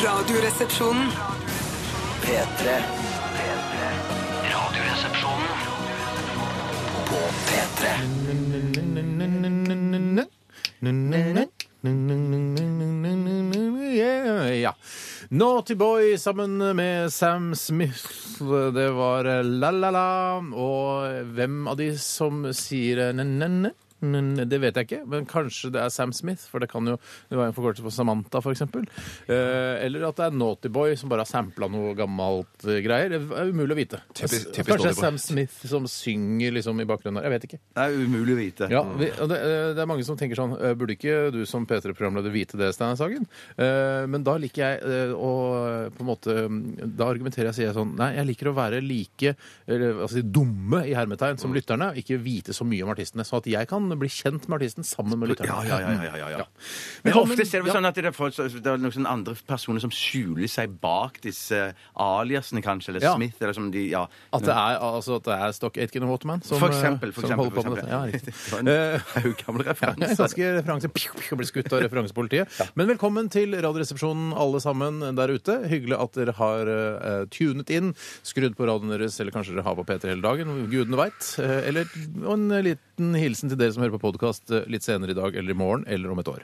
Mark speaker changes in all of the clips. Speaker 1: Radioresepsjonen.
Speaker 2: P3. Radioresepsjonen på P3.
Speaker 3: Ja. Naughty Boy sammen med Sam Smith. Det var la-la-la. Og hvem av de som sier ne-ne-ne? Det vet jeg ikke, men kanskje det er Sam Smith, for det kan jo det var en forkortelse for Samantha, for eksempel. Eh, Eller at det er Naughty Boy som bare har sampla noe gammelt eh, greier. Det er umulig å vite.
Speaker 4: Typisk- typisk Naughty
Speaker 3: kanskje det er
Speaker 4: Boy.
Speaker 3: Sam Smith som synger liksom i bakgrunnen her. Jeg vet ikke.
Speaker 5: Det er umulig å vite.
Speaker 3: Ja, vi, og det, eh, det er mange som tenker sånn eh, Burde ikke du som P3-programleder vite det, Steinar Sagen? Eh, Men da liker jeg eh, å eh, på en måte mm, Da argumenterer jeg og sier sånn Nei, jeg liker å være like eller, altså, de dumme i hermetegn
Speaker 5: Mm.
Speaker 3: som lytterne, og ikke vite så mye om artistene. Sånn at jeg kan bli kjent med artisten sammen med lytterne.
Speaker 5: Ja, ja, ja, ja, ja, ja. Men
Speaker 3: Velkommen.
Speaker 5: ofte ser vi
Speaker 3: Ja.
Speaker 5: sånn at det er, folk, det er noen sånne andre personer som skjuler seg bak disse eh, aliasene, kanskje, eller
Speaker 3: Ja.
Speaker 5: Smith, eller som de Ja.
Speaker 3: At det er, altså, at det er Stock Aitken og Waterman som,
Speaker 5: For eksempel,
Speaker 3: eh,
Speaker 5: for
Speaker 3: som holder
Speaker 5: eksempel,
Speaker 3: på
Speaker 5: for
Speaker 3: med dette? Ja, riktig. Eh,
Speaker 5: Det var en haug gamle
Speaker 3: Ja,
Speaker 5: referanser.
Speaker 3: Ganske referanse. Piu, piu, Blir skutt av referansepolitiet. Men velkommen til Radioresepsjonen, alle sammen der ute. Hyggelig at dere har eh, tunet inn, skrudd på radioen deres, eller kanskje dere har på P3 hele dagen, gudene veit. Eh, eller og en liten hilsen til dere som hører på podkast litt senere i dag eller i morgen eller om et år.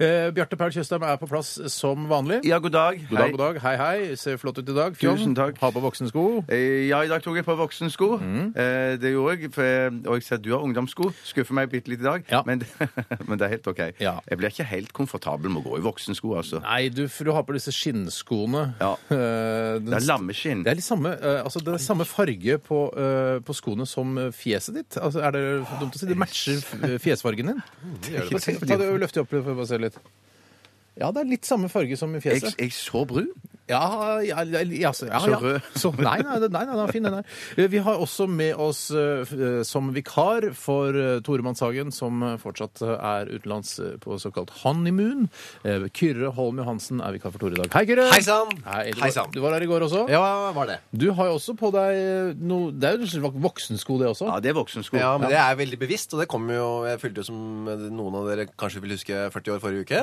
Speaker 3: Eh, Bjarte Paul Tjøstheim er på plass som vanlig.
Speaker 5: Ja, god dag.
Speaker 3: God dag, god dag. Hei, hei. Ser flott ut i dag. Fjong.
Speaker 5: Tusen takk.
Speaker 3: Ha på voksensko.
Speaker 5: Eh, Ja, i dag tok jeg på voksensko.
Speaker 3: Mm.
Speaker 5: Eh, Det gjorde jeg. For, og jeg ser at du har ungdomssko. Skuffer meg bitte litt i dag,
Speaker 3: Ja.
Speaker 5: men, men det er helt OK.
Speaker 3: Ja.
Speaker 5: Jeg blir ikke helt komfortabel med å gå i voksensko, altså.
Speaker 3: Nei, du, for du har på disse skinnskoene.
Speaker 5: Ja.
Speaker 3: Eh, den
Speaker 5: Det er lammeskinn.
Speaker 3: Det er litt samme, eh, altså det er samme farge på, eh, på skoene som fjeset ditt. Altså, er det dumt å si? Det matcher f- eh, fjesfargen din. Bare se- Ta det og Løft det opp for å bare se litt. Ja, det er litt samme farge som i
Speaker 5: Jeg,
Speaker 3: fjeset.
Speaker 5: jeg så brun.
Speaker 3: altså. Ja, ja, ja, ja, så- ja,
Speaker 5: Så
Speaker 3: ja.
Speaker 5: rød.
Speaker 3: Så, nei, nei, nei, nei, den er fin, den der. Eh, Vi har også med oss eh, f- eh, som vikar for eh, Tore Mannshagen, som eh, fortsatt eh, er utenlands eh, på såkalt honeymoon. Eh, Kyrre Holm Johansen er vikar for Tore i dag. Hei, Kyrre!
Speaker 4: Hei sann!
Speaker 3: Hei, du,
Speaker 4: Hei
Speaker 3: var,
Speaker 4: sann.
Speaker 3: du var her i går også?
Speaker 4: Ja, var det.
Speaker 3: Du har jo også på deg eh, noe Det er jo en slags voksensko, det også.
Speaker 5: Ja, det er voksensko.
Speaker 4: Ja, men det er veldig bevisst, og det kommer jo Jeg fylte jo som noen av dere kanskje vil huske 40 år forrige uke,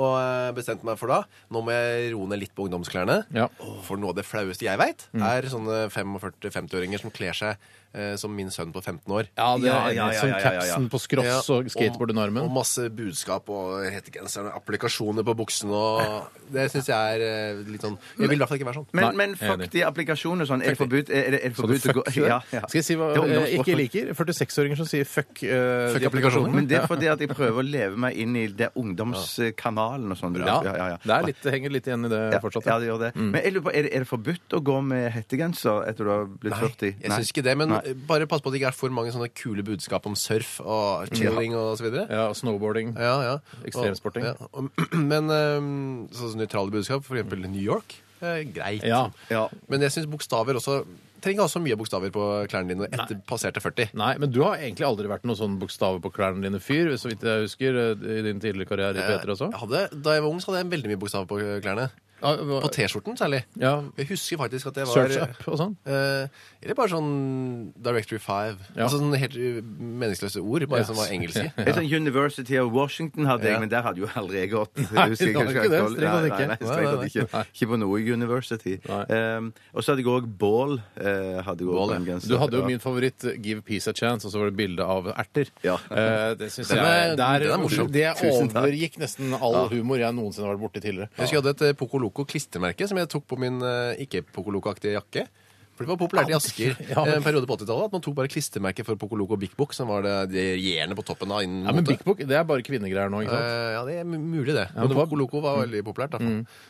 Speaker 4: og eh, bestemte meg for da. Nå må jeg roe ned litt på ungdomsklærne.
Speaker 3: Ja.
Speaker 4: For noe av det flaueste jeg veit, er sånne 45-50-åringer som kler seg eh, som min sønn på 15 år.
Speaker 3: Ja, det
Speaker 5: Ja,
Speaker 3: er
Speaker 5: ja, ja,
Speaker 3: sånn
Speaker 5: ja, ja, ja.
Speaker 3: capsen på skross
Speaker 4: Ja,
Speaker 3: og skateboard under armen.
Speaker 4: Og masse budskap og hettegenserne, applikasjoner på buksene og Det syns jeg er eh, litt sånn Jeg vil i hvert fall ikke være sånn.
Speaker 5: Men,
Speaker 3: Nei,
Speaker 5: men
Speaker 3: enig.
Speaker 5: fuck de applikasjonene og sånn. Er det forbudt, er det, er det
Speaker 3: Så du
Speaker 5: forbudt å gå
Speaker 3: fuck
Speaker 5: Ja, ja.
Speaker 3: Skal jeg si hva
Speaker 5: Det er
Speaker 3: jeg
Speaker 5: ungdomssport.
Speaker 3: ikke liker? 46-åringer som sier fuck, eh,
Speaker 4: Fuck
Speaker 3: de
Speaker 4: applikasjoner.
Speaker 5: Men det er fordi at jeg prøver å leve meg inn i det ungdomskanalen og sånn.
Speaker 3: Ja, Det er litt, det henger litt igjen i det
Speaker 5: Ja,
Speaker 3: fortsatt. Mm.
Speaker 5: ja, det gjør det. Men jeg lurer på, er det, er det forbudt å gå med hettegenser etter du har blitt 40?
Speaker 4: jeg syns ikke det, men
Speaker 5: Nei.
Speaker 4: bare pass på at det ikke er for mange sånne kule budskap om surf og chilling og så videre.
Speaker 3: Ja, snowboarding.
Speaker 4: Ja, ja.
Speaker 3: Ekstremsporting.
Speaker 4: Og- ja, og- Men ehm, sånn som nøytrale budskap, for eksempel New York, er greit.
Speaker 3: Ja.
Speaker 5: Ja.
Speaker 4: Men jeg syns bokstaver også Trenger ikke ha så mye bokstaver på klærne dine etter passerte 40.
Speaker 3: Nei, men du har egentlig aldri vært noen sånn bokstaver på klærne dine fyr, så vidt jeg husker, eh, i din tidligere karriere i P3
Speaker 4: Eh,
Speaker 3: også.
Speaker 4: Jeg hadde, da jeg var ung, så hadde jeg veldig mye bokstaver på klærne.
Speaker 3: Ja,
Speaker 4: På T-skjorten særlig.
Speaker 3: ja,
Speaker 4: Jeg husker faktisk at jeg var
Speaker 3: Search up og sånn.
Speaker 4: Eh, eller bare sånn Directory 5.
Speaker 3: Ja.
Speaker 4: Altså sånne helt uh, meningsløse ord, bare
Speaker 3: Ja.
Speaker 4: som var engelske.
Speaker 5: Et sånt sånn University of Washington hadde jeg,
Speaker 4: Ja.
Speaker 5: men der hadde jo aldri jeg gått.
Speaker 3: Nei,
Speaker 5: Husker jeg
Speaker 3: du hadde
Speaker 5: kanskje
Speaker 3: ikke det, strengt tatt
Speaker 5: aktuelt. Nei,
Speaker 3: ikke.
Speaker 5: Nei, nei,
Speaker 3: Nei,
Speaker 5: strengt tatt
Speaker 3: nei, nei.
Speaker 5: ikke. Ikke på noe university.
Speaker 3: Nei.
Speaker 5: Ehm, og så hadde jeg òg bål. eh, hadde jeg også på en genser.
Speaker 3: Du hadde jo
Speaker 5: Ja.
Speaker 3: min favoritt eh, 'Give Peace a Chance', og så var det bilde av erter.
Speaker 5: Ja.
Speaker 3: Eh, det syns
Speaker 4: Den
Speaker 3: jeg
Speaker 4: er- den
Speaker 3: det
Speaker 4: er morsom.
Speaker 3: Det
Speaker 5: Tusen takk.
Speaker 3: overgikk nesten all humor jeg noensinne har vært borti tidligere.
Speaker 4: Jeg husker jeg hadde et eh, Poco Loco klistremerke som jeg tok på min eh, ikke Poco Loco-aktige jakke. For det var populært i Asker
Speaker 3: Ja.
Speaker 4: eh, en periode på 80-tallet at man tok bare klistremerke for Poco Loco og Bik Bok, som var det det regjerende på toppen av innen
Speaker 3: Ja, men
Speaker 4: mote.
Speaker 3: Big Book det er bare kvinnegreier nå, ikke sant?
Speaker 4: Eh, ja, det er mu- mulig, det.
Speaker 3: men
Speaker 4: men Mm.
Speaker 3: det var-
Speaker 4: Poco Loco var veldig populært. Da.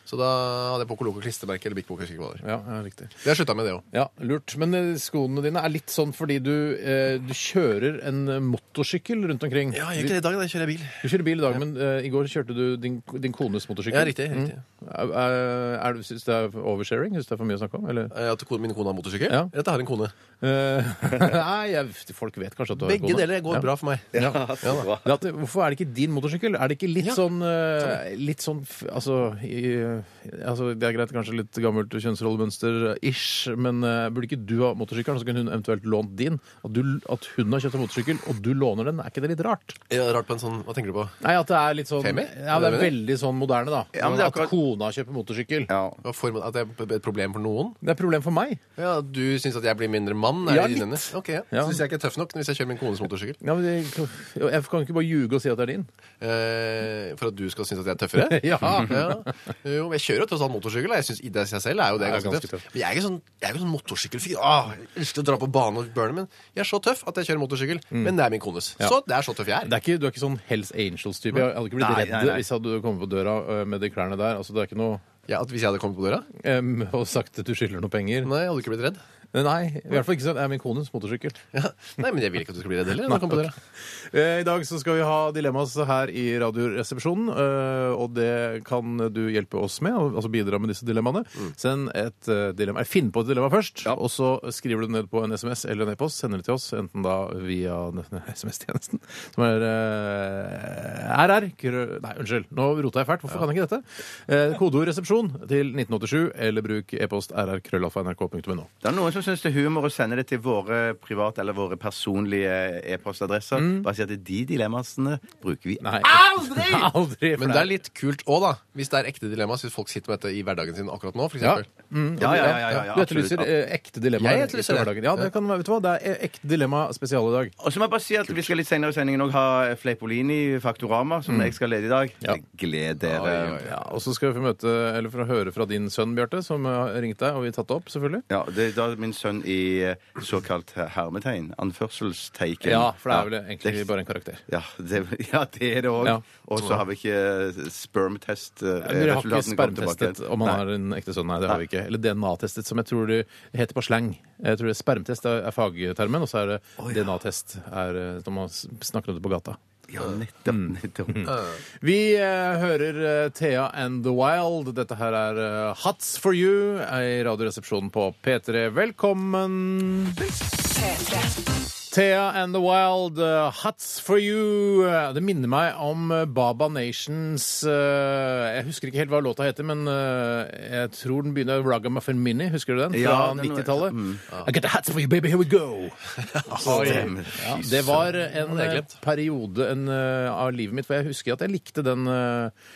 Speaker 4: Så da hadde jeg Poco Loco klistremerke eller Bik Bok. Jeg husker ikke hva det var.
Speaker 3: Ja, ja, riktig.
Speaker 4: Jeg har slutta med det òg.
Speaker 3: Ja, Lurt. Men eh, skoene dine er litt sånn fordi du, eh, du kjører en eh, motorsykkel rundt omkring.
Speaker 4: det i dag. Da kjører jeg bil.
Speaker 3: Du kjører bil i dag, men eh, i går kjørte du din, din kones motorsykkel.
Speaker 4: Ja, riktig. riktig.
Speaker 3: Er, er, er, du- syns du det er oversharing? Syns du det er for mye å snakke om? Eller?
Speaker 4: Eh, At ko- min kone har motorsykkel?
Speaker 3: Ja.
Speaker 4: Eller at jeg har en kone?
Speaker 3: Eh, nei, jeg, folk vet kanskje at du har
Speaker 4: Begge
Speaker 3: kone.
Speaker 4: deler går
Speaker 3: Ja.
Speaker 4: bra for meg.
Speaker 5: Ja, så bra.
Speaker 3: Det at, hvorfor er det ikke din motorsykkel? Er det ikke litt
Speaker 4: Ja.
Speaker 3: sånn eh, Litt sånn f- altså, i, altså Det er greit, kanskje litt gammelt kjønnsrollemønster-ish, men eh, burde ikke du ha motorsykkelen, så kunne hun eventuelt lånt din? At, du, at hun har kjøpt en motorsykkel, og du låner den, er ikke det litt rart?
Speaker 4: Ja, Rart på en sånn Hva tenker du på?
Speaker 3: Nei, at det er litt sånn
Speaker 4: Femi?
Speaker 3: Ja, det er veldig sånn moderne, da.
Speaker 5: Ja, men det er
Speaker 3: at
Speaker 5: akkurat-
Speaker 3: kona Mona kjøpe motorsykkel.
Speaker 6: Ja.
Speaker 4: Hva form- At det er et problem for noen?
Speaker 3: Det er et problem for meg.
Speaker 4: Ja, at Du syns at jeg blir mindre mann? Er
Speaker 3: Ja,
Speaker 4: det
Speaker 3: litt.
Speaker 4: din ende? Ok, ja.
Speaker 3: Ja.
Speaker 4: Syns jeg ikke er tøff nok hvis jeg kjører min kones motorsykkel?
Speaker 3: Ja, men det, jeg kan ikke bare ljuge og si at det er din.
Speaker 4: Eh, for at du skal synes at jeg er tøffere?
Speaker 3: Ja.
Speaker 4: Jo, men jeg kjører jo tross alt motorsykkel. og Jeg synes i det seg selv er jo det
Speaker 3: Ja,
Speaker 4: ganske,
Speaker 3: ganske
Speaker 4: tøft. Men jeg er ikke sånn, jeg er ikke sånn motorsykkelfyr. Ah, jeg elsker å dra på bane og burne, men jeg er så tøff at jeg kjører motorsykkel. Men det er min kones.
Speaker 3: Mm. Ja.
Speaker 4: Så det er så tøff jeg
Speaker 3: Det
Speaker 4: er.
Speaker 3: er ikke, du er ikke sånn Hells Angels-type. Jeg hadde ikke blitt
Speaker 6: Nei,
Speaker 3: redd
Speaker 6: nei, nei.
Speaker 3: hvis jeg hadde kommet på døra ø, med de klærne der. Altså, det er ikke noe
Speaker 4: Ja, at hvis jeg hadde kommet på døra?
Speaker 3: em, Og sagt at du skylder noe penger.
Speaker 4: Nei, jeg hadde ikke blitt redd.
Speaker 3: Nei, i hvert fall ikke sånn. Det er min kones motorsykkel.
Speaker 4: Ja. Nei, men jeg vil ikke at du skal bli redd heller. når jeg kommer på døra.
Speaker 3: Eh, I dag så skal vi ha dilemmas her i Radioresepsjonen, eh, og det kan du hjelpe oss med. og- Altså bidra med disse dilemmaene. Send et eh, dilemma. eh, Finn på et dilemma først, og så skriver du det ned på en SMS eller en e-post. Sender det til oss, enten da via den- SMS-tjenesten, som er eh, RR krø- Nei, unnskyld, nå rota jeg fælt. Hvorfor kan jeg ikke dette? Eh, Kodeord 'resepsjon' til 1987, eller bruk e-post rrkrøllalfa.nrk.no.
Speaker 6: Det er noen som syns det er humor å sende det til våre private eller våre personlige e-postadresser. Bare si at de dilemmaene bruker vi.
Speaker 3: Mm. Nei.
Speaker 6: Aldri!
Speaker 3: Aldri! for
Speaker 4: Men det er litt kult òg, da. Hvis det er ekte dilemma, hvis folk sitter med dette i hverdagen sin akkurat nå, for
Speaker 3: Mm. Ja.
Speaker 4: eksempel.
Speaker 6: Ja, ja, ja, ja, ja, ja,
Speaker 3: du
Speaker 6: absolutt.
Speaker 3: etterlyser eh, ekte dilemmaer.
Speaker 4: Jeg etterlyser
Speaker 3: i
Speaker 4: det.
Speaker 3: hverdagen. Ja, det kan være, vet du hva, det er eh, ekte dilemma spesial i dag.
Speaker 6: Og så må jeg bare si at Vi skal litt senere i sendingen også ha Fleipolini i Faktorama, som jeg skal lede i dag.
Speaker 3: Mm. Ja.
Speaker 6: Gled dere.
Speaker 4: Oi, oi.
Speaker 3: Ja, og så skal vi få møte, eller få høre fra din sønn, Bjarte, som eh, har ringt deg, og vi har tatt det opp, selvfølgelig.
Speaker 6: Ja, det er da min sønn i eh, såkalt hermetegn. Anførselsteiken.
Speaker 3: Ja, for det er vel egentlig
Speaker 6: det-
Speaker 3: bare en karakter.
Speaker 6: Ja, det, ja, det er det òg.
Speaker 3: Ja.
Speaker 6: Og så har vi ikke eh, spermtest. eh,
Speaker 3: Dere har ikke
Speaker 6: resultatene kommet tilbake.
Speaker 3: spermtestet om han har en ekte sønn. Nei, det har vi ikke. Eller DNA-testet, som jeg tror det heter på slang. Jeg tror det er Spermtest er er fagtermen, og så er det DNA-test er eh, når man s- snakker om det på gata.
Speaker 6: Ja, nettopp.
Speaker 3: Mm.
Speaker 6: nettopp.
Speaker 3: Vi eh, hører eh, Thea and The Wild. Dette her er eh, Hats for you i Radioresepsjonen på P3. Velkommen! Thea and The Wild, eh, Hats for you. Eh, Det minner meg om eh, Baba Nations eh, Jeg husker ikke helt hva låta heter, men eh, jeg tror den begynner Ragamuffin Mini. Husker du den? Fra
Speaker 6: Ja, den-
Speaker 3: 90-tallet. I got the hats for you, baby, here we go!
Speaker 6: Stemmer.
Speaker 3: Ja, det var en
Speaker 4: hadde jeg
Speaker 3: eh,
Speaker 4: glemt.
Speaker 3: periode en, eh, av livet mitt, for jeg husker at jeg likte den eh,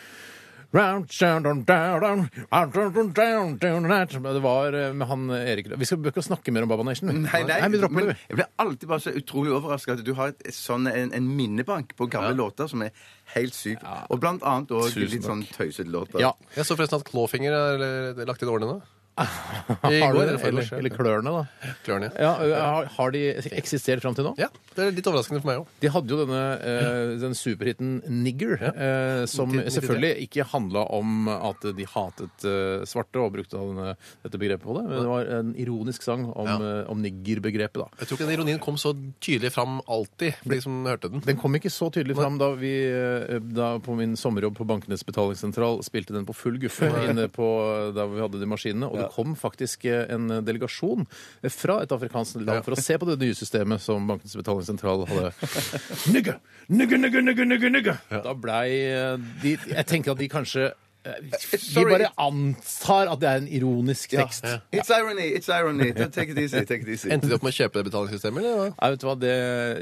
Speaker 3: Round, round, round, round, round, round, round, round, round. Det var eh, med han eh, Erik Vi skal ikke snakke mer om Baba Nation. vi.
Speaker 6: Nei, nei,
Speaker 3: vi dropper
Speaker 6: men
Speaker 3: det. vi.
Speaker 6: jeg blir alltid bare så utrolig overraska at du har et, et sånn, en, en minnebank på gamle låter som er helt syk. Og blant annet òg
Speaker 3: Tusen
Speaker 6: litt sånn tøysete låter.
Speaker 3: Ja.
Speaker 4: Jeg så forresten at Klåfinger er eh, lagt inn årene nå. I
Speaker 3: Har
Speaker 4: går,
Speaker 3: du,
Speaker 4: eller forrige år,
Speaker 3: eller, eller klørne, da.
Speaker 4: Klørne, ja.
Speaker 3: Ja, eh, har, har de eksistert fram til nå?
Speaker 4: ja. Det er litt overraskende for meg òg.
Speaker 3: De hadde jo denne eh, den superhiten Nigger, eh, som
Speaker 4: 1993.
Speaker 3: selvfølgelig ikke handla om at de hatet eh, svarte og brukte denne, dette begrepet på det, men det var en ironisk sang om,
Speaker 4: Ja.
Speaker 3: eh, om nigger-begrepet, da.
Speaker 4: Jeg tror ikke den ironien kom så tydelig fram alltid for de som hørte den.
Speaker 3: Den kom ikke så tydelig fram da vi eh, da på min sommerjobb på Bankenes betalingssentral spilte den på full guffe inne på eh, der vi hadde de maskinene. Og det kom faktisk eh, en delegasjon fra et afrikansk land for å se på det nye systemet som Bankenes betalingssentral hadde. Nigga! Nigga, nigga, nigga, nigga, nigga! Da blei eh, de Jeg tenker at de kanskje eh, Vi
Speaker 6: Sorry.
Speaker 3: bare antar at det er en ironisk tekst.
Speaker 6: It's irony, it's irony. Take it easy. take it easy.
Speaker 4: Endte de opp med å kjøpe det betalingssystemet? eller? hva?
Speaker 3: Nei, vet du hva? Det,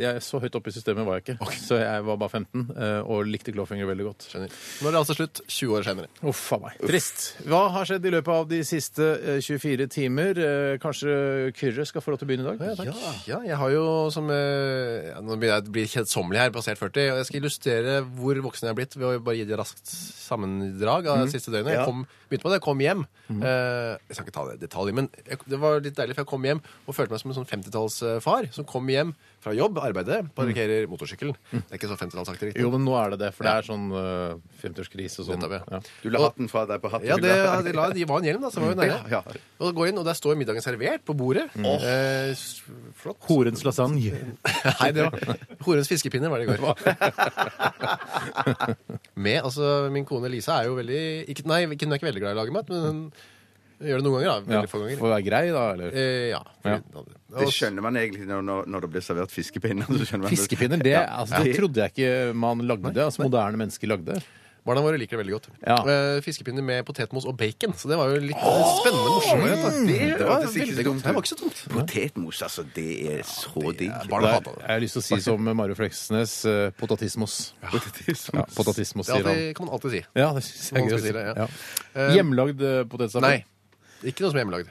Speaker 3: jeg Så høyt oppe i systemet var jeg ikke. Så jeg var bare 15 eh, og likte Clawfinger veldig godt.
Speaker 4: Skjønner. Nå er det altså slutt, 20 år senere.
Speaker 3: Uff a meg. Trist. Hva har skjedd i løpet av de siste eh, 24 timer? Eh, Kanskje Kyrre skal få lov til å begynne i dag?
Speaker 4: Ja, ja, jeg har jo som eh, ja, Nå begynner jeg å bli kjedsommelig her, passert 40. Og jeg skal illustrere hvor voksen jeg er blitt ved å bare gi det raskt sammendrag
Speaker 6: Mhm.
Speaker 4: av det siste døgnet. Jeg kom, begynte på det, jeg kom hjem. Eh, jeg skal ikke ta det i detalj, men jeg, det var litt deilig, for jeg kom hjem og følte meg som en sånn 50-tallsfar som kom hjem fra jobb, arbeidet,
Speaker 6: Mhm.
Speaker 4: parkerer motorsykkelen. Det er ikke så 50-tallsaktig, riktig.
Speaker 3: Jo, men nå er det det, for det er sånn uh, 50-årskrise og sånn.
Speaker 4: Nettopp, ja.
Speaker 3: Ja.
Speaker 6: Du la hatten fra deg på hatten.
Speaker 4: Ja, det, de, la, de var en hjelm, da. Så det var jo
Speaker 6: Ja,
Speaker 4: nøye.
Speaker 6: ja.
Speaker 4: Og går inn, og der står middagen servert på bordet. Eh, s- flott.
Speaker 3: Horens lasagne.
Speaker 4: Nei, det var Horens fiskepinner var det i går. Med, altså, Min kone Lisa er jo veldig ikke, Nei, ikke- hun er ikke veldig glad i å lage mat, men hun gjør det noen ganger. da, Veldig
Speaker 3: Ja.
Speaker 4: få
Speaker 3: Får
Speaker 4: ganger.
Speaker 3: være grei, da, eller?
Speaker 4: Eh, ja.
Speaker 3: Ja.
Speaker 6: Det
Speaker 4: Og-
Speaker 6: skjønner man egentlig når, når, når det blir servert fiskepinner. så skjønner man det.
Speaker 3: Fiskepinner, det,
Speaker 6: Ja.
Speaker 3: altså, det trodde jeg ikke man lagde. Altså moderne altså, mennesker lagde.
Speaker 4: Barna våre liker det veldig godt.
Speaker 3: Ja.
Speaker 4: Eh, Fiskepinner med potetmos og bacon. Så det var jo litt spennende morsomt. rett og slett.
Speaker 5: Det var faktisk ikke
Speaker 4: veldig godt.
Speaker 5: så dumt.
Speaker 4: Det var ikke så dumt.
Speaker 5: Potetmos, altså, det er så digg.
Speaker 4: Barna
Speaker 3: Der,
Speaker 4: hatet det.
Speaker 3: jeg har lyst til å si som Mario Fleksnes eh, potatismos.
Speaker 6: sånn-
Speaker 3: Ja, potatismos,
Speaker 4: Det er
Speaker 3: sier han.
Speaker 4: alltid, kan man alltid si.
Speaker 3: Ja, det synes jeg
Speaker 4: Noen
Speaker 3: er gøy å si.
Speaker 4: spiser det,
Speaker 3: Ja.
Speaker 4: ja. Eh,
Speaker 3: Hjemmelagd eh, potetsalat?
Speaker 4: Nei. Ikke noe som er hjemmelagd.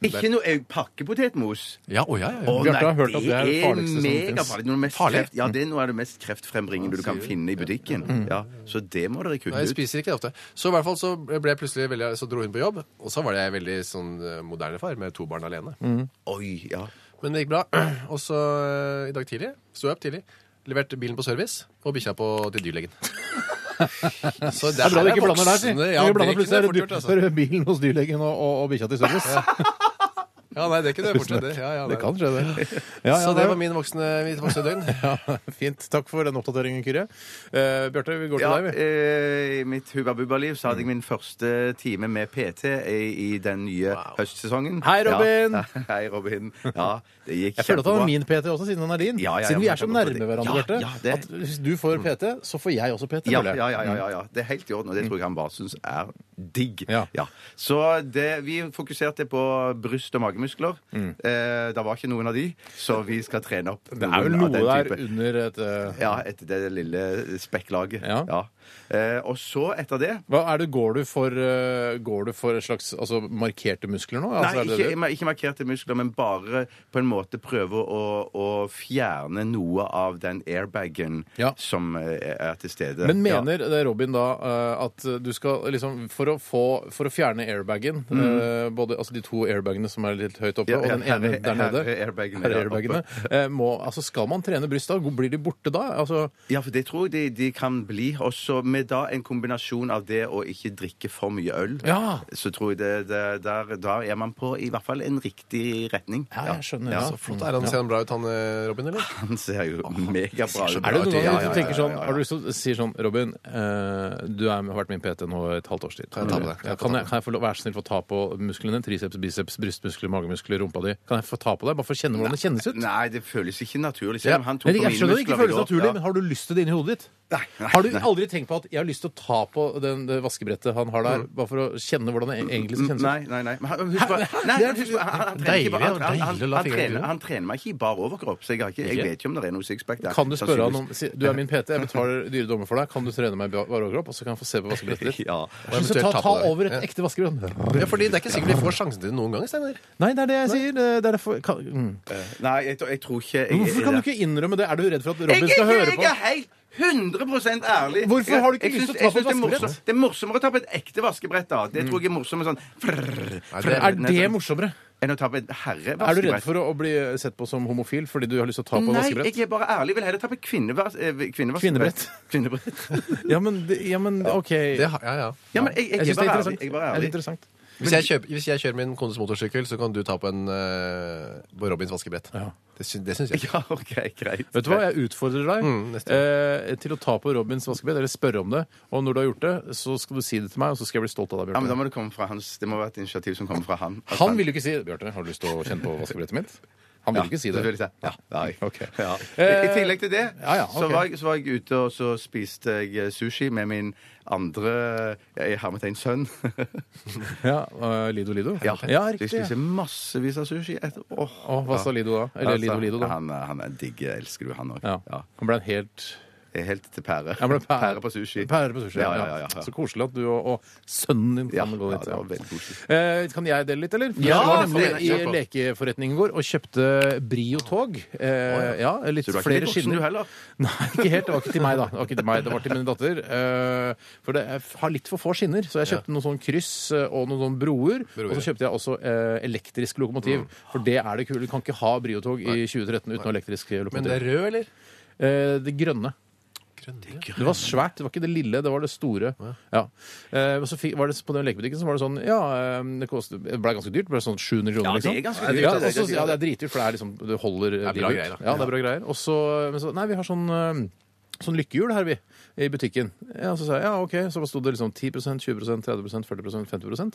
Speaker 5: Ikke noe eh, pakkepotetmos.
Speaker 4: Ja, å, ja, ja, ja.
Speaker 5: Å,
Speaker 3: Bjarte
Speaker 5: nei,
Speaker 3: har hørt at det er det farligste som finnes. Mm.
Speaker 5: megafarlig. Noe av det mest
Speaker 4: Farlig?
Speaker 5: kreft- Ja, det er noe av det mest kreftfrembringende du kan finne i butikken. Ja, Så det må dere
Speaker 4: Nei,
Speaker 5: kutte
Speaker 4: jeg
Speaker 5: ut.
Speaker 4: spiser ikke det ofte. Så i hvert fall så ble jeg plutselig veldig, så dro hun på jobb, og så var det jeg veldig sånn eh, moderne far med to barn alene.
Speaker 3: Mm.
Speaker 5: Oi, ja.
Speaker 4: Men det gikk bra. Og så eh, i dag tidlig, sto jeg opp tidlig, leverte bilen på service og bikkja på til dyrlegen. Så
Speaker 3: Det er bra du ikke blander der, si.
Speaker 4: voksne-
Speaker 3: Du
Speaker 4: Ja,
Speaker 3: ikke
Speaker 4: det
Speaker 3: blander
Speaker 4: kunne jeg
Speaker 3: plutselig
Speaker 4: fort gjort,
Speaker 3: du-
Speaker 4: altså.
Speaker 3: for bilen hos dyrlegen og, og, og bikkja til service.
Speaker 4: Ja, nei, det kunne jeg fort gjort. det. Ja, ja, nei.
Speaker 3: Det kan skje, det. Ja, ja,
Speaker 4: Så det var min voksne, mitt voksne døgn.
Speaker 3: ja, Fint. Takk for den oppdateringen, Kyrre. Eh, Bjarte, vi går til
Speaker 5: ja
Speaker 3: deg, vi. Mm.
Speaker 5: eh, I mitt hubabubba-liv så hadde jeg min første time med PT i, i den nye høstsesongen.
Speaker 3: Hei, Robin!
Speaker 5: Ja. Hei, Robin. Ja, det gikk
Speaker 3: Jeg føler at han er min PT også, siden han er din.
Speaker 5: Ja, ja, ja,
Speaker 3: siden vi
Speaker 5: men
Speaker 3: er så
Speaker 5: det er godt
Speaker 3: nærme
Speaker 5: for deg.
Speaker 3: hverandre,
Speaker 5: Ja,
Speaker 3: Bjarte.
Speaker 5: ja, det-
Speaker 3: At hvis du får PT, så får jeg også PT.
Speaker 5: Ja,
Speaker 3: føler jeg. Mm.
Speaker 5: ja, ja, ja, ja. Det er helt i orden, og det tror jeg han bare syns er digg.
Speaker 3: Ja.
Speaker 5: Så det, vi fokuserte på bryst- og magemuskler. Eh, det var ikke noen av de, så vi skal trene opp
Speaker 3: Mm. Det er vel
Speaker 5: noen
Speaker 3: noe
Speaker 5: av den
Speaker 3: der
Speaker 5: type.
Speaker 3: under et eh,
Speaker 5: Ja, etter det lille spekklaget.
Speaker 3: Ja.
Speaker 5: Eh, og så, etter det
Speaker 3: hva er det, går du for, eh, går du for et slags altså, markerte muskler nå? Altså,
Speaker 5: Nei,
Speaker 3: er det det
Speaker 5: ikke,
Speaker 3: du-
Speaker 5: ma- ikke markerte muskler, men bare på en måte prøve å, å fjerne noe av den airbagen
Speaker 3: Ja.
Speaker 5: som eh, er til stede.
Speaker 3: Men
Speaker 5: Ja.
Speaker 3: mener det Robin da eh, at du skal liksom For å, få, for å fjerne airbagen, eh, både, altså de to airbagene som er litt høyt oppe,
Speaker 5: Ja,
Speaker 3: og
Speaker 5: ja,
Speaker 3: den ene
Speaker 5: her-
Speaker 3: der
Speaker 5: her-
Speaker 3: nede
Speaker 5: airbagene,
Speaker 3: her er
Speaker 5: ja,
Speaker 3: airbagene, eh, må, altså Skal man trene bryst da? Blir de borte da? Altså,
Speaker 5: Ja, for det tror jeg de, de kan bli. Også med da en kombinasjon av det å ikke drikke for mye øl,
Speaker 3: Ja.
Speaker 5: så tror jeg det, det der, da er man på i hvert fall en riktig retning.
Speaker 3: ja, jeg skjønner. Ja,
Speaker 4: Så flott. Er han, ser han bra ut, han eh, Robin, eller?
Speaker 5: Han ser jo megabra ut.
Speaker 3: Er det noen
Speaker 5: Ja, ja,
Speaker 3: ganger
Speaker 5: ja,
Speaker 3: du tenker
Speaker 5: ja,
Speaker 3: sånn,
Speaker 5: ja, ja.
Speaker 3: har du lyst til å si sånn Robin, eh, du er, har vært min PT nå i et halvt års tid. Kan
Speaker 4: jeg ta på det? Kan jeg få
Speaker 3: kan jeg, kan jeg få lov, være så snill få ta på musklene? Triceps, biceps, brystmuskler, magemuskler, rumpa di. Kan jeg få ta på deg? Bare for å kjenne hvordan det kjennes ut?
Speaker 5: Nei, det føles ikke naturlig.
Speaker 3: Ja.
Speaker 5: Selv om han tok
Speaker 3: Men
Speaker 5: på
Speaker 3: jeg
Speaker 5: mine
Speaker 3: skjønner det ikke
Speaker 5: muskler i
Speaker 3: føles
Speaker 5: går.
Speaker 3: naturlig,
Speaker 5: Ja.
Speaker 3: men har du lyst til det inni hodet ditt?
Speaker 5: Nei, nei,
Speaker 3: har du
Speaker 5: nei.
Speaker 3: aldri tenkt på at jeg har lyst til å ta på den, det vaskebrettet han har der, bare for å kjenne hvordan det e- egentlig kjennes ut?
Speaker 5: Mm. Nei, nei, nei. Men han- husk på, nei,
Speaker 3: sånn? Det er-
Speaker 5: husk på han, han, trener ikke bare- han, han, han,
Speaker 4: deilig å la
Speaker 5: han,
Speaker 4: fingrene
Speaker 5: trener,
Speaker 4: gå.
Speaker 5: han trener meg ikke i bar overkropp, så jeg, har ikke, jeg
Speaker 3: Ikke?
Speaker 5: vet ikke om det er noe sixpack der.
Speaker 3: Kan du spørre han
Speaker 5: Sannsynligvis.
Speaker 3: om si, Du er min PT, jeg betaler dyre dommer for deg. Kan du trene meg i bar overkropp? Og så kan jeg få se på vaskebrettet ditt.
Speaker 5: Ja.
Speaker 3: Jeg synes,
Speaker 4: eventuelt
Speaker 3: ta,
Speaker 4: ta på
Speaker 3: ta
Speaker 4: det.
Speaker 3: over et ekte vaskebrett.
Speaker 4: Ja, fordi det er ikke sikkert de får sjansen til det noen gang, Steinar.
Speaker 3: Nei, det er det jeg sier. Det er derfor kan, mm.
Speaker 5: Nei, jeg, jeg tror ikke jeg,
Speaker 3: Hvorfor kan du ikke innrømme det? Er du redd for at Robin
Speaker 5: Jeg er
Speaker 3: skal høre
Speaker 5: ikke-
Speaker 3: på?
Speaker 5: Jeg er helt 100 ærlig.
Speaker 3: Hvorfor
Speaker 5: Jeg-
Speaker 3: har du ikke
Speaker 5: jeg
Speaker 3: lyst
Speaker 5: syns-
Speaker 3: til å ta
Speaker 5: jeg syns
Speaker 3: på et
Speaker 5: det er
Speaker 3: vaskebrett?
Speaker 5: morsom- Det er morsommere å ta på et ekte vaskebrett. da Det tror jeg er morsommere sånn frrrr,
Speaker 3: Er
Speaker 5: frrrr,
Speaker 3: det
Speaker 5: sånn,
Speaker 3: morsommere?
Speaker 5: Enn å ta på et herrevaskebrett.
Speaker 3: Er du redd for å bli sett på som homofil fordi du har lyst til å ta på et
Speaker 5: Nei,
Speaker 3: vaskebrett?
Speaker 5: jeg er bare ærlig. Vil heller ta på kvinnevas eh, kvinnevaskebrett.
Speaker 3: Kvinnebrett.
Speaker 5: Kvinnebrett.
Speaker 3: Ja, men, det- ja, men OK.
Speaker 4: Det, har- ja, ja.
Speaker 5: Ja, men jeg, jeg,
Speaker 3: Jeg
Speaker 5: er
Speaker 3: syns det
Speaker 5: bare
Speaker 3: er
Speaker 5: ærlig.
Speaker 3: interessant.
Speaker 5: Jeg er bare
Speaker 3: Det er
Speaker 5: ærlig.
Speaker 3: interessant.
Speaker 4: Hvis jeg, kjøper, hvis jeg kjører min kones motorsykkel, så kan du ta på en eh, på Robins vaskebrett.
Speaker 3: Ja.
Speaker 4: Det, sy det syns jeg.
Speaker 5: Ja, OK, greit.
Speaker 3: Vet du hva, jeg utfordrer deg
Speaker 4: Mm, neste.
Speaker 3: eh, til å ta på Robins vaskebrett, eller spørre om det. Og når du har gjort det, så skal du si det til meg, og så skal jeg bli stolt av deg,
Speaker 5: Ja, men Da
Speaker 3: Bjarte.
Speaker 5: må det komme fra hans Det må være et initiativ som kommer fra han. At
Speaker 3: Han vil jo ikke si det. Bjarte, har du lyst til å kjenne på vaskebrettet mitt? Han vil
Speaker 5: Ja,
Speaker 3: ikke si det.
Speaker 5: selvfølgelig. Ja. Nei.
Speaker 3: ok.
Speaker 5: Ja.
Speaker 3: Eh,
Speaker 5: I tillegg til det
Speaker 3: ja, ja,
Speaker 5: så,
Speaker 3: ok.
Speaker 5: var jeg, så var jeg ute og så spiste jeg eh, sushi med min andre eh, i hermetegn sønn.
Speaker 3: Ja, eh, Lido Lido?
Speaker 5: Så Jeg
Speaker 3: riktig.
Speaker 5: spiser massevis av sushi. etter- Åh.
Speaker 3: Og hva sa Lido da? Eller
Speaker 5: Altså,
Speaker 3: Lido Lido, da?
Speaker 5: Han, er- han er digg. Jeg elsker jo han òg.
Speaker 3: Ja.
Speaker 5: Ja.
Speaker 3: Han ble en helt
Speaker 5: Jeg er Helt til pære.
Speaker 3: han ble pære.
Speaker 5: på sushi.
Speaker 3: Pære på sushi,
Speaker 5: Ja, ja, ja, ja.
Speaker 3: Så koselig at du og, og sønnen din
Speaker 5: Ja,
Speaker 3: kan gå
Speaker 5: ja,
Speaker 3: dit.
Speaker 5: det var
Speaker 3: Ja,
Speaker 5: veldig koselig.
Speaker 3: Eh, kan jeg dele litt, eller? For
Speaker 5: Ja,
Speaker 3: jeg var nemlig
Speaker 5: det
Speaker 3: i
Speaker 5: er kjempe.
Speaker 3: lekeforretningen vår og kjøpte Brio-tog. Eh, ja, litt
Speaker 5: Så du er ikke
Speaker 3: flere
Speaker 5: litt voksen, du
Speaker 3: skinner.
Speaker 5: heller?
Speaker 3: Nei, ikke helt. Det var ikke til meg, da. Det var ikke til meg, det var til min datter. Eh, for det jeg har litt for få skinner, så jeg kjøpte noen sånn kryss eh, og noen sånn broer.
Speaker 4: Broer,
Speaker 3: Og så kjøpte jeg også eh, elektrisk lokomotiv,
Speaker 5: Mm.
Speaker 3: for det er det kule. Du kan ikke ha Brio-tog i 2013 uten elektrisk
Speaker 4: Men det er
Speaker 3: lokomotiv.
Speaker 4: rød, eller?
Speaker 3: Eh, det grønne.
Speaker 4: Grønn, ja.
Speaker 3: Det var svært. Det var ikke det lille, det var det store. Ja. Eh, og så fikk, var det på den lekebutikken så var det sånn Ja, eh, det, kostet, det ble ganske dyrt. Det ble sånn 700 kroner,
Speaker 5: Ja, det er
Speaker 3: liksom.
Speaker 5: ganske dyrt,
Speaker 3: Ja,
Speaker 5: det er
Speaker 3: og så-
Speaker 5: ganske dyrt.
Speaker 3: ja, det er dritdyrt, for det er liksom Det holder det
Speaker 4: er bra greier, da.
Speaker 3: Ja, det er bra greier. Og så Men så Nei, vi har sånn eh, Sånn lykkehjul her, vi, i butikken. Ja, så sa jeg ja, OK. Så sto det liksom 10 20 30 40 50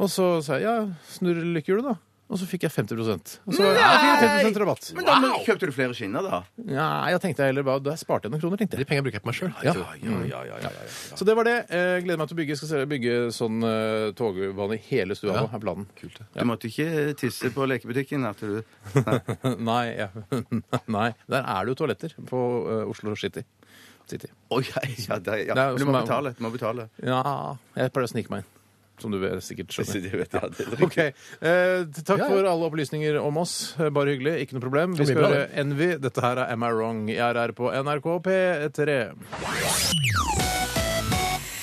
Speaker 3: Og så sa jeg ja, snurr lykkehjulet, da. Og og så fikk jeg 50 Og så ja, jeg fikk 50 rabatt.
Speaker 6: Men da men, kjøpte du flere skinner, da.
Speaker 3: Nei, jeg tenkte heller bare, da sparte jeg noen kroner, tenkte
Speaker 4: De
Speaker 3: jeg.
Speaker 4: pengene bruker jeg på meg sjøl.
Speaker 3: Ja.
Speaker 6: ja, ja, ja, ja, ja.
Speaker 3: Så det var det. Eh, gleder meg til å bygge. Skal se- bygge sånn eh, togbane i hele stua nå, er planen. Kult.
Speaker 6: Du måtte ikke tisse på lekebutikken? At du...
Speaker 3: Nei, ja. Nei. Der er det jo toaletter på eh, Oslo City. City.
Speaker 6: Å, ja, ja, det, ja.
Speaker 3: Det er jo
Speaker 6: Du
Speaker 3: som
Speaker 6: må
Speaker 3: er-
Speaker 6: betale. Du må betale.
Speaker 3: Ja Jeg pleier å snike meg inn. Som du vet- sikkert skjønner.
Speaker 6: Det vet jeg, det er riktig.
Speaker 3: Ok, eh,
Speaker 4: Ja,
Speaker 3: Takk
Speaker 4: ja.
Speaker 3: for alle opplysninger om oss. Eh, Bare hyggelig. Ikke noe problem. Vi
Speaker 4: Det blir
Speaker 3: skal
Speaker 4: bra,
Speaker 3: høre Envy. Dette her er Am I Wrong? i RR på NRK P3.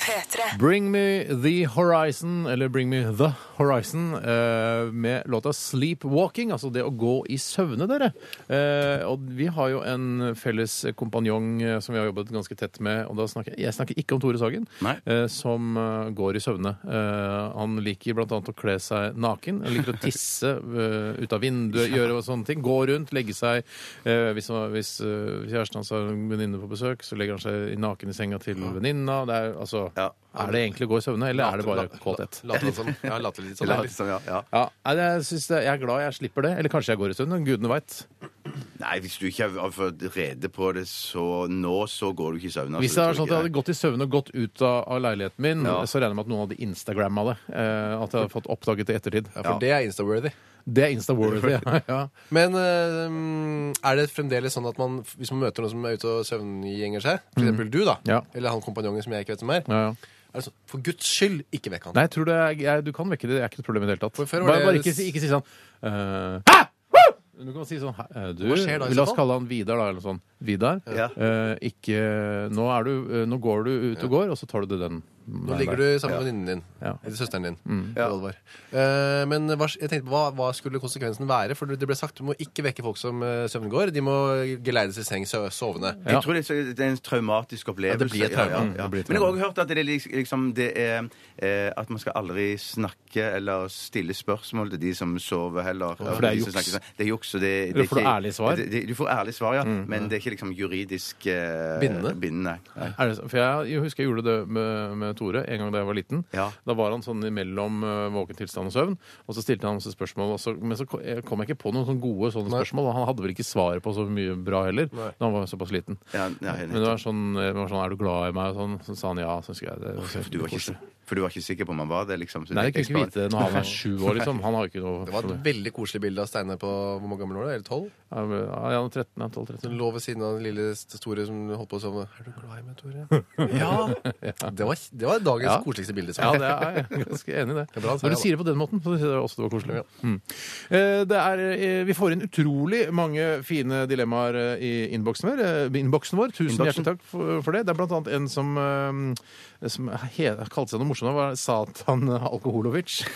Speaker 7: P3.
Speaker 3: Bring me the horizon, eller Bring me the horizon, eh, med låta Sleepwalking, altså det å gå i søvne, dere. Eh, og vi har jo en felles kompanjong eh, som vi har jobbet ganske tett med, og da snakker jeg, jeg snakker ikke om Tore Sagen,
Speaker 6: Nei.
Speaker 3: eh, som eh, går i søvne. Eh, han liker blant annet å kle seg naken, han liker å tisse eh, ut av vinduet, gjøre sånne ting, gå rundt, legge seg. Eh, hvis han- hvis eh, kjæresten hans har en venninne på besøk, så legger han seg naken i senga til venninna. Det er altså...
Speaker 6: Ja.
Speaker 3: Er det egentlig å gå i søvne, eller er det bare kåthet?
Speaker 4: Later litt sånn. Ja, later litt sånn.
Speaker 6: Eller, liksom, ja, ja.
Speaker 3: Ja, nei, det- jeg, synes det, jeg er glad jeg slipper det. Eller kanskje jeg går i søvne. Gudene veit.
Speaker 6: Nei, hvis du ikke har fått rede på det så nå, så går du ikke i søvn. altså.
Speaker 3: Hvis det var
Speaker 6: tror
Speaker 3: sånn at jeg
Speaker 6: ikke
Speaker 3: hadde gått i søvne og gått ut av, av leiligheten min,
Speaker 6: Ja.
Speaker 3: så regner jeg med at noen hadde Instagramma det. Eh, at jeg hadde fått oppdaget det i ettertid.
Speaker 4: For det er Insta-worthy.
Speaker 3: Det er Insta-worthy. Ja, ja.
Speaker 4: Men eh, mm, er det fremdeles sånn at man, hvis man møter noen som er ute og søvngjenger seg, for eksempel du, da,
Speaker 3: Ja.
Speaker 4: eller han kompanjongen som jeg ikke vet hvem er,
Speaker 3: Ja, ja.
Speaker 4: er det sånn For guds skyld, ikke vekk han.
Speaker 3: Nei, jeg tror det er, jeg, du kan vekke det. Det er ikke et problem i det hele tatt.
Speaker 4: For før var
Speaker 3: Bare,
Speaker 4: det- Ah!
Speaker 3: bare ikke, si- ikke si sånn eh, «Hæ? Woo!» Du kan si sånn «Hæ, eh, du,
Speaker 4: Hva skjer da i så
Speaker 3: La oss
Speaker 4: fall?
Speaker 3: kalle han Vidar, da. Eller sånn. Vidar,
Speaker 6: Ja.
Speaker 3: eh, ikke Nå, er du, eh, nå går du ut og går, og så tar du det den.
Speaker 4: Nå ligger du sammen med venninnen din.
Speaker 3: Ja. Mm.
Speaker 4: Eller søsteren din. eller Olvar. Eh, men hva, jeg tenkte på, hva, hva skulle konsekvensen være? For det ble sagt du må ikke vekke folk som eh, søvngår. De må geleides i seng sø- sovende.
Speaker 3: Ja.
Speaker 6: Jeg tror det er, så- det er en traumatisk opplevelse.
Speaker 4: Ja, det blir et traume.
Speaker 6: Ja, ja,
Speaker 4: Mm,
Speaker 6: ja.
Speaker 3: det blir et
Speaker 6: Men jeg har
Speaker 3: traume.
Speaker 6: også hørt at det er, lik- liksom, det er eh, at man skal aldri snakke eller stille spørsmål til de som sover heller.
Speaker 3: for det er
Speaker 6: De som
Speaker 3: juks.
Speaker 6: snakker sånn. Det er juks, og det, det er
Speaker 3: Eller får du
Speaker 6: ikke-
Speaker 3: ærlig svar? Mm,
Speaker 6: Det, det, du får ærlig svar, ja. Men det er ikke liksom juridisk eh,
Speaker 4: Bindende?
Speaker 6: bindende. Nei.
Speaker 3: Er det, så- for jeg, jeg husker jeg gjorde det med, med Tore en gang da jeg var liten.
Speaker 6: Ja.
Speaker 3: Da var han sånn imellom uh, våken tilstand og søvn, og så stilte han masse spørsmål. Og så, men så ko- jeg kom jeg ikke på noen sånne gode sånne spørsmål, og han hadde vel ikke svaret på så mye bra heller da han var såpass liten.
Speaker 6: Ja, ja, helt
Speaker 3: men det var sånn, eh, det var sånn 'Er du glad i meg?' og sånn. Så sa han ja. Så husker jeg det.
Speaker 6: For du, var ikke, for du var ikke sikker på om han var det? liksom så
Speaker 3: Nei,
Speaker 6: det
Speaker 3: jeg kunne ikke vite det når han er sju år, liksom. Han har jo ikke noe
Speaker 4: Det var et veldig koselig bilde av Steinar på hvor mange gammel var du? Eller tolv?
Speaker 3: Ja, men- ja, han er 13, han er 12-13.
Speaker 4: Som lå ved siden av den lille st- Tore som holdt på å sovne. Er du glad i meg, Tore? ja! Det var, det var dagens
Speaker 3: Ja.
Speaker 4: koseligste bilde.
Speaker 3: Ja,
Speaker 4: Steinar.
Speaker 3: det er jeg ganske enig i det.
Speaker 4: er bra,
Speaker 3: Når du
Speaker 4: ja, da.
Speaker 3: sier det på den måten, så sier jeg også det var koselig. Mm. Eh, Det er, eh, vi får inn utrolig mange fine dilemmaer eh, i innboksen vår. eh, innboksen vår. Tusen
Speaker 6: Innboksen.
Speaker 3: hjertelig takk for, for det. Det er blant annet en som, eh, som he, kalte seg noe morsomt, var Satan Alkoholovic.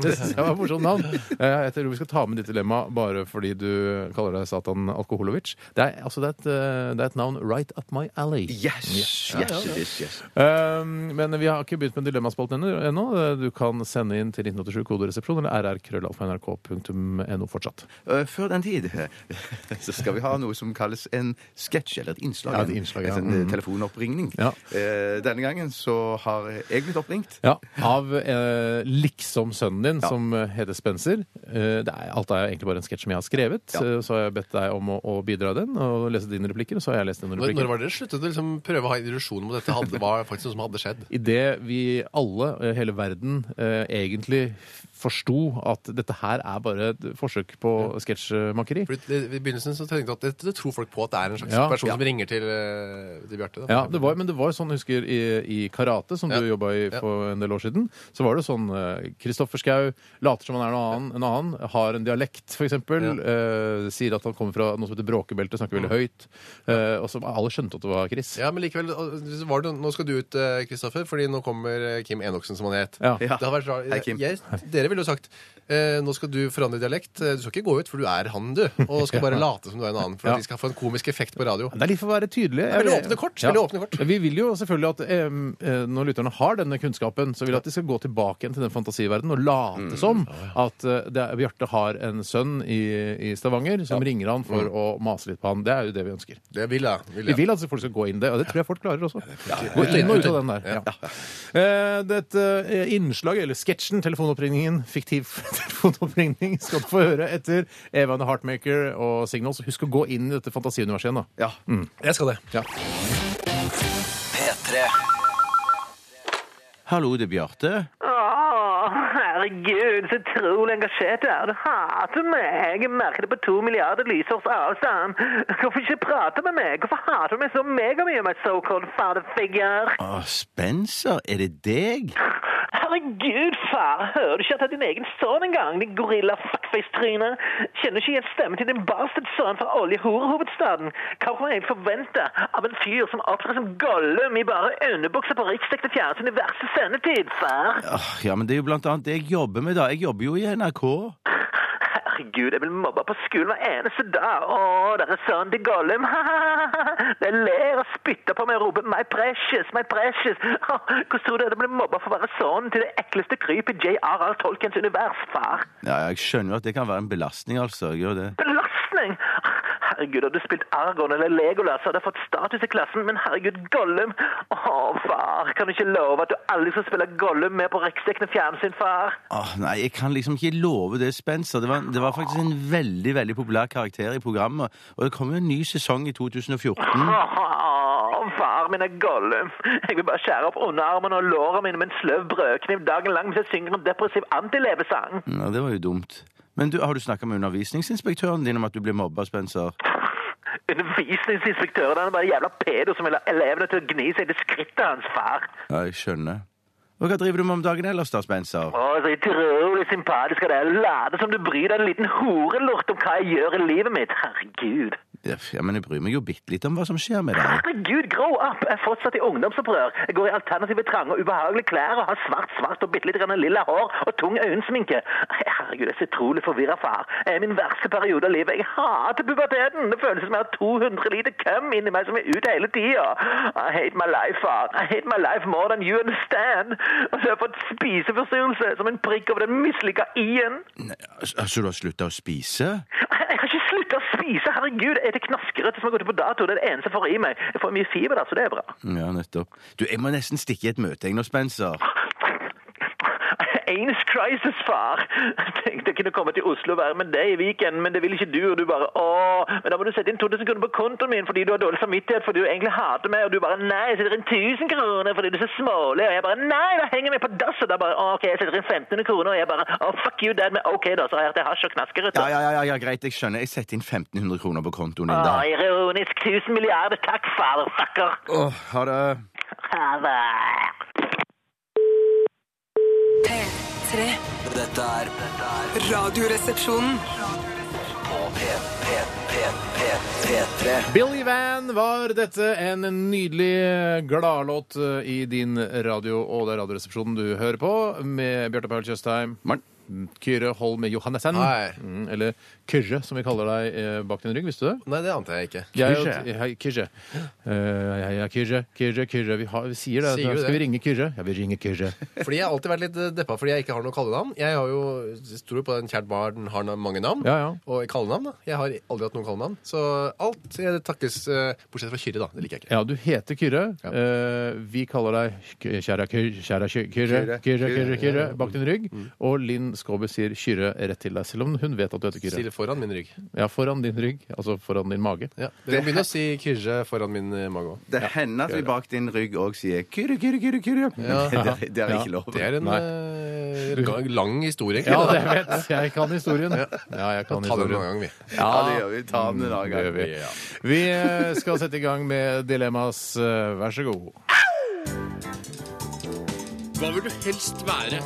Speaker 3: det synes jeg var et morsomt navn. Eh, Jeg tror vi skal ta med ditt dilemma bare fordi du kaller deg Satan Alkoholovic. Det er, altså, det er, et, eh, det er et navn right up my alley.
Speaker 6: Yes! Yes, it is, yes.
Speaker 3: Um, men vi har ikke begynt med dilemmaspalten ennå- ennå. Du kan sende inn til 1987 koderesepsjon eller rrkrøllalfa.nrk.no fortsatt.
Speaker 6: Eh, Før den tid så skal vi ha noe som kalles en sketsj, eller et innslag.
Speaker 3: Ja, et innslag, ja. Mm.
Speaker 6: En sånn, eh, telefonoppringning.
Speaker 3: Ja.
Speaker 6: Eh, Denne gangen så har jeg blitt oppringt.
Speaker 3: Ja, Av eh, liksom sønnen din,
Speaker 6: Ja.
Speaker 3: som eh, heter Spencer. Eh, det er, alt er egentlig bare en sketsj som jeg har skrevet.
Speaker 6: Ja.
Speaker 3: Eh, Så har jeg bedt deg om å, å bidra i den og lese dine replikker. Og så har jeg lest dine
Speaker 4: Når, når
Speaker 3: replikker.
Speaker 4: var det dere sluttet å liksom prøve å ha illusjon om at dette hadde, var faktisk noe som hadde skjedd?
Speaker 3: Idet vi alle, eh, hele verden, eh, egentlig forsto at dette her er bare et forsøk på sketsjmakeri.
Speaker 4: Fordi det- I begynnelsen så tenkte jeg at det, det tror folk på at det er en slags
Speaker 3: Ja.
Speaker 4: person
Speaker 3: Ja.
Speaker 4: som ringer til, eh, til Bjarte. da.
Speaker 3: Ja, det var, men det var jo sånn, husker i, i karate, som
Speaker 4: Ja.
Speaker 3: du jobba i for en del år siden, så var det jo sånn eh, Kristoffer Schau later som han er noe annen, en annen, har en dialekt, for eksempel, eh, sier at han kommer fra noe som heter bråkebeltet, snakker veldig høyt, eh, og så alle skjønte at det var Chris.
Speaker 4: Mm. Ja, men likevel, og- var det, nå skal du ut, eh, Kristoffer, fordi nå kommer eh, Kim Enoksen, som han het.
Speaker 3: Ja.
Speaker 6: Ja.
Speaker 4: Det har vært rar-
Speaker 6: Hei, Kim.
Speaker 4: Jeg, dere ville jo sagt eh, nå skal du forandre dialekt. Eh, Du skal ikke gå ut, for du er han, du. Og skal bare late som du er en annen, for
Speaker 3: Ja.
Speaker 4: at de skal få en komisk effekt på radio.
Speaker 3: Det er litt for å være tydelig.
Speaker 4: veldig åpne kort, veldig åpne kort.
Speaker 3: Vi vil jo selvfølgelig at eh, eh, når lytterne har denne kunnskapen, så vil jeg at de skal gå tilbake igjen til den fantasiverdenen og
Speaker 4: Mm.
Speaker 3: late som at eh, det er, Bjarte har en sønn i, i Stavanger som ringer han
Speaker 4: Mm.
Speaker 3: for å mase litt på han. Det er jo det vi ønsker.
Speaker 4: Det vil jeg. Vil
Speaker 3: Vi
Speaker 4: jeg.
Speaker 3: vil at folk skal gå inn det, og det tror jeg folk klarer også. Gå inn og ut av den der. Ja. Eh, Dette eh, innslaget, eller sketsjen, telefonoppringningen, fiktiv telefonoppringning, skal du få høre etter Eva and the Heartmaker og Signals. Husk å gå inn i dette fantasiuniverset igjen, da.
Speaker 5: Ja.
Speaker 4: jeg skal det.
Speaker 1: P3
Speaker 5: Hallo, det er Bjarte.
Speaker 7: Åh, herregud, så utrolig engasjert du er. Du hater meg. Jeg merker det på to milliarder lysårs avstand. Hvorfor ikke prate med meg? Hvorfor hater du meg så megamye, my so-called father figure?
Speaker 5: Å, Spencer, er det deg?
Speaker 7: Herregud, far, hører du ikke at det er din egen sønn engang, din gorilla fuckface-tryne? Kjenner du ikke igjen stemmen til din bastard-sønn fra oljehorehovedstaden? Hva kan jeg forvente av en fyr som opptrer som Gollum i bare underbukser på riksdekte fjernsyn i verste sendetid, far?
Speaker 5: Åh, ja, men det er jo blant annet det jeg jobber med, da. Jeg jobber jo i NRK.
Speaker 7: Herregud, jeg blir mobba på skolen hver eneste dag. Å, der er sønnen til Gollum. De ler og spytter på meg og roper 'my precious', 'my precious'. Å, Hvordan tror du jeg blir mobba for å være sønnen til det ekleste krypet i J.R.R. Tolkens univers, far?
Speaker 5: Ja, jeg skjønner jo at det kan være en belastning, altså. Jeg gjør det.
Speaker 7: Belastning! Herregud, hadde du spilt Argon eller Legolas, hadde jeg fått status i klassen, men herregud, Gollum! Å, far, kan du ikke love at du aldri skal spille Gollum med på riksdekkende fjernsyn, far?
Speaker 5: Åh, nei, jeg kan liksom ikke love det, Spencer. Det var, det var faktisk en veldig, veldig populær karakter i programmet. Og det kommer jo en ny sesong i 2014.
Speaker 7: Åh, far min er Gollum. Jeg vil bare skjære opp underarmen og låret mine med en sløv brødkniv dagen lang mens jeg synger en depressiv antilevesang.
Speaker 5: Ja, det var jo dumt. Men du, har du snakka med undervisningsinspektøren din om at du blir mobba, Spencer?
Speaker 7: Undervisningsinspektøren han er bare en jævla pedo som vil ha elevene til å gni seg til skrittet hans, far.
Speaker 5: Ja, jeg skjønner. Og hva driver du med om dagen ellers, da, Spencer?
Speaker 7: Å, så utrolig sympatisk av deg. Late som du bryr deg en liten horelort om hva jeg gjør i livet mitt. Herregud.
Speaker 5: Ja, f- ja, men jeg bryr meg jo bitte litt om hva som skjer med deg.
Speaker 7: Herregud, grow up! Jeg er fortsatt i ungdomsopprør. Jeg går i alternative trange og ubehagelige klær og har svart, svart og bitte litt grann lilla hår og tung øyensminke. Herregud, jeg er så utrolig forvirra, far. Jeg er i min verste periode av livet. Jeg hater puberteten! Det føles som jeg har 200 liter køm inni meg som er ute hele tida. I hate my life, far. I hate my life more than you understand. Og så har jeg fått spiseforstyrrelse som en prikk over den mislykka i-en.
Speaker 5: Nei, altså, altså, du har slutta å spise?
Speaker 7: Jeg har ikke slutta å spise! Herregud, er det knaskerøtter som har gått ut på dato? Det er det eneste jeg får i meg. Jeg får mye fiber der, så det er bra.
Speaker 5: Ja, nettopp. Du, jeg må nesten stikke i et møte, jeg nå, Spencer.
Speaker 7: Anus crisis, far! Tenkte jeg kunne komme til Oslo og være med deg i weekenden, men det vil ikke du, og du bare åh. Men da må du sette inn 2000 kroner på kontoen min fordi du har dårlig samvittighet fordi du egentlig hater meg, og du bare nei, jeg setter inn 1000 kroner fordi du er så smålig, og jeg bare nei, da henger vi på dass, og da bare «Å, ok, jeg setter inn 1500 kroner, og jeg bare å, fuck you, dad, men ok da, så har jeg hatt hasj og knaskerøtter.
Speaker 5: Ja, ja, ja, ja, ja, greit, jeg skjønner. Jeg setter inn 1500 kroner på kontoen din,
Speaker 7: Å,
Speaker 5: da.
Speaker 7: Ah, ironisk. Tusen milliarder takk, father fucker.
Speaker 5: Åh, ha det.
Speaker 7: Ha det.
Speaker 8: P3.
Speaker 1: Dette er dette er
Speaker 8: Radioresepsjonen.
Speaker 1: på P, P, P, P, P3
Speaker 3: Billy Van var dette en nydelig gladlåt eh, i din radio, og det er Radioresepsjonen du hører på, med Bjarte Paul Tjøstheim.
Speaker 5: Morn.
Speaker 3: Kyrre Holm Johannessen.
Speaker 4: Hei.
Speaker 3: Mm, eller Kyrre, som vi kaller deg eh, bak din rygg. Visste du det?
Speaker 4: Nei, det ante jeg ikke.
Speaker 3: Jeg, og- hei, Kyrre. Eh, hei, hei, Kyrre, Kyrre, Kyrre. Vi, har, vi sier det.
Speaker 4: Sier jo
Speaker 3: Skal vi
Speaker 4: det.
Speaker 3: ringe Kyrre? Ja, vi ringer Kyrre.
Speaker 4: Fordi jeg har alltid vært litt eh, deppa fordi jeg ikke har noe kallenavn. Jeg har jo tror på den kjært barn har na- mange navn.
Speaker 3: Ja, ja.
Speaker 4: Og kallenavn, da. Jeg har aldri hatt noe kallenavn. Så alt eh, takkes eh, Bortsett fra Kyrre, da. Det liker jeg ikke.
Speaker 3: Ja, du heter Kyrre.
Speaker 4: Ja.
Speaker 3: Eh, vi kaller deg K- Kjære Kyr- Kjære Kyr- Kyrre,
Speaker 4: Kyrre. Mm.
Speaker 3: Kyrre, Kyrre, Kyrre
Speaker 4: Kyrre.
Speaker 3: bak din rygg. Og Linn Skåber sier Kyrre rett til deg, selv om hun vet at du heter Kyrre.
Speaker 4: Stille foran min rygg.
Speaker 3: Ja, foran din rygg, altså foran din mage.
Speaker 4: Ja. Dere kan begynne å si Kyrre foran min eh, mage òg.
Speaker 5: Det hender at vi bak din rygg òg sier kyrre, kyrre, kyrre, kyrre. Men det, det, det er ikke lov.
Speaker 4: Det er en eh, gang- lang historie.
Speaker 3: Ja,
Speaker 4: egentlig,
Speaker 3: det vet jeg. Jeg kan historien. Ja, jeg
Speaker 4: da. Ta
Speaker 3: kan
Speaker 4: den en
Speaker 3: historien.
Speaker 4: annen gang, vi.
Speaker 5: Ja, det gjør vi. Ta den en annen
Speaker 3: Det gjør
Speaker 5: gang.
Speaker 3: vi. Vi eh, skal sette i gang med Dilemmas. Eh, Vær så god.
Speaker 9: Hva vil du helst være?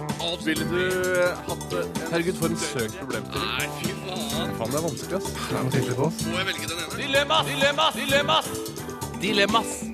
Speaker 9: Ville du eh, hatt det? Herregud, for en søk problem til. Nei, fy faen. Faen, det er vanskelig, ass. Må jeg velge den ene? Dilemmas! Dilemmas! Dilemmas! Dilemmas i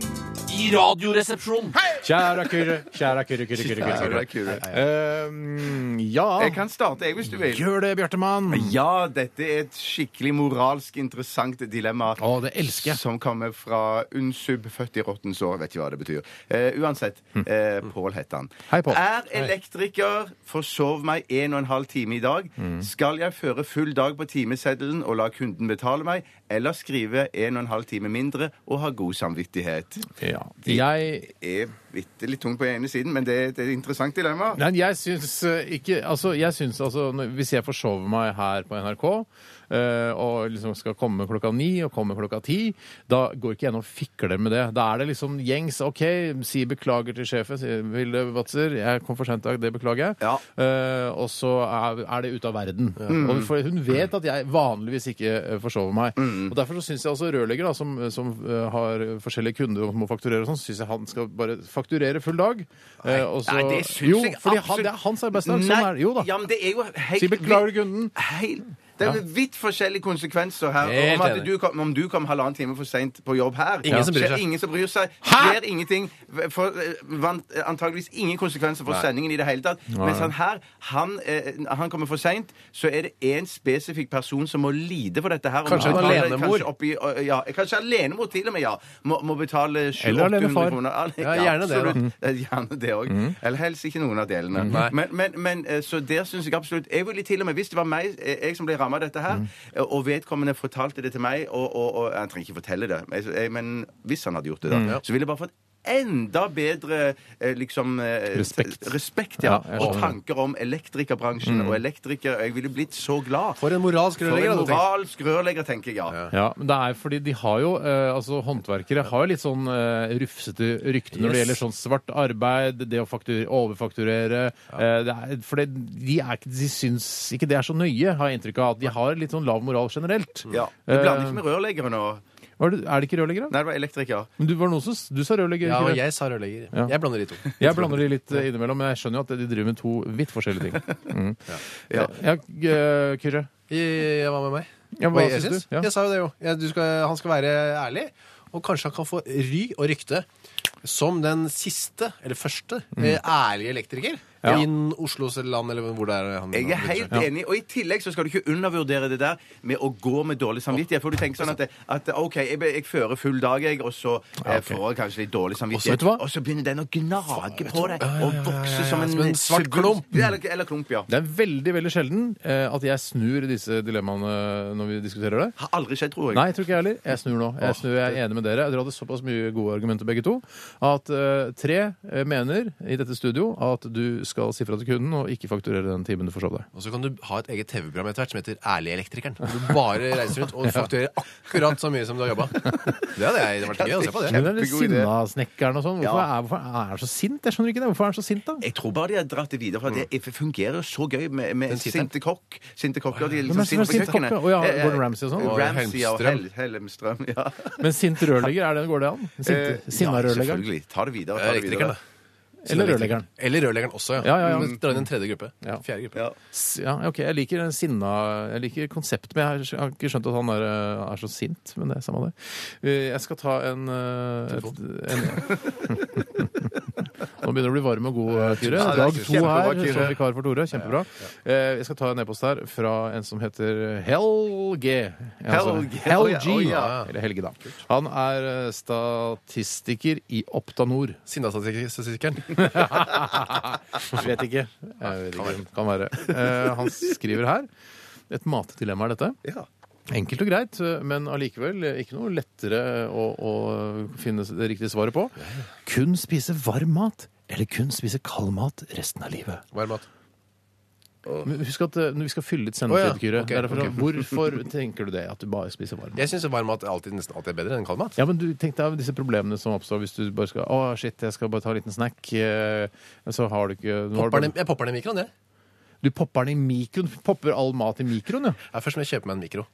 Speaker 6: i Radioresepsjonen!
Speaker 3: Kjære kurre, kjære kurre, kurre, kurre. kurre, kurre.
Speaker 5: Kule.
Speaker 3: Eh, ja,
Speaker 5: Jeg kan starte, jeg, hvis du vil.
Speaker 3: gjør det, Bjartemann.
Speaker 5: Ja, dette er et skikkelig moralsk interessant dilemma.
Speaker 3: Å, det elsker jeg.
Speaker 5: Som kommer fra Unsub, født i råttens år, vet ikke hva det betyr. Eh, uansett, eh, Pål heter han.
Speaker 3: Hm. Hei, Pål.
Speaker 5: Er elektriker, forsov meg en og en halv time i dag.
Speaker 3: Hm.
Speaker 5: Skal jeg føre full dag på timeseddelen og la kunden betale meg, eller skrive en og en halv time mindre og ha god samvittighet?
Speaker 3: Ja. Jeg,
Speaker 5: Det er bitte litt tungt på den ene siden, men det er det er et interessant dilemma.
Speaker 3: nei, jeg syns eh, ikke Altså, jeg syns altså når- Hvis jeg forsover meg her på NRK eh, og liksom skal komme klokka ni og komme klokka ti, da går ikke jeg noe fikler med det. Da er det liksom gjengs. OK, si beklager til sjefen, sier Vilde Watzer. Jeg kom for sent i dag, det beklager jeg.
Speaker 5: Ja.
Speaker 3: Eh, og så er, er det ute av verden.
Speaker 5: Mm.
Speaker 3: Og for hun vet at jeg vanligvis ikke eh, forsover meg.
Speaker 5: Mm.
Speaker 3: Og Derfor så syns jeg altså rørlegger, da, som, som eh, har forskjellige kunder og må fakturere og sånn, syns jeg han skal bare fakturere full dag. Eh, og så-
Speaker 5: Nei, det syns
Speaker 3: jo,
Speaker 5: jeg
Speaker 3: fordi han,
Speaker 5: absolutt-
Speaker 3: det er hans arbeidsdag.
Speaker 5: Nei,
Speaker 3: Sånn er det. Jo da.
Speaker 5: Ja, men det er jo helt,
Speaker 3: Si beklager, kunden.
Speaker 5: Helt, det er jo vidt forskjellige konsekvenser her.
Speaker 4: Helt
Speaker 5: Om, at
Speaker 4: enig.
Speaker 5: du kom, om du kom halvannen time for seint på jobb her
Speaker 4: Ingen som bryr
Speaker 5: skjer
Speaker 4: seg.
Speaker 5: Ingen som bryr seg. Skjer ingenting. For, eh, vant- eh, antageligvis ingen konsekvenser for sendingen i det hele tatt. Mens han her, han, eh, han kommer for seint, så er det én spesifikk person som må lide for dette her. og
Speaker 4: Kanskje
Speaker 5: må
Speaker 4: en
Speaker 5: betale
Speaker 4: alenemor.
Speaker 5: Kanskje, oppi, eh, ja, kanskje alenemor til og med, ja. Må, må betale
Speaker 3: Eller
Speaker 5: 700-800
Speaker 3: alenefar.
Speaker 5: kroner.
Speaker 4: Ja, gjerne det, da.
Speaker 5: absolutt. Eh, Gjerne det òg. Eller helst ikke noen av delene.
Speaker 4: Nei.
Speaker 5: Men, men, men eh, så der syns jeg absolutt Jeg ville til og med, hvis det var meg, eh, jeg som ble ramma av dette her, eh, og vedkommende fortalte det til meg, og, og, og han trenger ikke fortelle det, men jeg- jeg- men hvis han hadde gjort det, da, så ville jeg bare fått Enda bedre eh, liksom eh,
Speaker 3: Respekt.
Speaker 5: t- respekt ja.
Speaker 3: Ja, jeg
Speaker 5: og
Speaker 3: skjønner.
Speaker 5: tanker om elektrikerbransjen og elektrikere. Jeg ville blitt så glad.
Speaker 4: For en moralsk
Speaker 5: For
Speaker 4: rørlegger.
Speaker 5: en
Speaker 4: hadde du tenkt.
Speaker 5: moralsk rørlegger, tenker jeg. Ja.
Speaker 3: Ja, men det er fordi de har jo eh, altså Håndverkere har jo litt sånn eh, rufsete rykte når det gjelder sånn svart arbeid, det å faktur- overfakturere eh, det er, For det, de, er, ikke- de syns ikke det er så nøye, har jeg inntrykk av. At de har litt sånn lav moral generelt.
Speaker 5: Ja. Du blander ikke med rørleggere nå? Nei,
Speaker 3: Var det, er det ikke rørleggere? da?
Speaker 5: det var elektriker.
Speaker 3: Men du, var noe som, s- du sa rørlegger.
Speaker 4: Ja,
Speaker 3: ikke
Speaker 4: og
Speaker 3: det?
Speaker 4: jeg sa rørlegger.
Speaker 3: Ja.
Speaker 4: Jeg blander de to.
Speaker 3: Jeg blander de litt eh, innimellom, men jeg skjønner jo at de driver med to vidt forskjellige ting. Mm.
Speaker 5: Ja.
Speaker 3: Ja, eh, Kyrre.
Speaker 4: Ja, Hva med meg?
Speaker 3: Ja,
Speaker 4: Hva
Speaker 3: hva
Speaker 4: jeg
Speaker 3: syns
Speaker 4: syns?
Speaker 3: du? Ja.
Speaker 4: Jeg sa jo det, jo. Jeg, du skal, han skal være ærlig, og kanskje han kan få ry og rykte som den siste, eller første, eh, ærlige elektriker
Speaker 3: Mm. Ja.
Speaker 4: innen Oslos land, eller hvor det er han
Speaker 5: Jeg er helt enig. Og i tillegg så skal du ikke undervurdere det der med å gå med dårlig samvittighet. For du tenker sånn at, at OK, jeg, jeg fører full dag, jeg, og så eh, får jeg kanskje litt dårlig
Speaker 3: vet
Speaker 5: samvittighet.
Speaker 3: du hva?
Speaker 5: Og så begynner den å gnage på deg og vokse som en,
Speaker 4: Som en svart
Speaker 5: svulst.
Speaker 4: klump.
Speaker 5: Ja, Eller, eller klump, ja.
Speaker 3: Det er veldig veldig sjelden eh, at jeg snur disse dilemmaene når vi diskuterer det.
Speaker 5: Har aldri skjedd, tror jeg.
Speaker 3: Nei, jeg tror ikke jeg heller. Jeg snur nå. Jeg, snur, jeg er enig med dere. Dere hadde såpass mye gode argumenter, begge to, at eh, tre eh, mener i dette studio at du skal si fra til kunden og ikke fakturere den timen du forsov deg.
Speaker 4: Og så kan du ha et eget TV-program etter hvert som heter Ærlig elektrikeren. Hvor Du bare reiser rundt og fakturerer akkurat så mye som du har jobba. Det hadde jeg det hadde vært gøy å se på. det.
Speaker 3: Men den der
Speaker 5: Kjempegod idé.
Speaker 3: sinna snekkeren og sånn, hvorfor,
Speaker 5: Ja.
Speaker 3: er- hvorfor er han så sint? Jeg skjønner ikke det. Hvorfor er han så sint, da?
Speaker 5: Jeg tror bare de har dratt det videre, for
Speaker 3: Mm.
Speaker 5: at det fungerer så gøy med, med
Speaker 4: tittelen?
Speaker 5: sinte kokk. Sinte kokker, de er
Speaker 3: Hvem er
Speaker 5: liksom
Speaker 3: det som er
Speaker 5: sinte på
Speaker 3: sint kokk,
Speaker 5: kjøkkenet.
Speaker 3: da? Å ja,
Speaker 5: Eh, eh,
Speaker 3: Gordon Ramsay og sånn?
Speaker 4: Og
Speaker 5: Ramsay og
Speaker 4: Helmstrøm.
Speaker 5: Hel- Helmstrøm. Ja.
Speaker 3: Men sint rørlegger, er det, går det an?
Speaker 5: Eh,
Speaker 3: Sint, sinna
Speaker 5: ja,
Speaker 3: rørlegger?
Speaker 5: selvfølgelig. Ta det videre. Ta det videre.
Speaker 4: Elektrikeren, da.
Speaker 3: Eller rørleggeren?
Speaker 4: Eller rørleggeren også, ja.
Speaker 3: Ja, ja, ja.
Speaker 4: Men Dra inn en tredje gruppe.
Speaker 3: Ja.
Speaker 4: Fjerde gruppe.
Speaker 5: Ja.
Speaker 3: S- Ja, OK, jeg liker den sinna Jeg liker konseptet, men jeg har- jeg har ikke skjønt at han er, eh, er så sint. Men det er samme det. Eh, Jeg skal ta en, eh, et, en Nå begynner det å bli varm og god, Kyrre.
Speaker 5: Ja, det er
Speaker 3: Dag to
Speaker 5: kjempebra,
Speaker 3: her
Speaker 5: Kyrre.
Speaker 3: som vikar for Tore. Kjempebra. Eh, Jeg skal ta en e-post her fra en som heter Helge. altså,
Speaker 5: Helge. Å ja,
Speaker 3: Helge.
Speaker 5: å ja.
Speaker 3: Eller Helge, da. Han er eh, statistiker i Optanor.
Speaker 4: Sinnastatistikkeren.
Speaker 3: Vet ikke. Jeg vet ikke. Kan være. Eh, han skriver her. Et matdilemma er dette.
Speaker 5: Ja.
Speaker 3: Enkelt og greit, men allikevel ikke noe lettere å, å finne det riktige svaret på. Kun spise varm mat, eller kun spise kald mat resten av livet.
Speaker 4: Varm mat.
Speaker 3: Men husk at eh, vi skal fylle litt
Speaker 4: Å ja,
Speaker 3: sendetid, Kyrre.
Speaker 4: ok,
Speaker 3: Det er derfor- Hvorfor tenker du det? At du bare spiser varm mat?
Speaker 4: Jeg syns varm mat alltid, nesten alltid er bedre enn kald mat.
Speaker 3: Ja, men du Tenk deg disse problemene som oppstår hvis du bare skal Å, shit, jeg skal bare ta en liten snack. eh, Så har du ikke nå har du
Speaker 4: Popper
Speaker 3: bare,
Speaker 4: den, jeg popper den i mikroen, jeg.
Speaker 3: Du popper den i mikroen. Popper all mat i mikroen, ja.
Speaker 4: Ja, først må jeg kjøpe meg en mikro.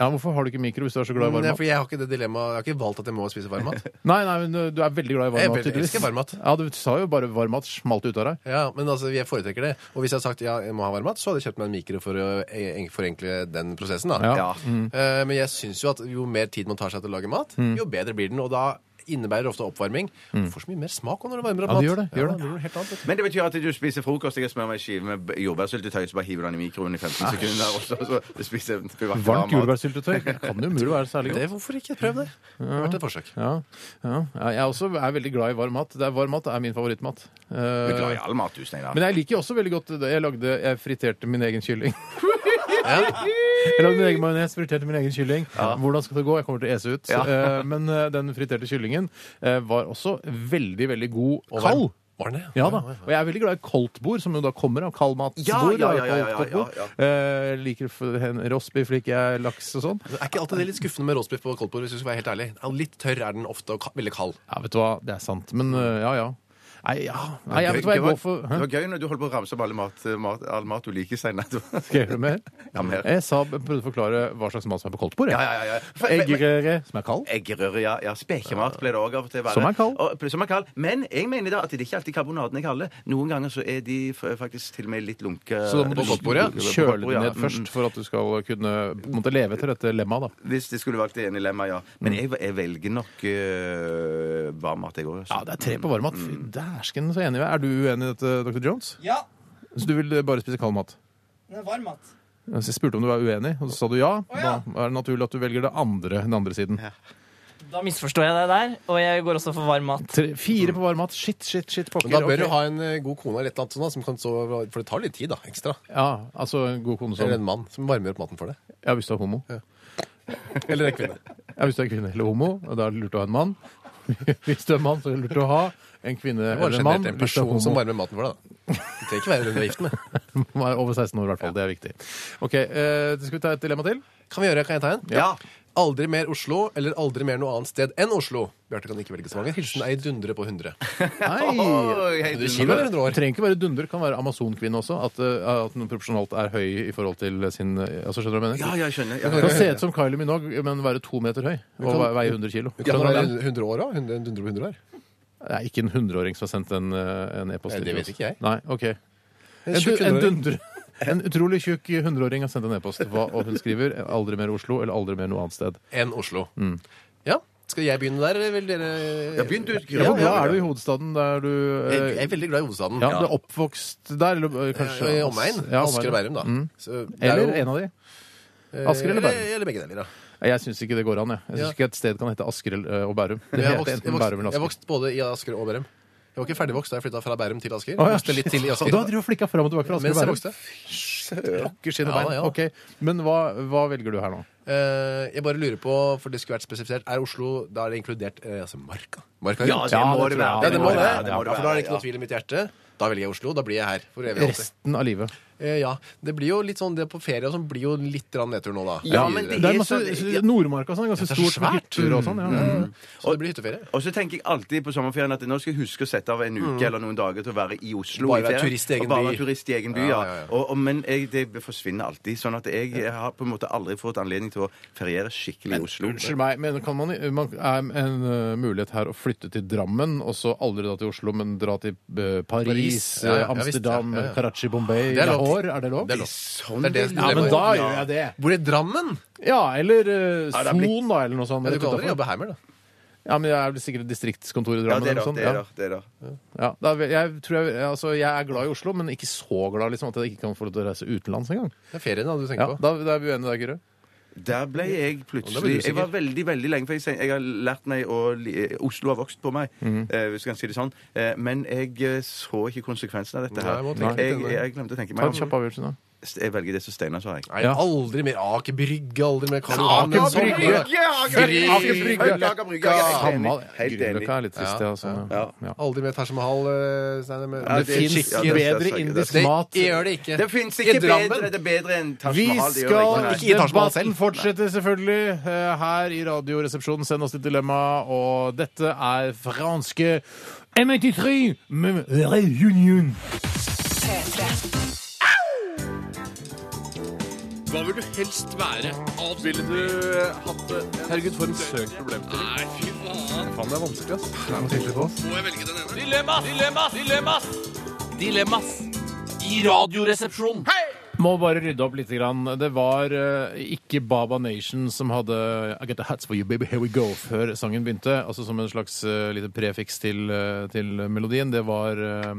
Speaker 3: Ja, Hvorfor har du ikke mikro hvis du er så glad i varm
Speaker 4: Nei,
Speaker 3: mat?
Speaker 4: fordi jeg har ikke Mm, det dilemmaet. Jeg har ikke valgt at jeg må spise varm mat.
Speaker 3: Nei, nei, men øh, du er veldig glad
Speaker 4: Jeg
Speaker 3: i varm
Speaker 4: er
Speaker 3: mat.
Speaker 4: veldig-
Speaker 3: tydeligvis.
Speaker 4: elsker varm mat.
Speaker 3: Ja, Du sa jo bare varm mat smalt ut av deg.
Speaker 4: Ja, men altså, jeg foretrekker det. Og hvis jeg hadde sagt ja, jeg må ha varm mat, så hadde jeg kjøpt meg en mikro for å eh, forenkle den prosessen. da.
Speaker 3: Ja. Mm.
Speaker 5: Ja.
Speaker 4: Eh, Men jeg syns jo at jo mer tid man tar seg til å lage mat, jo bedre blir den. Og da innebærer ofte oppvarming. Du får så mye mer smak også når du varmer opp mat.
Speaker 3: Mm. Ja, det gjør det, gjør det.
Speaker 4: noe helt annet, vet du.
Speaker 5: Men det betyr at du spiser frokost, jeg smører meg en skive med jordbærsyltetøy, så bare hiver du den i mikroen i 15 sekunder, og så, så du spiser du spiser varm
Speaker 3: Ah. Varmt
Speaker 5: mat.
Speaker 3: jordbærsyltetøy kan jo umulig være særlig
Speaker 4: Det,
Speaker 3: godt.
Speaker 4: hvorfor ikke? Prøv det. Det har vært et forsøk.
Speaker 3: Ja, ja. Ja, Jeg også er veldig glad i varm mat. Det er Varm mat er min favorittmat.
Speaker 5: Du er glad
Speaker 3: Eh,
Speaker 5: i all mat, du, Steinar.
Speaker 3: Men jeg liker jo også veldig godt det jeg lagde Jeg friterte min egen kylling. Jeg lagde min egen majones, friterte min egen kylling. Hvordan skal det gå? Jeg kommer til å ese ut. Eh, Men eh, den friterte kyllingen eh, var også veldig, veldig god og kald.
Speaker 4: Var det?
Speaker 3: Ja da. Og jeg er veldig glad i koldtbord, som jo da kommer av kaldmatbord.
Speaker 5: Ja, ja, ja, ja, ja, ja,
Speaker 3: og koldtbord. Eh, liker f- hen- rostbiff, liker jeg laks og sånn.
Speaker 4: Er ikke alltid det litt skuffende med roastbiff på koldtbord? hvis du skal være helt ærlig? Ja, Litt tørr er den ofte, og ka- veldig kald.
Speaker 3: Ja, vet du hva, det er sant. Men eh, ja, ja. Nei, ja. Nei, jeg vet hva
Speaker 5: det,
Speaker 3: jeg
Speaker 5: var,
Speaker 3: går for.
Speaker 5: det
Speaker 3: Hæ?
Speaker 5: var gøy når du holdt på å ramse opp alle mat, mat, all mat du liker, Steinar. Du-
Speaker 3: Skal jeg gjøre mer?
Speaker 5: Ja, mer.
Speaker 3: Jeg sa, Eh, prøvde å forklare hva slags mat som er på koldtbord. jeg.
Speaker 5: Ja, ja, ja, ja.
Speaker 3: Eggerøre som er kald.
Speaker 5: Eggerøre, ja. ja Spekemat ble det òg av og til. å være.
Speaker 3: Som er kald.
Speaker 5: Og, som er kald. Men jeg mener da at det er ikke alltid karbonaden er kalde. Noen ganger så er de f- faktisk til og med litt lunke.
Speaker 3: Så da må
Speaker 5: lunke-
Speaker 3: du
Speaker 5: lunke-
Speaker 3: kjøle det
Speaker 5: ja.
Speaker 3: ned først for at du skal kunne på en måte, leve etter dette lemmaet. da.
Speaker 5: Hvis det skulle valgt det ene dilemma, ja.
Speaker 4: Mm.
Speaker 5: Men jeg, jeg velger nok øh, varm mat, jeg òg.
Speaker 3: Ja, det er tre på varmmat. Fy
Speaker 4: Mm.
Speaker 3: dæsken, så enig vi er. Er du uenig i dette, Dr. Jones? Ja. Så du vil eh, bare spise kald mat? Varm mat. Jeg spurte om du var uenig, og så sa du ja. Da er det naturlig at du velger det andre, den andre siden.
Speaker 10: Da misforstår jeg deg der, og jeg går også for varm mat.
Speaker 3: Tre, fire på varmmat. Shit, shit, shit. Pokker.
Speaker 4: Mm. Men da bør
Speaker 3: Ok.
Speaker 4: du ha en eh, god kone eller et eller annet sånt, da, som kan så, for det tar litt tid da, ekstra.
Speaker 3: Ja, altså en god kone som
Speaker 4: Eller en mann som varmer opp maten for deg.
Speaker 3: Ja, hvis du er homo.
Speaker 4: Eller en kvinne.
Speaker 3: Ja, hvis du er kvinne eller homo, og da er det lurt å ha en mann. Hvis du er mann, så er det lurt å ha en kvinne
Speaker 4: Bare
Speaker 3: eller en mann.
Speaker 4: generelt en
Speaker 3: Hvis du er
Speaker 4: person som
Speaker 3: homo.
Speaker 4: varmer maten for deg, da. Du trenger ikke være den du er gift med.
Speaker 3: Må være over 16 år, i hvert fall. Det er viktig. Ok, eh, Skal vi ta et dilemma til?
Speaker 4: Kan vi gjøre, kan jeg ta en?
Speaker 5: Ja.
Speaker 4: Aldri mer Oslo, eller aldri mer noe annet sted enn Oslo. Bjarte kan ikke velge så mange. Hilsen ei dundre på 100.
Speaker 3: Nei!
Speaker 5: Oi, hei,
Speaker 4: Du
Speaker 5: du-
Speaker 4: kiler 100
Speaker 3: Det
Speaker 4: år.
Speaker 3: trenger ikke være dunder, det kan være amazonkvinne også. At, eh, at den proporsjonalt er høy i forhold til sin eh, altså Skjønner du hva jeg mener?
Speaker 5: Ja, ja, jeg skjønner.
Speaker 3: Det kan
Speaker 5: Ja,
Speaker 3: se ut som Kylie Minogue, men være to meter høy og
Speaker 4: kan-
Speaker 3: veie 100 kilo.
Speaker 4: Du kan være 100 år òg. En dundre på 100 år.
Speaker 3: Det er ikke en hundreåring som har sendt en, eh, en e-post.
Speaker 4: Nei, det vet ikke jeg.
Speaker 3: Nei, ok.
Speaker 4: En
Speaker 3: En, du,
Speaker 4: tjukk
Speaker 3: en
Speaker 4: 100-åring.
Speaker 3: dundre. En utrolig tjukk hundreåring har sendt en e-post, hva- og hun skriver 'aldri mer Oslo' eller 'aldri mer noe annet sted'.
Speaker 4: enn Oslo.
Speaker 3: Mm.
Speaker 4: Ja. Skal jeg begynne der, eller vil dere
Speaker 5: Ja, begynn du.
Speaker 3: Ja, Hvor glad er du i hovedstaden der du eh,
Speaker 4: Jeg jeg er veldig glad i hovedstaden.
Speaker 3: Ja, du er oppvokst der, eller eh, kanskje
Speaker 4: I omegn.
Speaker 3: Ja, Mm.
Speaker 4: Asker og Bærum, da. Så det er
Speaker 3: Eller
Speaker 4: jo-
Speaker 3: en av de. Asker eller Bærum?
Speaker 4: Eller begge deler, da.
Speaker 3: Eh, Jeg syns ikke det går an. Jeg Jeg syns
Speaker 4: Ja.
Speaker 3: ikke et sted kan hete Asker eller- eh, og Bærum. Det
Speaker 4: Jeg har
Speaker 3: heter
Speaker 4: vokst, jeg
Speaker 3: enten Bærum
Speaker 4: vokst,
Speaker 3: eller
Speaker 4: jeg
Speaker 3: Asker.
Speaker 4: vokst både i Asker og Bærum. Jeg var ikke ferdigvokst da jeg flytta fra Bærum til Asker.
Speaker 3: Å, ja,
Speaker 4: Vokste litt til i
Speaker 3: Og
Speaker 4: Asker.
Speaker 3: da driver du og flikka fram og tilbake fra Asker
Speaker 4: Mens
Speaker 3: og
Speaker 4: jeg
Speaker 3: Bærum.
Speaker 4: vokste.
Speaker 3: Rocker skinn og
Speaker 4: Ja,
Speaker 3: bein.
Speaker 4: ja.
Speaker 3: Ok, Men hva, hva velger du her nå?
Speaker 4: Eh, jeg bare lurer på, for det skulle vært spesifisert, er Oslo Da er det inkludert eh, altså Marka? Marka
Speaker 5: Ja, det må
Speaker 3: det
Speaker 5: det
Speaker 3: tror jeg.
Speaker 5: være.
Speaker 4: Ja, det må det.
Speaker 5: være, det må
Speaker 4: Ja,
Speaker 5: det
Speaker 4: for da er
Speaker 5: være,
Speaker 4: det ikke noe tvil i mitt hjerte. Da velger jeg Oslo. Da blir jeg her for evig og alltid.
Speaker 3: Resten av livet.
Speaker 4: Eh, ja. Det blir jo litt sånn det på ferie og sånn blir jo litt grann nedtur nå, da.
Speaker 5: Ja, men
Speaker 4: det,
Speaker 5: det-
Speaker 3: Det er
Speaker 5: er
Speaker 3: masse
Speaker 5: så- ja.
Speaker 3: Nordmarka og sånn. Ganske
Speaker 4: det er så
Speaker 3: stort. med
Speaker 4: svært. Mm.
Speaker 3: hytter Og sånn, ja.
Speaker 4: så det blir hytteferie.
Speaker 5: Og så tenker jeg alltid på sommerferien at nå skal jeg huske å sette av en uke eller noen dager til å være i Oslo.
Speaker 4: Mm. Bare
Speaker 5: i
Speaker 4: være
Speaker 5: ferien.
Speaker 4: turist i egen
Speaker 5: Og bare
Speaker 4: by.
Speaker 5: være turist i egen by, ja.
Speaker 4: Ja, ja, ja.
Speaker 5: Og, og, men jeg, det forsvinner alltid. Sånn at jeg, har på en måte aldri fått anledning til å feriere skikkelig i Oslo.
Speaker 3: Unnskyld meg, men kan man, man er en eh, mulighet her å flytte til Drammen, og så aldri da til Oslo, men dra til eh, Paris,
Speaker 4: Paris, ja, ja,
Speaker 3: eh,
Speaker 4: ja, visst,
Speaker 3: Amsterdam,
Speaker 4: ja, ja, ja.
Speaker 3: Karachi, Bombay,
Speaker 4: Det er lov.
Speaker 3: Lahore? Er det lov?
Speaker 4: Det er lov.
Speaker 5: Sånn
Speaker 4: Det er det-
Speaker 5: vil-
Speaker 3: Ja,
Speaker 4: Det er lov.
Speaker 3: men da gjør jeg det.
Speaker 4: Hvor er Drammen?
Speaker 3: Ja, eller eh,
Speaker 5: Ja, det er blitt-
Speaker 3: Son, da, eller noe sånt.
Speaker 4: Ja, du
Speaker 3: rett
Speaker 4: kan aldri
Speaker 3: utenfor.
Speaker 4: jobbe her mer, da.
Speaker 3: Ja, men jeg er vel sikkert distriktskontor i
Speaker 5: Ja,
Speaker 3: Drammen
Speaker 5: det er
Speaker 3: eller
Speaker 5: det.
Speaker 4: liksom.
Speaker 3: noe sånt.
Speaker 5: det, er
Speaker 3: Ja.
Speaker 5: det, det, er det.
Speaker 3: Ja, da, vil- jeg, tror jeg, altså, jeg er glad i Oslo, men ikke så glad liksom, at jeg ikke kan få lov til å reise utenlands engang.
Speaker 4: Det er ferien da, du
Speaker 3: Ja,
Speaker 4: tenker på.
Speaker 3: da, da er vi uenige der, Kyrre.
Speaker 5: Der ble jeg
Speaker 4: Da ble
Speaker 5: plutselig
Speaker 4: du
Speaker 5: Jeg var veldig veldig lenge for jeg, sier- jeg har lært meg å li- Oslo har vokst på meg, eh, hvis jeg kan si det sånn. Eh, men jeg eh, så ikke konsekvensen av dette
Speaker 4: Nei,
Speaker 5: her.
Speaker 4: jeg må tenke
Speaker 5: jeg,
Speaker 4: litt
Speaker 5: jeg,
Speaker 4: gjennom
Speaker 5: glemte å tenke
Speaker 3: Ta
Speaker 5: meg
Speaker 3: en kjapp
Speaker 5: om.
Speaker 3: avgjørelse nå.
Speaker 5: Jeg velger det som Steinar sa, jeg.
Speaker 4: Nei,
Speaker 3: Ja.
Speaker 4: aldri mer Aker Brygge, aldri mer Karl
Speaker 3: Aker
Speaker 4: Johan. men sånn-
Speaker 3: Brygge!
Speaker 5: Aker Brygge! Aker Brygge! Jeg er helt
Speaker 3: Samme,
Speaker 5: enig. Helt enig.
Speaker 3: Grünerløkka er litt trist, ja. Sånn, ja. ja.
Speaker 4: Aldri mer Taj Mahal. eh, Steiner, men-
Speaker 5: Ja,
Speaker 3: Det
Speaker 5: det er
Speaker 3: fins
Speaker 5: skikkelig- ja, det er
Speaker 3: bedre
Speaker 5: sterkt,
Speaker 3: indisk
Speaker 4: Det
Speaker 3: mat.
Speaker 4: gjør det ikke.
Speaker 5: Det fins
Speaker 4: I
Speaker 5: ikke
Speaker 4: Drammen.
Speaker 5: bedre, det er bedre enn Taj
Speaker 3: Vi
Speaker 5: Mahal. det gjør jeg
Speaker 3: skal
Speaker 4: Ikke
Speaker 5: ikke.
Speaker 4: i Taj Mahal
Speaker 3: Debatten
Speaker 4: selv.
Speaker 3: fortsetter selvfølgelig eh, her i Radioresepsjonen. Send oss ditt dilemma. Og dette er franske M83 med Reunion.
Speaker 1: P3.
Speaker 11: Hva vil du helst være? Ville du hatt det? Herregud, for en søk problemstilling. Nei, fy faen. Faen, det er vanskelig, ass. Må jeg velge den ene?
Speaker 12: Dilemmas! Dilemmas! Dilemmas! Dilemmas! I radioresepsjonen.
Speaker 3: Må bare rydde opp litt. Grann. Det var eh, ikke Baba Nation som hadde I get the hats for you, baby, here we go, før sangen begynte. Altså som en slags eh, lite prefiks til, eh, til melodien. Det var eh,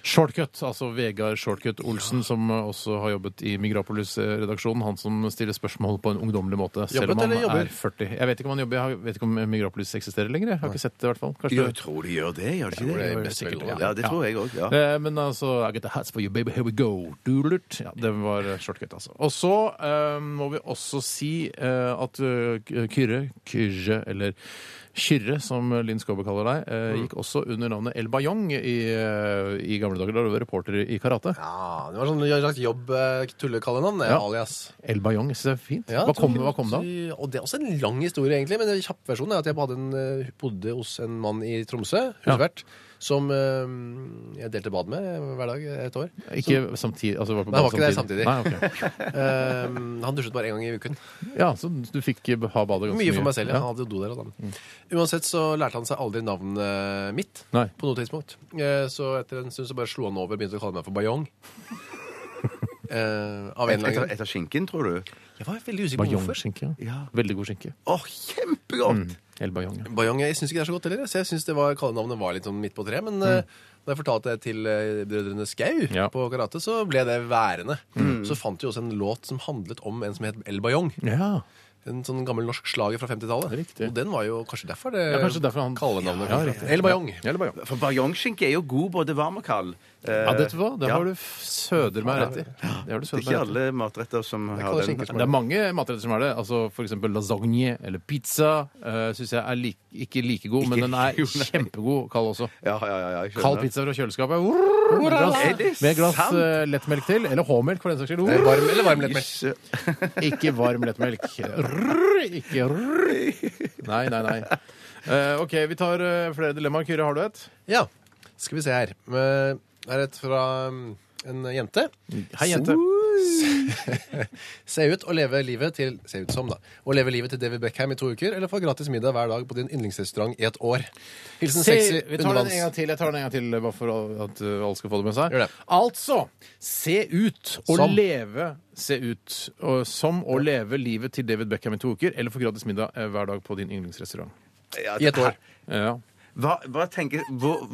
Speaker 3: Shortcut, altså Vegard Shortcut Olsen, som eh, også har jobbet i Migrapolis-redaksjonen. Han som stiller spørsmål på en ungdommelig måte, selv
Speaker 4: Jobbet
Speaker 3: om han
Speaker 4: eller jobber?
Speaker 3: er 40. Jeg vet ikke om han jobber, jeg vet ikke om Migrapolis eksisterer lenger. Jeg har ikke sett det, i hvert fall. Kanskje
Speaker 5: Jeg tror de gjør det, gjør de ikke
Speaker 3: det
Speaker 5: det?
Speaker 3: gjør de sikkert, ja.
Speaker 5: Ja, det tror jeg òg. Ja.
Speaker 3: Eh, Men altså I get the hats for you, baby, here we go. Doodlert. Ja, det var eh, shortcut, altså. Og så eh, må vi også si eh, at eh, K- Kyrre, Kyrre eller Kyrre, som Linn Skåber kaller deg, eh,
Speaker 4: Mm.
Speaker 3: gikk også under navnet El Bayong i, eh, i gamle dager. Da du var reporter i karate.
Speaker 4: Ja, det var sånn slags jobb eh, tullekallenavn. Ja.
Speaker 3: Ja.
Speaker 4: Alias.
Speaker 3: El Bayong, jeg synes det er fint.
Speaker 4: Ja,
Speaker 3: hva,
Speaker 4: jeg tror
Speaker 3: kom,
Speaker 4: ikke-
Speaker 3: hva kom det av?
Speaker 4: Og det er også en lang historie, egentlig, men den kjappe versjonen er at jeg hadde en, eh, bodde hos en mann i Tromsø, husvert, som eh, jeg delte bad med hver dag eh, et år.
Speaker 3: Ikke samtidig? Altså, var på
Speaker 4: Nei,
Speaker 3: badet
Speaker 4: det var ikke det
Speaker 3: Nei, ok.
Speaker 4: Eh, han dusjet bare én gang i uken.
Speaker 3: Ja, Så du fikk eh, ha badet ganske mye?
Speaker 4: Mye for meg selv. Ja. Han hadde jo do der. og sånn. Uansett så lærte han seg aldri navnet eh, mitt
Speaker 3: Nei.
Speaker 4: på noe tidspunkt. Eh, Så etter en stund så bare slo han over og begynte å kalle meg for Bayong. Eh, av en eller annen
Speaker 5: Etter,
Speaker 4: grunn.
Speaker 5: etter skinken, tror du?
Speaker 4: Jeg var veldig usikker på hvorfor.
Speaker 3: Bayong-skinke. Ja.
Speaker 5: Ja.
Speaker 3: Veldig god skinke.
Speaker 5: Å, kjempegodt!
Speaker 3: El Bayong, ja.
Speaker 4: Bayong, jeg syns ikke det er så godt heller. Så jeg synes det var, Kallenavnet var litt sånn midt på treet. Men eh, da jeg fortalte det til eh, Brødrene Skau
Speaker 3: Mm. Ja. Mm.
Speaker 4: på karate, så ble det værende. Så fant vi også en låt som handlet om en som het El Bayong.
Speaker 3: ja.
Speaker 4: En sånn gammel norsk slager fra 50-tallet.
Speaker 3: Riktig.
Speaker 4: Og den var jo kanskje derfor det
Speaker 3: Ja, kanskje derfor han-
Speaker 4: kallenavnet
Speaker 3: Ja,
Speaker 4: kom.
Speaker 3: riktig.
Speaker 4: El Bayong.
Speaker 3: El Bayong.
Speaker 5: For bajongskinke er jo god både varm og kald. Eh,
Speaker 3: Ja, vet du hva? Det
Speaker 5: ja.
Speaker 3: har du f- søder meg rett i. Det har du
Speaker 5: Det er
Speaker 3: søder meg
Speaker 5: ikke
Speaker 3: rett i.
Speaker 5: alle matretter som har
Speaker 4: kalles
Speaker 5: den.
Speaker 4: skinke som
Speaker 3: Det er mange matretter som er det. Altså F.eks. lasagne eller pizza uh, syns jeg er lik- ikke like god, men den er kjempegod kald også.
Speaker 5: Ja, ja, ja, ja, jeg skjønner.
Speaker 3: Kald pizza fra kjøleskapet Vrrr, med
Speaker 5: Er
Speaker 3: glass,
Speaker 5: det
Speaker 3: med glass
Speaker 5: sant?
Speaker 3: eh, lettmelk til. Eller H-melk, for den saks skyld.
Speaker 4: Eller
Speaker 3: Vrrr,
Speaker 4: varm, eller varm lettmelk.
Speaker 5: Jøsse.
Speaker 3: Ikke varm lettmelk. Vrrr, Ikke vrrr. Nei, nei, nei. Eh, OK, vi tar eh, flere dilemmaer. Kyrre, har du et?
Speaker 4: Ja. Skal vi se her. Eh, Det er et fra um, en jente.
Speaker 3: Hei, jente.
Speaker 4: Se ut og leve livet til Se ut som, da. Å leve livet til David Beckham i to uker, eller få gratis middag hver dag på din yndlingsrestaurant i et år. Hilsen
Speaker 3: Se,
Speaker 4: sexy
Speaker 3: vi tar den en gang
Speaker 4: undervanns...
Speaker 3: til, Jeg tar den en gang til, eh, bare for at uh, alle skal få det med seg.
Speaker 4: Gjør det.
Speaker 3: Altså se ut og
Speaker 4: Som.
Speaker 3: leve se ut og, som å leve livet til David Beckham i to uker, eller få gratis middag eh, hver dag på din yndlingsrestaurant.
Speaker 5: Ja,
Speaker 4: I et år.
Speaker 3: Ja.
Speaker 5: Hva, hva tenker hvor,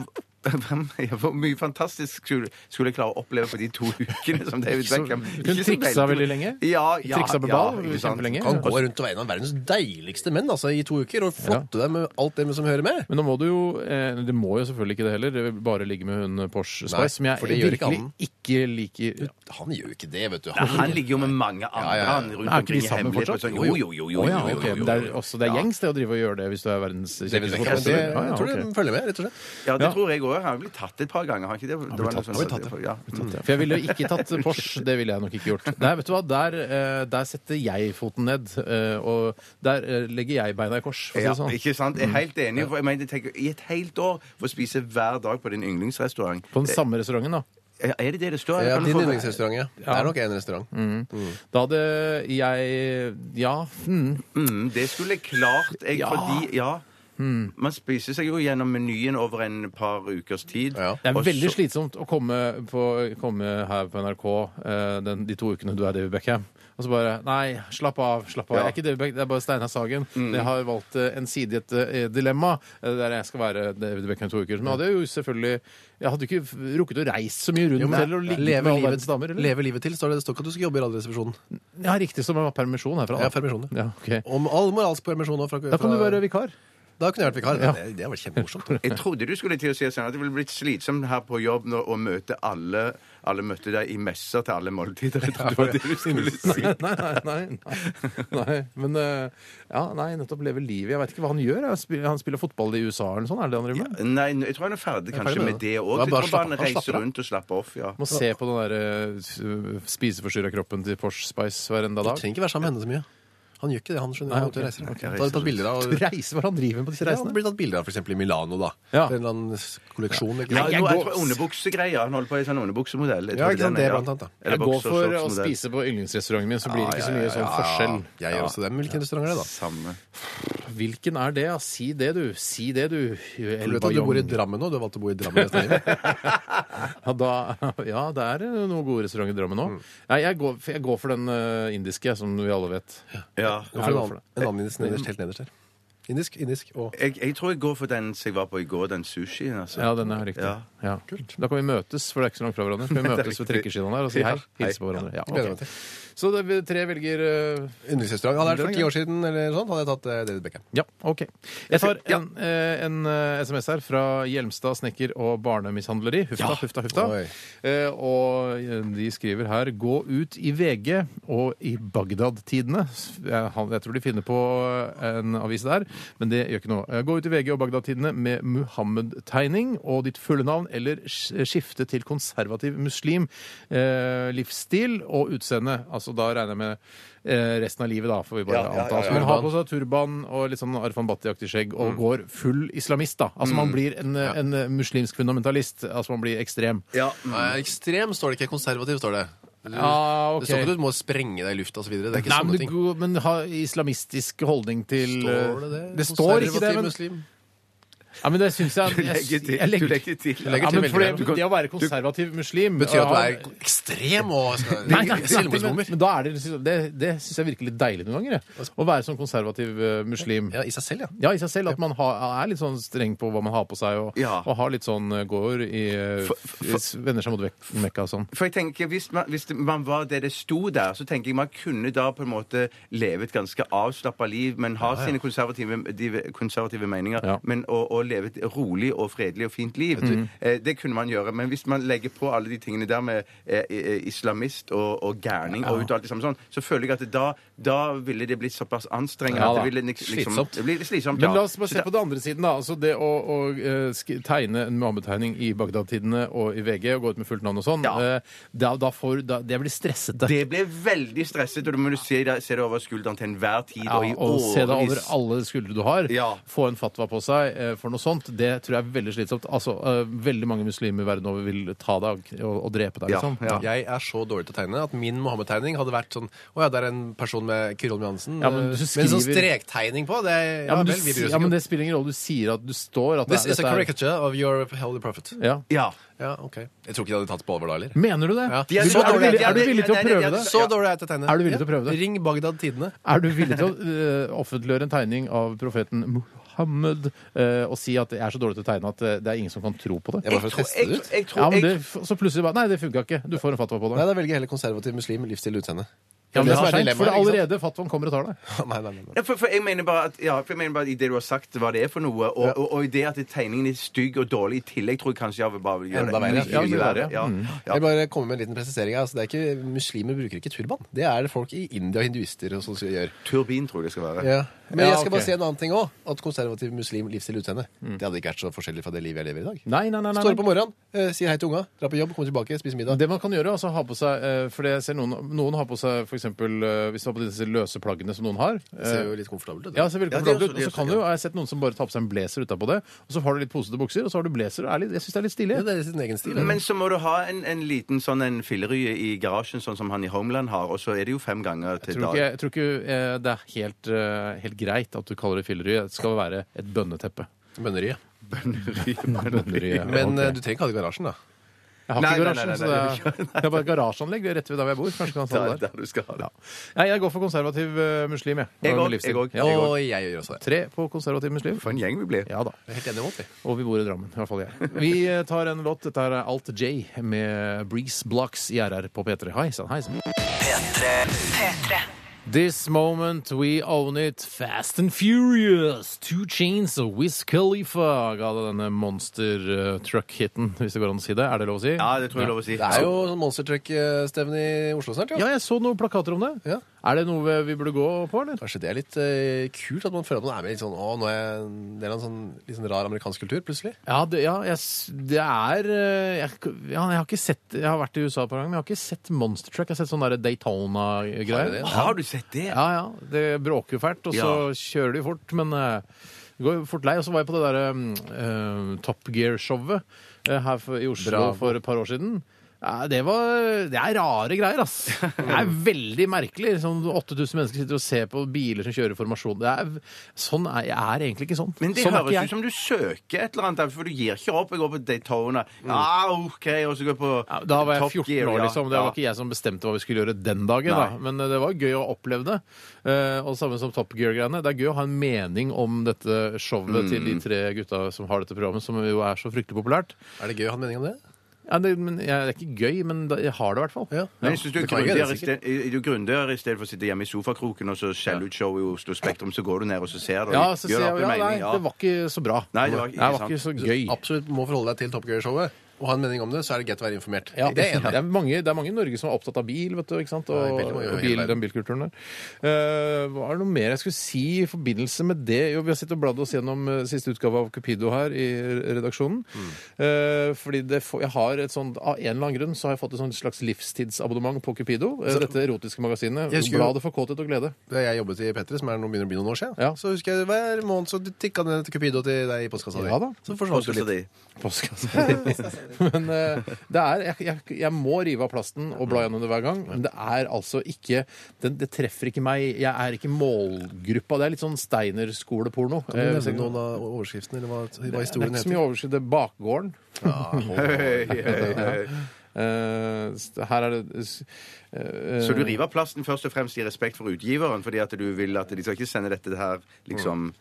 Speaker 5: ja, hvor mye fantastisk skulle, skulle jeg klare å oppleve på de to ukene som David
Speaker 3: så-
Speaker 5: Beckham
Speaker 3: hun
Speaker 5: Ikke så
Speaker 3: triksa
Speaker 5: veldig-
Speaker 3: veldig lenge.
Speaker 5: Ja, ja,
Speaker 3: Triksa med ball
Speaker 5: ja, ikke sant.
Speaker 3: kjempelenge.
Speaker 4: Kan gå rundt og være en av verdens deiligste menn altså, i to uker og flotte deg med alt det som hører med.
Speaker 3: Men nå må du jo eh, Det må jo selvfølgelig ikke det heller. det vil Bare ligge med hun eh, Porsche
Speaker 4: Nei,
Speaker 3: Spice, som jeg
Speaker 4: for det gjør ikke
Speaker 3: virkelig
Speaker 4: han.
Speaker 3: ikke liker.
Speaker 4: Han gjør jo ikke det, vet du.
Speaker 5: Nei, han ligger jo med mange
Speaker 4: ja,
Speaker 5: andre
Speaker 4: ja.
Speaker 5: han rundt
Speaker 3: Er ikke de
Speaker 5: omkring i
Speaker 3: sammen
Speaker 5: hemmelighet. og
Speaker 3: fortsatt?
Speaker 5: sånn. Jo, jo, jo. jo, jo,
Speaker 3: Å ja,
Speaker 5: jo, jo,
Speaker 3: ok, men
Speaker 5: jo,
Speaker 3: det er,
Speaker 5: jo.
Speaker 3: også, det er gjengs det å drive og gjøre det hvis du er verdens
Speaker 4: David
Speaker 3: kjekkeste
Speaker 4: Beckham, det,
Speaker 3: fotballspiller. Ja, ja,
Speaker 4: jeg tror
Speaker 3: ok.
Speaker 4: det følger med, rett og slett.
Speaker 5: Ja, det
Speaker 3: Ja.
Speaker 5: tror jeg òg. Han har blitt tatt et par ganger, har han ikke det? det var noe sånt- ja.
Speaker 3: tatt, ja. For jeg ville jo ikke tatt Porsche. Det ville jeg nok ikke gjort. Nei, vet du hva? Der, eh, der setter jeg foten ned, eh, og der eh, legger jeg beina i kors. For å si
Speaker 5: Ja,
Speaker 3: det sånn.
Speaker 5: ikke sant? Jeg er helt enig. For jeg mener, jeg tenker, I et helt år for å spise hver dag på din yndlingsrestaurant
Speaker 3: På den samme restauranten, da.
Speaker 5: Er er det det det står?
Speaker 4: Ja,
Speaker 5: Kan du
Speaker 4: din
Speaker 5: få-
Speaker 4: yndlingsrestaurant, ja. Det er nok én restaurant.
Speaker 3: Mm. Da hadde jeg Ja. Mm.
Speaker 5: Mm, det skulle jeg klart, jeg, fordi Ja.
Speaker 4: Mm.
Speaker 5: Man spiser seg jo gjennom menyen over en par ukers tid.
Speaker 4: Ja.
Speaker 3: Det er
Speaker 5: og
Speaker 3: veldig
Speaker 5: så-
Speaker 3: slitsomt å komme, på, komme her på NRK eh, den, de to ukene du er David Beckham. Og så bare Nei, slapp av. slapp av.
Speaker 5: Ja.
Speaker 3: Jeg er ikke David Beckham, det er bare Steinar Sagen. Jeg har valgt eh, en side i et eh, dilemma eh, der jeg skal være David Beckham i to uker. Men jeg hadde jo selvfølgelig Jeg hadde ikke f- rukket å reise så mye rundt
Speaker 4: Jo, men-
Speaker 3: eller å ligge med
Speaker 4: leve,
Speaker 3: alle
Speaker 4: livet,
Speaker 3: verdens damer. Eller?
Speaker 4: leve livet til, står det. Det står ikke at du skal jobbe i Radioresepsjonen.
Speaker 3: Ja, riktig som jeg var permisjon herfra.
Speaker 4: Ja, permisjon, ja.
Speaker 3: Ja, ok.
Speaker 4: Om all moralsk permisjon nå fra,
Speaker 3: Da kan du
Speaker 4: fra-
Speaker 3: være vikar.
Speaker 4: Da kunne jeg vært vikar. Det, det hadde vært kjempemorsomt.
Speaker 5: Jeg trodde du skulle til å si sånn at det ville blitt slitsomt her på jobb når, å møte alle Alle møtte deg i messer til alle måltider. Jeg trodde det var det du skulle si.
Speaker 3: Nei, nei, nei. nei. nei. Men eh, ja, nei, nettopp leve livet. Jeg veit ikke hva han gjør. Han spiller, han spiller fotball i USA eller noe sånt? Er det det han driver med?
Speaker 5: Nei, jeg tror han er ferdig kanskje
Speaker 4: ferdig med
Speaker 5: med
Speaker 4: det.
Speaker 5: det òg.
Speaker 4: Da
Speaker 5: Jeg
Speaker 4: bare
Speaker 5: tror
Speaker 4: slapp-
Speaker 5: bare han
Speaker 4: han slapper
Speaker 5: reiser
Speaker 4: av.
Speaker 5: rundt og slapper off. ja.
Speaker 3: Må se på den derre spiseforstyrra kroppen til Porsche Spice hver enda
Speaker 4: Du
Speaker 3: dag.
Speaker 4: trenger ikke være sammen med henne så mye. Han gjør ikke det, han skjønner. han
Speaker 3: ok.
Speaker 4: okay. reiser.
Speaker 3: Ok,
Speaker 4: Han har tatt bilder av...
Speaker 3: Reise hva han driver med på disse
Speaker 4: Ja, han
Speaker 3: reisene.
Speaker 4: blir tatt bilder av for eksempel i Milano, da.
Speaker 3: Ja.
Speaker 4: Til en eller annen kolleksjon. Ikke
Speaker 5: Nei,
Speaker 4: sant?
Speaker 5: jeg, nå, jeg tror underbuksegreier. Han holder på i sånn underbuksemodell. Jeg
Speaker 4: Ja,
Speaker 5: tror
Speaker 4: ikke sant,
Speaker 5: den er,
Speaker 4: det blant annet, da.
Speaker 5: Eller
Speaker 3: Jeg går for å
Speaker 5: boksershortsmodell.
Speaker 3: spise på yndlingsrestauranten min, så blir det ikke så
Speaker 5: Ja, ja,
Speaker 3: mye
Speaker 5: ja,
Speaker 3: sånn
Speaker 5: ja, ja.
Speaker 3: forskjell.
Speaker 4: Jeg gjør også det. Men hvilken restaurant er det, da?
Speaker 5: Samme.
Speaker 3: Hvilken er det? Ja? Si det, du. Si det, du.
Speaker 4: Du vet at du bor i Drammen nå? Du har valgt å bo i Drammen resten av livet.
Speaker 3: Ja, da, ja, det er eh, noen gode restauranter i Drammen nå.
Speaker 5: Mm.
Speaker 3: Nei, jeg går, jeg går for den eh, indiske, som vi alle vet.
Speaker 5: Ja.
Speaker 4: En
Speaker 3: jeg går for
Speaker 4: annen, en annen indisk nederst, helt nederst her. Indisk, indisk og
Speaker 5: Jeg, jeg tror jeg går for den som jeg var på i går, den sushien. Altså.
Speaker 3: Ja, den er riktig.
Speaker 5: Ja.
Speaker 3: Ja. Da kan vi møtes, for det er ikke så langt fra hverandre. Skal vi møtes ved trekkeskivene der og si hei? Hilse på hverandre. Ja,
Speaker 4: gleder meg
Speaker 3: ok.
Speaker 4: til.
Speaker 3: Så det, vi tre velger eh,
Speaker 4: Yndlingsrestaurant. Hadde jeg vært
Speaker 3: Den er
Speaker 4: for ti år siden, eller sånn, hadde jeg tatt eh, David Beckham.
Speaker 3: Ja, OK. Jeg tar en, eh, en eh, SMS her fra Hjelmstad snekker og barnemishandleri. Hufta, hufta, hufta.
Speaker 4: Oi.
Speaker 3: Eh, og eh, de skriver her 'Gå ut i VG og i Bagdad-tidene'. Jeg, han- jeg tror de finner på eh, en avis der, men det gjør ikke noe. Eh, Gå ut i VG og Bagdad-tidene med Muhammed-tegning og ditt fulle navn, eller sk- skifte til konservativ muslim. Eh, livsstil og utseende. Altså da regner jeg med eh, resten av livet, da, får vi bare
Speaker 5: Ja, ja, ja,
Speaker 3: anta.
Speaker 5: ja. Mm.
Speaker 3: Så man har på seg turban og litt sånn Arfan Bhatti-aktig skjegg og går full islamist, da. Altså man blir en, en muslimsk fundamentalist. Altså man blir ekstrem.
Speaker 5: Ja.
Speaker 4: Nei, ekstrem står det ikke. Konservativ står det. Du,
Speaker 3: Ja, ok.
Speaker 4: Det står ikke at du må sprenge deg i lufta osv. Det er ikke
Speaker 3: Nei, men,
Speaker 4: sånne
Speaker 3: du,
Speaker 4: ting.
Speaker 3: går- men ha islamistisk holdning til eh,
Speaker 4: Står det det?
Speaker 3: Det står ikke det,
Speaker 4: Konservativ
Speaker 3: men,
Speaker 4: muslim.
Speaker 3: ja, men det syns jeg
Speaker 5: Du legger til.
Speaker 3: jeg
Speaker 5: Du legger til.
Speaker 3: Ja, men
Speaker 4: veldig
Speaker 3: for
Speaker 4: mye. Du
Speaker 3: det, det å være konservativ muslim
Speaker 4: Betyr at du
Speaker 3: ja,
Speaker 4: er ekstrem og skal-
Speaker 3: Nei, nei, nei, men,
Speaker 4: selvmordsbomber.
Speaker 3: men da er det, det, det syns jeg virker litt deilig noen ganger. Jeg. Å være sånn konservativ eh, muslim.
Speaker 4: Ja, I seg selv, ja.
Speaker 3: Ja, i seg selv. At man har, er litt sånn streng på hva man har på seg, og,
Speaker 5: Ja.
Speaker 3: og har litt sånn eh, går i eh,
Speaker 5: For- for-
Speaker 3: s- Vender seg mot vek- Mekka og sånn.
Speaker 5: For jeg tenker, hvis man, hvis det- man var det det sto der, så tenker jeg man kunne da på en måte leve et ganske avslappa liv, men ha sine konservative, de, konservative meninger,
Speaker 3: Ja.
Speaker 5: men å, å leve et rolig og fredelig og fint liv. Eh, det kunne man gjøre. Men hvis man legger på alle de tingene der med eh, eh, islamist og, og gærning og ut og alt det samme sånn, så føler jeg at da, da ville det blitt såpass anstrengende
Speaker 3: Ja
Speaker 5: at det
Speaker 3: da.
Speaker 5: ville nik- liksom,
Speaker 3: Slitsomt.
Speaker 5: Det blir slitsomt, ja.
Speaker 3: Men la oss bare
Speaker 5: Så
Speaker 3: se
Speaker 5: da-
Speaker 3: på den andre siden, da. Altså det å, å eh, sk- tegne en Muhammed-tegning i Bagdad-tidene og i VG og gå ut med fullt navn og sånn,
Speaker 5: Ja.
Speaker 3: eh, da, da får da, Det blir stressete.
Speaker 5: Det ble veldig stresset, og du må jo se, deg- se det over skulderen til enhver tid.
Speaker 3: Ja,
Speaker 5: og i
Speaker 3: og se deg over
Speaker 5: årevis.
Speaker 3: alle skuldre du har.
Speaker 5: Ja.
Speaker 3: Få en fatwa på seg eh, for noe sånt. Det tror jeg er veldig slitsomt. Altså, eh, Veldig mange muslimer verden over vil ta deg og, og, og drepe deg,
Speaker 5: Ja,
Speaker 3: liksom.
Speaker 5: ja.
Speaker 4: Jeg er så dårlig til å tegne at min Mohammed-tegning hadde vært sånn Å ja, det er en person med Kyrholm Johansen.
Speaker 3: Ja, men du
Speaker 4: eh,
Speaker 3: skriver-
Speaker 4: sånn strektegning på, det er, ja,
Speaker 3: Ja, men, du,
Speaker 4: vel, vi bryr
Speaker 3: si-
Speaker 4: oss
Speaker 3: ja,
Speaker 4: ikke.
Speaker 3: men det spiller ingen rolle. Du sier at du står at det
Speaker 4: This
Speaker 3: er-
Speaker 4: is a
Speaker 3: dette er-
Speaker 4: caricature of your holy prophet.
Speaker 3: Ja.
Speaker 5: Ja.
Speaker 4: Ja, ok. Jeg tror ikke de hadde tatt på alvor da, heller.
Speaker 3: Mener du det?
Speaker 4: Ja.
Speaker 3: Vil-
Speaker 4: De er så
Speaker 3: er, du
Speaker 4: dårlige.
Speaker 3: villig, er du
Speaker 5: De er-
Speaker 3: villig til å
Speaker 5: nei, nei, de
Speaker 3: prøvd
Speaker 5: er-
Speaker 3: det?
Speaker 4: Så dårlig er jeg til å tegne.
Speaker 3: Er du villig til å prøve det?
Speaker 4: Ring Bagdad Tidende.
Speaker 3: Er du villig til å eh, offentliggjøre en tegning av profeten Muhammed eh, og si at jeg er så dårlig til å tegne at eh, det er ingen som kan tro på det?
Speaker 4: Jeg bare for å teste det
Speaker 5: Jeg,
Speaker 4: ut.
Speaker 5: jeg tror
Speaker 3: Ja, men
Speaker 5: jeg,
Speaker 3: det, så plutselig bare Nei, det funka ikke. Du får en fatwa på
Speaker 4: Nei,
Speaker 3: det.
Speaker 4: da velger jeg heller konservativ muslim, livsstil, utseende.
Speaker 3: Ja, men
Speaker 4: Det
Speaker 3: det er
Speaker 4: er
Speaker 3: for sent,
Speaker 4: dilemmaet,
Speaker 3: for det er
Speaker 4: ikke
Speaker 3: allerede fatwaen kommer og tar deg.
Speaker 4: Nei, nei, nei, nei.
Speaker 5: Ja, for, for jeg mener bare at, ja, for jeg mener bare at i det du har sagt, hva det er for noe, og, og, og i det at tegningen er stygg og dårlig i tillegg, tror jeg kanskje jeg vil bare vil gjøre
Speaker 4: Enda
Speaker 5: det
Speaker 4: verre.
Speaker 5: mye
Speaker 3: Ja,
Speaker 5: verre. Ja.
Speaker 4: Jeg
Speaker 5: Ja.
Speaker 4: vil bare komme med en liten presisering. her. Altså, det er ikke, muslimer bruker ikke turban. Det er det folk i India og hinduister og sånn som gjør.
Speaker 5: Turbin tror jeg det skal være.
Speaker 4: Men
Speaker 3: Ja,
Speaker 4: jeg skal
Speaker 3: ok.
Speaker 4: bare si en annen ting òg. At konservativ muslim livsstil utseende. Det hadde ikke vært så forskjellig fra det livet jeg lever i i dag.
Speaker 3: Nei, nei, nei.
Speaker 4: Står
Speaker 3: nei,
Speaker 4: opp om
Speaker 3: nei.
Speaker 4: morgenen, eh, sier hei til unga, drar på jobb, kommer tilbake, spiser middag.
Speaker 3: Det man kan gjøre, altså ha på seg eh, For jeg ser noen, noen har på seg f.eks. Hvis du har på disse løse plaggene som noen har
Speaker 4: Det ser jo
Speaker 3: eh,
Speaker 4: litt komfortabelt ut.
Speaker 3: Ja, ser veldig
Speaker 5: Ja, det er
Speaker 3: komfortabelt
Speaker 5: også-
Speaker 3: ut. Og så
Speaker 5: det er
Speaker 4: sånn,
Speaker 3: kan
Speaker 5: også-
Speaker 3: du jo, jeg har sett noen som bare tar på seg en blazer utapå det, og så har du litt posete bukser, og så har du blazer. og er litt- Jeg syns det er litt stilig.
Speaker 4: Ja, det er sin egen stil.
Speaker 5: Men så må du ha en, en liten sånn en fillerye i garasjen, sånn som han i Homeland har, og så er det jo fem ganger
Speaker 3: Jeg
Speaker 5: til
Speaker 3: tror
Speaker 5: dag.
Speaker 3: ikke, jeg tror ikke eh, det er helt, eh, helt greit at du kaller det filleri. Det skal være et bønneteppe.
Speaker 4: Bønneriet.
Speaker 3: Bønneri, ja,
Speaker 4: Men
Speaker 3: ok.
Speaker 4: eh, du trenger ikke ha det i garasjen, da.
Speaker 3: Jeg har
Speaker 5: Nei,
Speaker 3: ikke
Speaker 5: nei, nei,
Speaker 3: garasjen,
Speaker 5: nei,
Speaker 3: så det er, det er bare et garasjeanlegg det er rett ved der hvor jeg bor. Kanskje kan
Speaker 5: Der,
Speaker 3: ha det der.
Speaker 5: der du skal ha det.
Speaker 3: Nei, jeg går for konservativ eh, muslim, jeg.
Speaker 5: Jeg
Speaker 3: Med
Speaker 5: òg,
Speaker 3: livsstil.
Speaker 5: jeg òg,
Speaker 3: Ja.
Speaker 5: jeg òg.
Speaker 4: Og jeg gjør også det.
Speaker 3: Tre på konservativ muslim.
Speaker 5: For en gjeng vi blir.
Speaker 3: Ja da.
Speaker 4: Jeg er helt enig med deg.
Speaker 3: Og vi bor i Drammen, i hvert fall jeg. Vi eh, tar en låt. Dette er Alt J med Breeze Blocks i RR på P3. Hei sann, hei sann.
Speaker 1: P3.
Speaker 3: This moment we own it. Fast and furious. Two chains og Wiz Khalifa ga det denne monster eh, truck-hiten, hvis det går an å si det. Er det lov å si?
Speaker 5: Ja, det tror jeg er lov å si.
Speaker 4: Det er jo sånn monstertruck-stevne i Oslo snart, jo.
Speaker 3: Ja, jeg så noen plakater om det.
Speaker 4: Ja.
Speaker 3: Er det noe vi burde gå på, eller?
Speaker 4: Kanskje det er litt eh, kult at man føler at man er med i litt sånn Å, nå er jeg en del av en sånn, litt sånn rar amerikansk kultur, plutselig.
Speaker 3: Ja, det, ja, jeg, s- det er eh, jeg, ja, jeg har ikke sett Jeg har vært i USA et par ganger, men jeg har ikke sett Monster Truck. Jeg har sett sånne der
Speaker 4: Har du
Speaker 3: Daytona-greier.
Speaker 4: det?
Speaker 5: Har du sett det?
Speaker 3: Ja, ja. Det bråker jo fælt, og så kjører de fort, men eh, det går jo fort lei. Og så var jeg på det derre Top Gear-showet eh, her for, i Oslo
Speaker 4: Bravo.
Speaker 3: for et par år siden. Ja, det, var, det er rare greier, ass. Det er veldig merkelig. Sånn 8000 mennesker sitter og ser på biler som kjører i formasjon. Det er, sånn er, jeg er egentlig ikke sånn.
Speaker 6: Men det
Speaker 3: sånn er ikke
Speaker 6: høres
Speaker 3: jeg.
Speaker 6: ut som du søker et eller annet, for du gir ikke opp. Jeg går på Daytona. Ja, OK, og så går jeg på
Speaker 3: Mm. Ja, da var jeg
Speaker 6: Top
Speaker 3: 14
Speaker 6: Gear,
Speaker 3: år,
Speaker 6: ja.
Speaker 3: liksom. Det
Speaker 6: Ja.
Speaker 3: var ikke jeg som bestemte hva vi skulle gjøre den dagen. Da.
Speaker 6: Nei.
Speaker 3: Men eh, det var gøy å oppleve det. Eh, Og det samme som Top Gear-greiene. Det er gøy å ha en mening om dette showet til
Speaker 6: Mm.
Speaker 3: de tre gutta som har dette programmet, som jo er så fryktelig populært.
Speaker 4: Er det gøy å ha en mening om det?
Speaker 3: Ja, det, men, jeg, det er ikke gøy, men da, jeg har det i hvert fall.
Speaker 6: Men jeg synes du er
Speaker 4: Det kan jeg gjøre,
Speaker 6: grundigere i sted- i- du er grundigere i stedet for å sitte hjemme i sofakroken og så skjelle ut showet i Oslo Spektrum, så går du ned og så ser du.
Speaker 3: Ja, så
Speaker 6: gjør deg
Speaker 3: sier jeg
Speaker 6: opp i
Speaker 3: ja, nei,
Speaker 6: mening, ja.
Speaker 3: det var ikke så bra.
Speaker 6: Nei, det var ikke-
Speaker 3: det var
Speaker 6: ikke
Speaker 3: ikke så gøy.
Speaker 4: Absolutt må forholde deg til Top Gear-showet. Og ha en mening om det, så er det greit å være informert.
Speaker 3: Ja,
Speaker 4: det er jeg enig.
Speaker 3: det, er mange, det er mange i Norge som er opptatt av bil vet du, ikke sant?
Speaker 4: Ja,
Speaker 3: og,
Speaker 4: veldig mange i
Speaker 3: og
Speaker 4: hele
Speaker 3: bil,
Speaker 4: verden.
Speaker 3: den bilkulturen der. Eh, hva er det noe mer jeg skulle si i forbindelse med det? Jo, Vi har sittet og bladd oss gjennom eh, siste utgave av Cupido her i redaksjonen.
Speaker 4: Mm.
Speaker 3: Eh, fordi det får, jeg har et sånt, Av en eller annen grunn så har jeg fått et sånt slags livstidsabonnement på Cupido. eh, dette erotiske magasinet.
Speaker 4: Jeg husker jo-
Speaker 3: Bladet for kåthet og glede.
Speaker 4: Da jeg jobbet i Petre, som er nå begynner å bli noen år siden,
Speaker 3: Ja.
Speaker 4: så husker jeg hver måned så tikka det ned til Cupido til deg i postkassa di.
Speaker 3: Ja da.
Speaker 4: Så forsvant du
Speaker 5: Så
Speaker 4: litt.
Speaker 5: de-
Speaker 3: Postkassa. Men eh, det er jeg, jeg, jeg må rive av plasten og bla gjennom det hver gang. Men det er altså ikke Det, det treffer ikke meg. Jeg er ikke målgruppa. Det er litt sånn Steiner-skoleporno. Eh,
Speaker 4: Nevne
Speaker 3: hvis jeg-
Speaker 4: noen av overskriftene, eller hva, hva
Speaker 3: Det er
Speaker 4: historien
Speaker 3: ikke så
Speaker 4: heter.
Speaker 3: mye overskudd. Det er bakgården. Eh, s- her er det s- eh,
Speaker 5: Så du river plasten først og fremst i respekt for utgiveren, fordi at du vil at de skal ikke sende dette her liksom eh,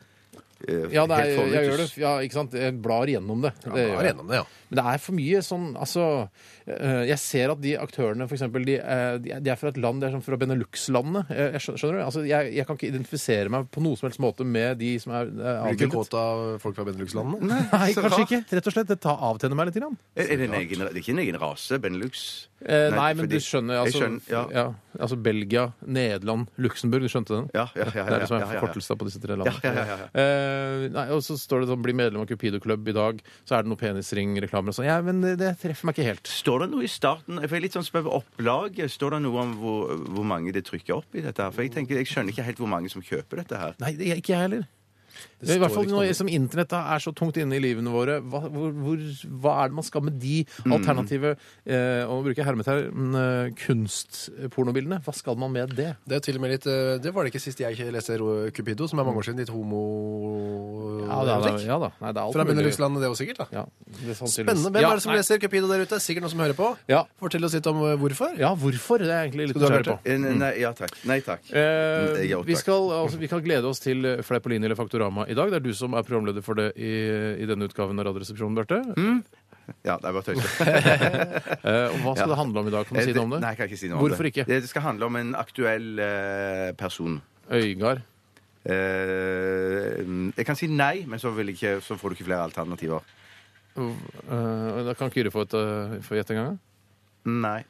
Speaker 3: Mm. Ja, det
Speaker 5: helt
Speaker 3: er, jeg
Speaker 5: forut.
Speaker 3: gjør det. Ja, ikke sant? Jeg blar gjennom det. det
Speaker 4: Ja,
Speaker 3: gjør
Speaker 4: er
Speaker 3: jeg.
Speaker 4: gjennom det, ja.
Speaker 3: Men det er for mye sånn Altså, eh, jeg ser at de aktørene, for eksempel, de, eh, de er- de er fra et land De er sånn fra Benelux-landene. Eh, Jeg skjønner, skjønner du? Altså, jeg, jeg kan ikke identifisere meg på noen som helst måte med de som er eh,
Speaker 4: Blir du ikke
Speaker 3: avbildet.
Speaker 4: kåt av folk fra Benelux-landene?
Speaker 3: Nei,
Speaker 5: Så
Speaker 3: kanskje
Speaker 5: rart.
Speaker 3: ikke. Rett og slett. Det tar avtenner meg litt. Grann.
Speaker 5: Er er det, en egen, det er ikke en egen rase, Benelux?
Speaker 3: Eh, nei, men
Speaker 5: fordi-
Speaker 3: du skjønner
Speaker 5: Jeg
Speaker 3: altså,
Speaker 5: skjønner, ja.
Speaker 3: ja, altså Belgia, Nederland, Luxembourg. Du skjønte den?
Speaker 5: Ja, ja, ja, ja,
Speaker 3: Det er det som er
Speaker 5: ja, ja, ja.
Speaker 3: forkortelser på disse tre landene.
Speaker 5: Ja, ja, ja,
Speaker 3: Eh, nei, og så står det sånn 'bli medlem av Cupido-klubb i dag', så er det noe penisringreklame og sånn. Ja, men det, det treffer meg ikke helt.
Speaker 6: Står det noe i starten for jeg er litt sånn spør på opplaget, Står det noe om hvor, hvor mange det trykker opp i dette? her? For jeg tenker, jeg skjønner ikke helt hvor mange som kjøper dette her.
Speaker 3: Nei, det, ikke jeg heller. I
Speaker 4: står
Speaker 3: hvert fall
Speaker 4: ikke
Speaker 3: nå
Speaker 4: noe.
Speaker 3: som internett da er så tungt inne i livene våre, hva, hvor, hvor, hva er det man skal med de alternative eh, og nå bruker jeg hermetegn eh, kunstpornobildene? Hva skal man med det?
Speaker 4: Det er til og med litt eh, Det var det ikke sist jeg ikke leste Ro- Cupido, som er mange år siden. Litt homo... erotikk.
Speaker 3: ja da. Nei, det er alt
Speaker 4: Fra
Speaker 3: mulig.
Speaker 4: Benelux-landet, det òg sikkert. da
Speaker 3: Ja, det er sannsynligvis.
Speaker 4: Spennende. Hvem
Speaker 3: ja,
Speaker 4: er det som
Speaker 3: nei.
Speaker 4: leser Cupido der ute? Sikkert noen som hører på.
Speaker 3: Ja.
Speaker 4: Fortell oss litt om eh, hvorfor.
Speaker 3: Ja, hvorfor? Det er jeg egentlig litt
Speaker 4: Skal du ha
Speaker 3: nysgjerrig på.
Speaker 5: Eh, Nei, ja takk. Nei takk.
Speaker 3: Mm. Eh,
Speaker 5: Jeg er opptatt.
Speaker 3: vi, skal, altså, vi kan glede oss til eh, Fleipolini eller Faktorama i dag. Det er du som er programleder for det i, i denne utgaven av Radioresepsjonen, Bjarte.
Speaker 5: Ja, det er bare tøys.
Speaker 3: Eh, og hva skal
Speaker 5: Ja.
Speaker 3: det handle om i dag? Kan du si noe om Eh, det?
Speaker 5: Nei, jeg kan ikke si noe
Speaker 3: Hvorfor
Speaker 5: om det.
Speaker 3: ikke?
Speaker 5: Det skal handle om en aktuell eh, person.
Speaker 3: Øygard.
Speaker 5: Eh, jeg kan si nei, men så, vil jeg ikke, så får du ikke flere alternativer.
Speaker 3: Eh, da kan Kyrre få et eh, få gjette en gang.
Speaker 5: Nei.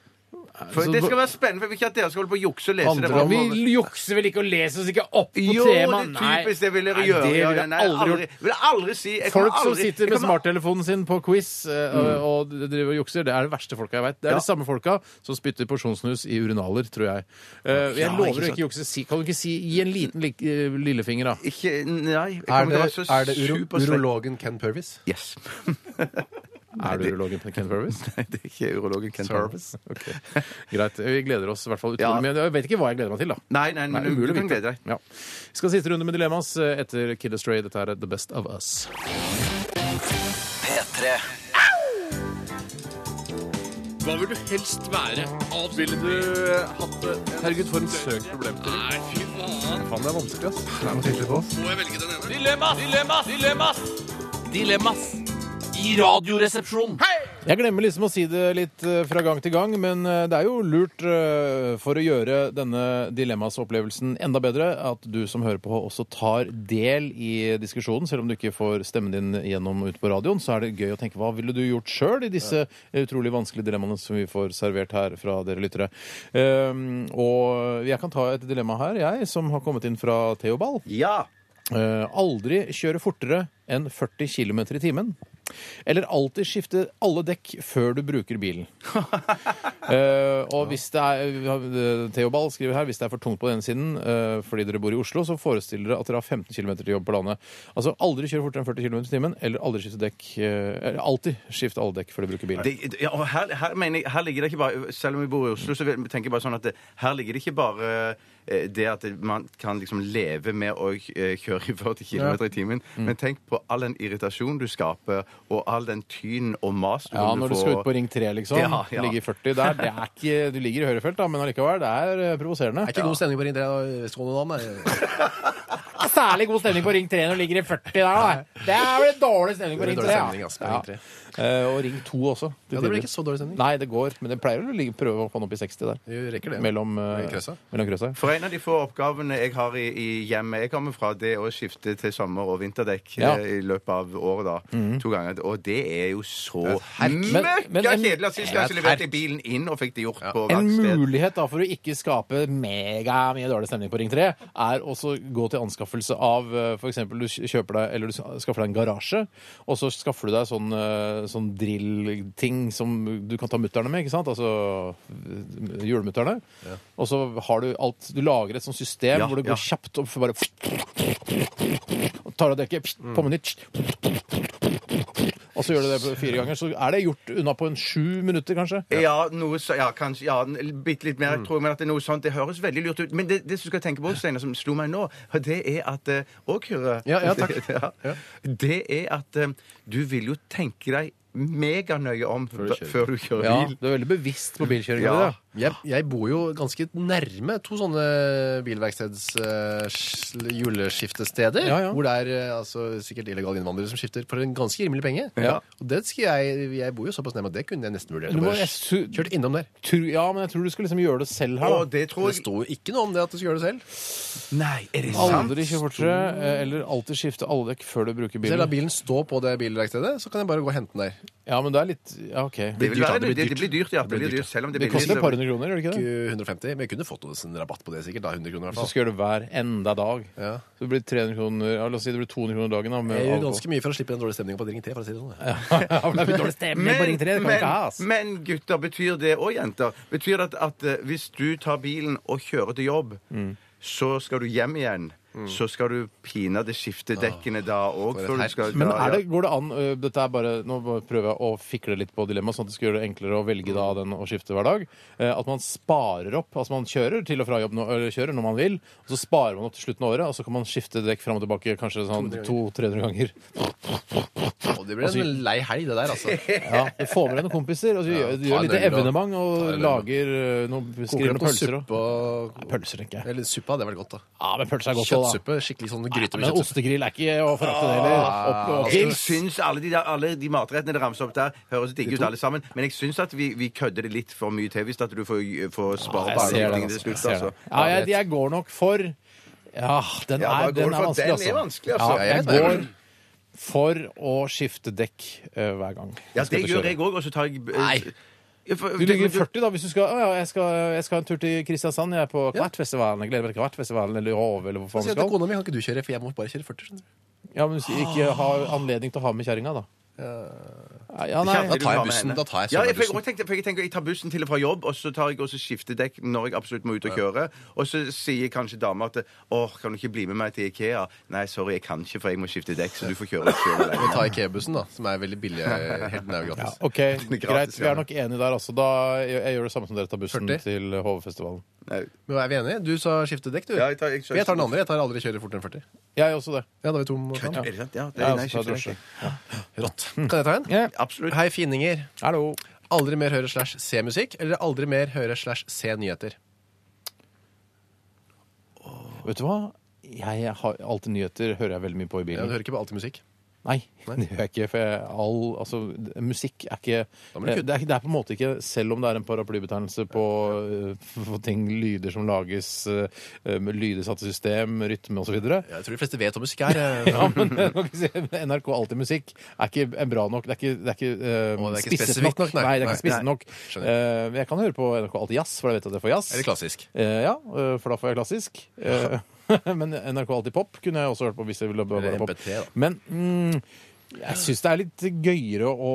Speaker 5: For
Speaker 3: så
Speaker 5: det
Speaker 3: hva-
Speaker 5: skal være spennende, for jeg vil ikke at dere skal holde på å jukse og lese
Speaker 3: Andre,
Speaker 5: det. fra-
Speaker 3: vi jukser vel ikke og leser oss ikke opp på
Speaker 5: Jo,
Speaker 3: temaet?
Speaker 5: det er typisk, det vil dere
Speaker 3: Nei,
Speaker 5: gjøre.
Speaker 3: det vil
Speaker 5: Ja,
Speaker 3: jeg
Speaker 5: nei,
Speaker 3: aldri gjort.
Speaker 5: Vil jeg aldri si. Jeg
Speaker 3: Folk
Speaker 5: kommer
Speaker 3: som
Speaker 5: aldri-
Speaker 3: sitter
Speaker 5: jeg
Speaker 3: med
Speaker 5: kommer- Mm.
Speaker 3: smarttelefonen sin på quiz eh, og og driver og jukser, det er det verste folka jeg veit. Det er
Speaker 5: Ja.
Speaker 3: de samme folka som spytter porsjonssnus i urinaler, tror jeg. Eh, jeg lover å ikke jukse. Si, kan du ikke si Gi en liten lik- eh, lillefinger, da.
Speaker 5: Ikke, nei. Jeg
Speaker 4: Er
Speaker 5: kommer
Speaker 4: det,
Speaker 5: til å være så
Speaker 4: er det uro,
Speaker 5: superslem.
Speaker 4: urologen Ken Purvis?
Speaker 5: Yes.
Speaker 3: Er du urologen Ken Purvis?
Speaker 5: Det er ikke urologen Ken Purvis.
Speaker 3: Ok. Greit. Vi gleder oss i hvert fall utrolig
Speaker 5: Ja.
Speaker 3: mye. Jeg vet ikke hva jeg gleder meg til, da.
Speaker 5: Nei, nei,
Speaker 3: Nei,
Speaker 5: men du,
Speaker 3: umulig
Speaker 5: du
Speaker 3: å
Speaker 5: kan
Speaker 3: vite.
Speaker 5: glede deg.
Speaker 3: Ja. Vi skal ha siste runde med dilemmas eh, etter Kid Astray. Dette er The Best of Us.
Speaker 12: P3
Speaker 11: Hva vil du helst være? Ville du eh, hatt det? Herregud, for en søk problemstilling. Nei, fy faen. Faen, det er vanskelig, ass. Det er vanskelig på oss. Må jeg velge den ene?
Speaker 9: Dilemmas! Dilemmas! Dilemmas! Dilemmas i Radioresepsjonen.
Speaker 3: Jeg glemmer liksom å si det litt eh, fra gang til gang, men eh, det er jo lurt eh, for å gjøre denne dilemmasopplevelsen enda bedre at du som hører på også tar del i diskusjonen. Selv om du ikke får stemmen din gjennom ut på radioen, så er det gøy å tenke hva ville du gjort sjøl i disse eh, utrolig vanskelige dilemmaene som vi får servert her fra dere lyttere. Ehm, og jeg kan ta et dilemma her, jeg, som har kommet inn fra Theo Ball.
Speaker 5: Ja.
Speaker 3: Eh, aldri kjøre fortere enn 40 km i timen. Eller alltid skifte alle dekk før du bruker bilen. Eh, og hvis det er eh, Theo Ball skriver her hvis det er for tungt på den ene siden eh, fordi dere bor i Oslo, så forestiller dere at dere har 15 km til jobb på landet. Altså aldri kjøre fortere enn 40 km i timen, eller aldri skifte dekk eh, Eller alltid skifte alle dekk før du bruker bil.
Speaker 5: Det, ja, og her, her, mener jeg, her ligger det ikke bare Selv om vi bor i Oslo, så vil- tenker jeg bare sånn at det, her ligger det ikke bare eh, det at man kan liksom leve med å eh, kjøre i 40 km i timen.
Speaker 3: Mm.
Speaker 5: Men tenk på all den irritasjon du skaper, og all den tyn og mas du
Speaker 3: Ja,
Speaker 5: kommer
Speaker 3: når du
Speaker 5: til å
Speaker 3: skal
Speaker 5: få.
Speaker 3: ut på Ring 3, liksom.
Speaker 5: Ja, ja.
Speaker 3: Ligge i 40 der. Det er ikke, du ligger i høyre felt, da, men allikevel. Det er eh, provoserende.
Speaker 4: Det er ikke god stemning på Ring 3 i Vestkollen da.
Speaker 3: Ja, Særlig god stemning på Ring 3 når du ligger i 40 der, da. Det er vel dårlig stemning på
Speaker 4: Det
Speaker 3: Ring
Speaker 4: blir
Speaker 3: 3.
Speaker 4: dårlig
Speaker 3: ja.
Speaker 4: stemning, altså, på Ring 3.
Speaker 3: Eh, og Ring 2 også. til
Speaker 4: Ja, det blir
Speaker 3: tider.
Speaker 4: ikke så dårlig stemning.
Speaker 3: Nei, det går, men det pleier å ligge, prøve å få den opp i 60 der.
Speaker 4: Du rekker det.
Speaker 3: Mellom, eh,
Speaker 4: Mellom krøssa.
Speaker 3: mellom krøssa. ja.
Speaker 5: For en av de få oppgavene jeg har i, i hjemmet jeg kommer fra, det er å skifte til sommer- og vinterdekk
Speaker 3: Ja.
Speaker 5: eh, i løpet av året. da, To ganger. Og det er jo så
Speaker 3: Men- men en-
Speaker 5: møkkakjedelig. Sist gang så
Speaker 3: Det er et
Speaker 5: leverte jeg bilen inn og fikk det gjort på
Speaker 3: En
Speaker 5: verksted.
Speaker 3: mulighet da for å ikke skape mega mye dårlig stemning på Ring 3, er også gå til anskaffelse av f.eks. du kjøper deg eller du skaffer deg en garasje, og så skaffer du deg sånn, eh, sånn drill-ting som du kan ta mutterne med, ikke sant? Altså eh, hjulmutterne. Og så har du alt Du lager et sånt system
Speaker 5: Ja,
Speaker 3: hvor det
Speaker 5: ja.
Speaker 3: går kjapt og bare og Tar av dekket, på
Speaker 5: Mm.
Speaker 3: med nytt Og så gjør du det på fire ganger, så er det gjort unna på en sju minutter, kanskje.
Speaker 5: Ja, noe så, ja, kanskje ja, n- bitte litt mer, jeg tror jeg, men at det er noe sånt. Det høres veldig lurt ut. Men det, det som du skal tenke på, Steinar, som slo meg nå, det er at eh, Å, Kyrre.
Speaker 4: Ja, ja, takk.
Speaker 5: Ja. Det er at eh, du vil jo tenke deg meganøye om før du kjører,
Speaker 3: Ja,
Speaker 5: bil.
Speaker 3: du er veldig bevisst på bilkjøring.
Speaker 5: Ja.
Speaker 3: Ja.
Speaker 4: Jeg, jeg bor jo ganske nærme to sånne bilverksteds eh, s- juleskiftesteder.
Speaker 3: Ja, ja.
Speaker 4: Hvor det er eh, altså, sikkert illegale innvandrere som skifter for en ganske rimelig penge.
Speaker 3: Ja.
Speaker 4: Og det skal jeg, jeg bor jo såpass nærme at det kunne jeg nesten vurdert.
Speaker 3: Du
Speaker 4: å
Speaker 3: må-
Speaker 4: bare
Speaker 3: jeg su-
Speaker 4: Kjørt innom der.
Speaker 3: Tror, ja, men jeg tror du skal liksom gjøre det selv her.
Speaker 5: Og
Speaker 3: Da.
Speaker 5: det tror
Speaker 4: Det
Speaker 5: jeg
Speaker 4: står jo ikke noe om det at du skal gjøre det selv.
Speaker 5: Nei, er det sant?
Speaker 3: Aldri kjøre fortere, eh, eller alltid skifte alle dekk før du
Speaker 4: Så
Speaker 3: bruker
Speaker 4: jeg lar
Speaker 3: bilen.
Speaker 4: bilen stå på det bilverkstedet, så kan jeg bare gå og hente den der.
Speaker 3: Ja, men det er litt Ja, OK.
Speaker 5: Det, vil
Speaker 4: dyrt,
Speaker 5: være,
Speaker 4: da. Det
Speaker 5: det,
Speaker 4: blir
Speaker 5: det blir dyrt, ja. Det blir dyrt, selv om det,
Speaker 3: Det
Speaker 5: blir
Speaker 3: koster et par hundre kroner, gjør det ikke det?
Speaker 4: Ikke 150, men jeg kunne fått en rabatt på det sikkert. da, 100 kroner i hvert
Speaker 3: Så
Speaker 4: fall.
Speaker 3: skal jeg gjøre det hver enda dag.
Speaker 4: Ja.
Speaker 3: Så det blir 300 kroner ja, La oss si det blir 200 kroner dagen. Da, med
Speaker 4: Det er jo
Speaker 3: alkohol.
Speaker 4: ganske mye for å slippe den dårlige stemningen på Ring 3. for å si det sånn. Ja.
Speaker 3: ja, for det er mye dårlig stemning på Ring 3. Det kan vi ikke ha, ass.
Speaker 5: men, men gutter, betyr det og jenter, betyr det at, at eh, hvis du tar bilen og kjører til jobb,
Speaker 3: Mm.
Speaker 5: så skal du hjem igjen, så skal du pinadø
Speaker 3: Ah.
Speaker 5: skifte dekkene da òg?
Speaker 4: et
Speaker 5: før du
Speaker 4: herk.
Speaker 5: skal-
Speaker 3: Men
Speaker 5: ja, ja.
Speaker 3: er det, går det an ø, Dette er bare, Nå bare prøver jeg å fikle litt på dilemmaet, sånn at det skal gjøre det enklere å velge da den og skifte hver dag. Eh, At man sparer opp. Altså man kjører til og fra jobb nå- eller kjører når man vil, og så sparer man opp til slutten av året, og så kan man skifte dekk fram og tilbake kanskje sånn 200-300 ganger.
Speaker 4: Og det blir en lei helg, det der, altså.
Speaker 3: Ja, Du får med deg noen kompiser, og du gjør, du
Speaker 4: ta
Speaker 3: gjør
Speaker 4: en
Speaker 3: litt
Speaker 4: øl og-
Speaker 3: evenement og
Speaker 4: ta en øl.
Speaker 3: lager ø, noen
Speaker 4: Koker
Speaker 3: skriver
Speaker 4: opp noe
Speaker 3: noen pølser
Speaker 4: suppe
Speaker 3: og
Speaker 4: og
Speaker 3: Pølser, tenker jeg.
Speaker 4: Eller suppe hadde vært godt, da.
Speaker 3: Ja, men pølser er godt òg, da.
Speaker 4: Kjøttsuppe. Skikkelig sånn gryte
Speaker 3: Men
Speaker 4: med kjøttsuppe. Ah.
Speaker 3: ostegrill er ikke å forakte, det heller. Opp- og
Speaker 5: Jeg
Speaker 3: pils.
Speaker 5: syns alle de, der, alle de matrettene dere ramser opp der, høres digge ut alle sammen. Men jeg syns at vi, vi kødder det litt for mye til hvis at du får, får
Speaker 3: Ah, Jeg
Speaker 5: spare på alle
Speaker 3: ser
Speaker 5: tingene
Speaker 3: den, altså. Jeg
Speaker 5: til slutt.
Speaker 3: ser
Speaker 5: Altså.
Speaker 3: den. Ja, jeg, jeg går nok for Ja, den
Speaker 5: Ja,
Speaker 3: er,
Speaker 5: hva går
Speaker 3: den
Speaker 5: du
Speaker 3: er
Speaker 5: for?
Speaker 3: vanskelig,
Speaker 5: Den er
Speaker 3: altså.
Speaker 5: vanskelig, altså.
Speaker 3: Ja,
Speaker 4: Ja,
Speaker 3: jeg
Speaker 4: jeg vet
Speaker 3: går for å skifte dekk eh, hver gang.
Speaker 5: Ja,
Speaker 3: skal
Speaker 5: det
Speaker 3: ut og
Speaker 5: gjør
Speaker 3: kjøre.
Speaker 5: jeg òg, og så tar jeg
Speaker 4: Nei.
Speaker 5: Ja, for-
Speaker 3: Du ligger i 40, da, hvis du skal Å ja, jeg skal, jeg skal en tur til Kristiansand. Jeg er på Kvartfestivalen. Jeg gleder meg til Kvartfestivalen eller Hove eller hvor faen
Speaker 4: Si at
Speaker 3: vi
Speaker 5: Altså,
Speaker 4: til
Speaker 3: skal.
Speaker 4: kona mi kan ikke du kjøre, for jeg må bare kjøre 40. skjønner du.
Speaker 3: Ja, men hvis du ikke har anledning til å ha med kjerringa, da. Ja, nei.
Speaker 4: Da tar
Speaker 5: Kjæreste
Speaker 4: jeg
Speaker 5: du med
Speaker 4: bussen,
Speaker 5: henne.
Speaker 4: da tar jeg
Speaker 5: ja, for jeg,
Speaker 4: sommerbussen.
Speaker 5: også tenkte, for jeg tenker jeg tar bussen til og fra jobb, og så tar jeg også skiftedekk når jeg absolutt må ut og kjøre. Og så sier kanskje dama at åh, kan du ikke bli med meg til Ikea? Nei, sorry, jeg kan ikke, for jeg må skifte dekk, så du får kjøre selv.
Speaker 4: Vi tar IKEA-bussen, da, som er veldig billig. Helt nær gratis.
Speaker 3: OK,
Speaker 5: er gratis,
Speaker 3: greit. Vi
Speaker 5: ja.
Speaker 3: er nok enige der, altså. Da, jeg, jeg gjør det samme som dere tar bussen
Speaker 4: 40?
Speaker 3: til Hovefestivalen.
Speaker 5: Nei.
Speaker 4: Men er vi enige? Du sa skifte dekk, du.
Speaker 5: Ja, jeg tar- jeg kjører-
Speaker 4: jeg tar den andre. Jeg tar aldri kjøre fortere enn 40.
Speaker 3: Jeg også det.
Speaker 4: Ja, da er vi to mot
Speaker 5: Er
Speaker 4: hverandre.
Speaker 5: det sant? Ja, det
Speaker 3: Jeg
Speaker 5: er, nei,
Speaker 3: også tar
Speaker 5: skiftedekk.
Speaker 3: drosje.
Speaker 4: Rått. Kan jeg ta en?
Speaker 3: Ja.
Speaker 5: Absolutt.
Speaker 4: Hei, fininger.
Speaker 3: Hallo.
Speaker 4: Aldri mer høre slash se musikk, eller aldri mer høre slash se nyheter.
Speaker 3: Vet du hva? Jeg har alltid nyheter hører jeg veldig mye på i
Speaker 4: Ja,
Speaker 3: bilen.
Speaker 4: du hører ikke på alltid musikk.
Speaker 3: Nei, det gjør jeg ikke. For jeg, all, altså, d- musikk er ikke
Speaker 4: Da må du
Speaker 3: det,
Speaker 4: kutte.
Speaker 3: er, ikke- det er på en måte ikke Selv om det er en paraplybetegnelse på, eh, på ting, lyder som lages, eh, med lydesatte system, rytme osv.
Speaker 4: Ja, Jeg tror de fleste vet hva musikk er. eh,
Speaker 3: Ja, men jeg kan ikke si, NRK Alltid Musikk er ikke en bra nok. Det er ikke, det er ikke,
Speaker 4: Å, det er
Speaker 3: eh,
Speaker 4: ikke
Speaker 3: spisset
Speaker 4: spesifikt nok, nei.
Speaker 3: Nei, det er ikke
Speaker 4: Nei,
Speaker 3: spisset nok.
Speaker 4: Skjønner.
Speaker 3: Eh, men jeg kan høre på NRK Alltid Jazz, for jeg vet at jeg får jazz.
Speaker 4: Eller klassisk.
Speaker 3: Eh, ja, eh, for da får jeg klassisk. Eh, men NRK Alltid Pop kunne jeg også hørt på hvis jeg ville bare
Speaker 4: Eller
Speaker 3: pop.
Speaker 4: MP3 da.
Speaker 3: Men mm, Jeg syns det er litt gøyere å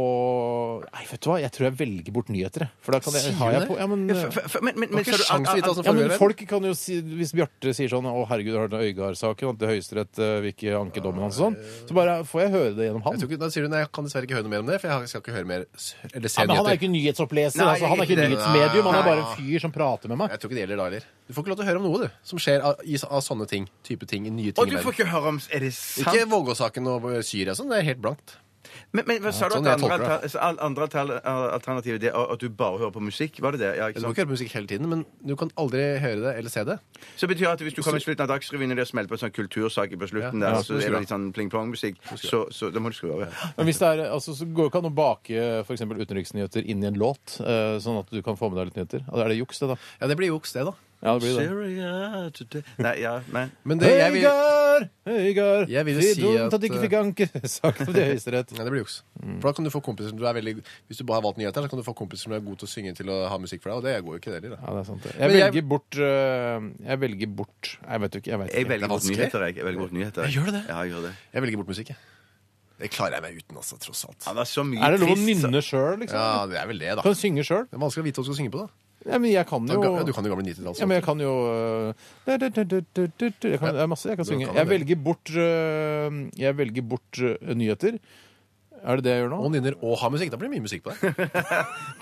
Speaker 3: Nei, vet du hva, jeg tror jeg velger bort nyheter, jeg. For da kan jeg,
Speaker 6: Sier
Speaker 3: har jeg
Speaker 6: du
Speaker 3: på
Speaker 6: det?
Speaker 3: ja, men, eh,
Speaker 6: Ja, for- for- men- men-
Speaker 3: Det var
Speaker 6: men sa
Speaker 3: ikke
Speaker 6: du-
Speaker 3: sjans å sånn vite hva som
Speaker 6: Ja, men
Speaker 3: foregår.
Speaker 6: folk
Speaker 3: kan jo si Hvis Bjarte sier sånn 'Å, herregud, har du hørt Øygard-saken?' At Høyesterett eh, vil ikke anke dommen hans og sånn. Så bare får jeg høre det gjennom han.
Speaker 4: Jeg tror ikke, da sier du nei, jeg kan dessverre ikke høre noe mer om det, for jeg skal ikke høre mer s- eller se
Speaker 3: Ja, men han er jo
Speaker 4: nyheter.
Speaker 3: ikke nyhetsoppleser.
Speaker 4: Nei,
Speaker 3: altså, han er ikke
Speaker 4: ikke det.
Speaker 3: nyhetsmedium. Han er
Speaker 4: Nei.
Speaker 3: bare en fyr som prater med meg.
Speaker 4: Jeg tror ikke det gjelder da heller. Du får ikke lov til å høre om noe, du, som skjer av, i, av sånne ting. Type ting, nye ting
Speaker 5: Og du får ikke høre om Er det sant?
Speaker 4: Ikke Vågå-saken og Syria og sånn. Det er helt blankt.
Speaker 5: Men, men hva sa
Speaker 4: Ja,
Speaker 5: du
Speaker 4: sånn
Speaker 5: at
Speaker 4: jeg
Speaker 5: andre,
Speaker 4: tolker det.
Speaker 5: alter- så al- andre alter- alternativ er det at du bare hører på musikk? Var det det? Ja, ikke
Speaker 4: Du må
Speaker 5: sant?
Speaker 4: ikke høre på musikk hele tiden, men du kan aldri høre det eller se det.
Speaker 5: Så betyr det at hvis du kommer i slutten av Dagsrevyen og det smeller på en sånn kultursak på slutten
Speaker 4: Ja,
Speaker 5: der,
Speaker 4: ja,
Speaker 5: så
Speaker 4: må du
Speaker 5: er
Speaker 4: skru
Speaker 5: det
Speaker 4: av.
Speaker 5: litt sånn pling-plong-musikk, så, så da må du skru av. ja.
Speaker 3: Men hvis det er, altså, så går det ikke an å bake for eksempel utenriksnyheter inn i en låt, eh, sånn at du kan få med deg litt nyheter. Ja, Er det juks, det, da?
Speaker 4: Ja, det blir juks, det, da.
Speaker 3: Ja, det blir det.
Speaker 5: Syria today Nei, ja, nei.
Speaker 4: Men det, jeg vil,
Speaker 3: Øygard! Øygard!
Speaker 4: Jeg vil jo
Speaker 3: si
Speaker 4: si
Speaker 3: dumt
Speaker 4: at, eh,
Speaker 3: at du ikke fikk anke saken til Høyesterett.
Speaker 4: Nei, det blir juks. For da kan du få kompiser som du er veldig Hvis du bare har valgt nyheter, så kan du få kompiser som er gode til å synge til å ha musikk for deg, og det går jo ikke det heller. da.
Speaker 3: Ja, det er sant. det. Jeg
Speaker 4: Men jeg-
Speaker 3: velger bort øh, Jeg velger bort Jeg vet jo ikke. Jeg vet
Speaker 5: Jeg
Speaker 3: ikke.
Speaker 5: velger bort
Speaker 4: vanskelig.
Speaker 5: nyheter, jeg. jeg velger bort nyheter, jeg.
Speaker 4: Gjør du det?
Speaker 5: Ja, jeg gjør det.
Speaker 4: Jeg velger bort musikk, jeg. Det klarer jeg meg uten, altså, tross alt.
Speaker 5: Han er så mye
Speaker 3: Er det lov å
Speaker 5: trist, så-
Speaker 3: nynne sjøl, liksom?
Speaker 4: Ja, det er vel det, da.
Speaker 3: Kan du synge sjøl?
Speaker 4: Det er vanskelig å vite hva du skal synge på, da.
Speaker 3: Ja, men jeg kan
Speaker 4: Du
Speaker 3: jo
Speaker 4: kan- ja, Du kan jo gamle altså. 90-talls.
Speaker 3: ja, men jeg kan jo øh, jeg kan, Det er masse jeg kan
Speaker 4: Du
Speaker 3: synge.
Speaker 4: kan
Speaker 3: Jeg
Speaker 4: det.
Speaker 3: velger bort øh, Jeg velger bort øh, nyheter. Er det det jeg gjør nå?
Speaker 4: Og nynner og har musikk. Da blir det mye musikk på deg.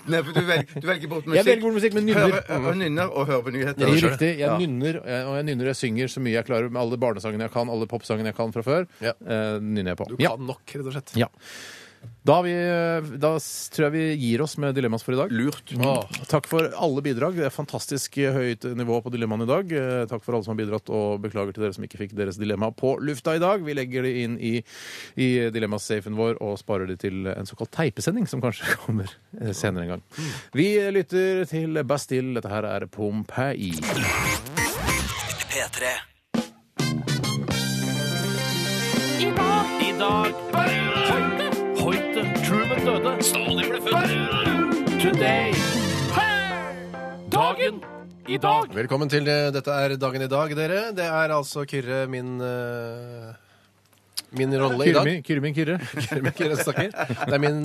Speaker 5: Nei, for du velger, du velger bort musikk.
Speaker 3: Jeg velger bort musikk, men nynner.
Speaker 5: Hører- hører nynner og hører på nyheter.
Speaker 3: Det er
Speaker 4: skjønner
Speaker 3: riktig. Jeg
Speaker 5: Ja.
Speaker 3: nynner, jeg- og jeg nynner og jeg synger så mye jeg klarer med alle barnesangene jeg kan, alle popsangene jeg kan fra før.
Speaker 4: Ja.
Speaker 3: eh, nynner jeg på.
Speaker 4: Du
Speaker 3: Ja.
Speaker 4: kan nok, rett og slett.
Speaker 3: Ja. Da, er vi, eh, da s- tror jeg vi gir oss med dilemmas for i dag.
Speaker 5: Lurt.
Speaker 3: Åh, takk for alle bidrag. Det er fantastisk eh, høyt nivå på dilemmaene i dag. Eh, Takk for alle som har bidratt, og beklager til dere som ikke fikk deres dilemma på lufta i dag. Vi legger det inn i, i dilemmasafen vår og sparer det til en såkalt teipesending, som kanskje kommer eh, senere en gang.
Speaker 4: Mm.
Speaker 3: Vi lytter til Bastille. Dette her er Pompeii.
Speaker 12: P3
Speaker 9: I dag Hoite Truman døde Stalin ble født Today Dagen I dag
Speaker 4: Velkommen til eh, Dette er dagen i dag, dere. Det er altså Kyrre min eh, Min rolle i dag.
Speaker 3: Kyrre, Kyrre min Kyrre.
Speaker 4: Kyrre min, Kyrre snakker. Det er min,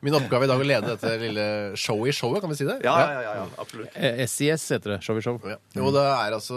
Speaker 4: min oppgave i dag å lede dette lille showet i showet, kan vi si det?
Speaker 5: Ja, ja, ja, ja, absolutt.
Speaker 3: Eh, SIS heter det. Show i show.
Speaker 4: Ja. Jo, det er altså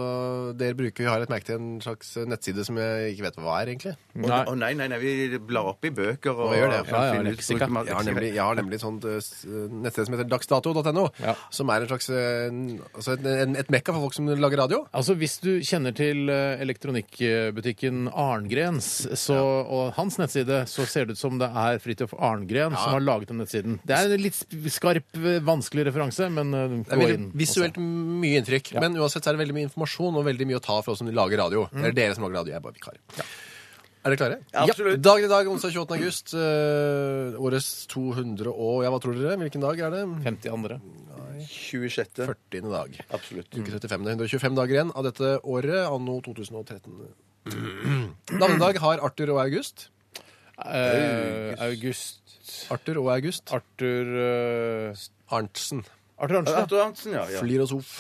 Speaker 4: Dere bruker Vi har et merke til en slags nettside som jeg ikke vet hva er, egentlig.
Speaker 3: Nei.
Speaker 5: Å nei, nei, nei, vi blar opp i bøker og,
Speaker 4: Hva gjør det?
Speaker 3: Ja, ja,
Speaker 5: finner ut-
Speaker 3: leksika.
Speaker 5: bruker man-
Speaker 4: Jeg har nemlig, jeg har nemlig et sånt eh, s- nettsted som heter dagsdato.no,
Speaker 3: Ja.
Speaker 4: som er en slags eh, n- altså et, en, et mekka for folk som lager radio.
Speaker 3: Altså, Hvis du kjenner til eh, elektronikkbutikken Arngrens så, og hans nettside, så ser det ut som det er Fridtjof Arngren som har laget den nettsiden. Det er en litt sp- skarp, eh, vanskelig referanse, men eh,
Speaker 4: Det
Speaker 3: gå
Speaker 4: er
Speaker 3: inn.
Speaker 4: veldig, visuelt mye inntrykk, men uansett så er det veldig mye informasjon og veldig mye å ta fra oss som lager radio.
Speaker 3: Mm.
Speaker 4: Eller dere som lager radio. Jeg er bare vikar. Er dere klare?
Speaker 5: Absolutt.
Speaker 4: Dagen i dag, onsdag 28. august. eh, årets 200 og Ja, hva tror dere? Hvilken dag er det?
Speaker 3: 50 Altså, andre.
Speaker 5: 26.
Speaker 4: 40. dag.
Speaker 5: Absolutt.
Speaker 4: Uke 35. Det er 125 dager igjen av dette året, anno 2013. Dagen i dag har Arthur og August.
Speaker 3: Eh, August
Speaker 4: Arthur og August.
Speaker 3: Arthur eh,
Speaker 4: Arntzen.
Speaker 3: Arthur Arntzen.
Speaker 5: Arthur Arntzen, ja. ja.
Speaker 4: Flyrosof.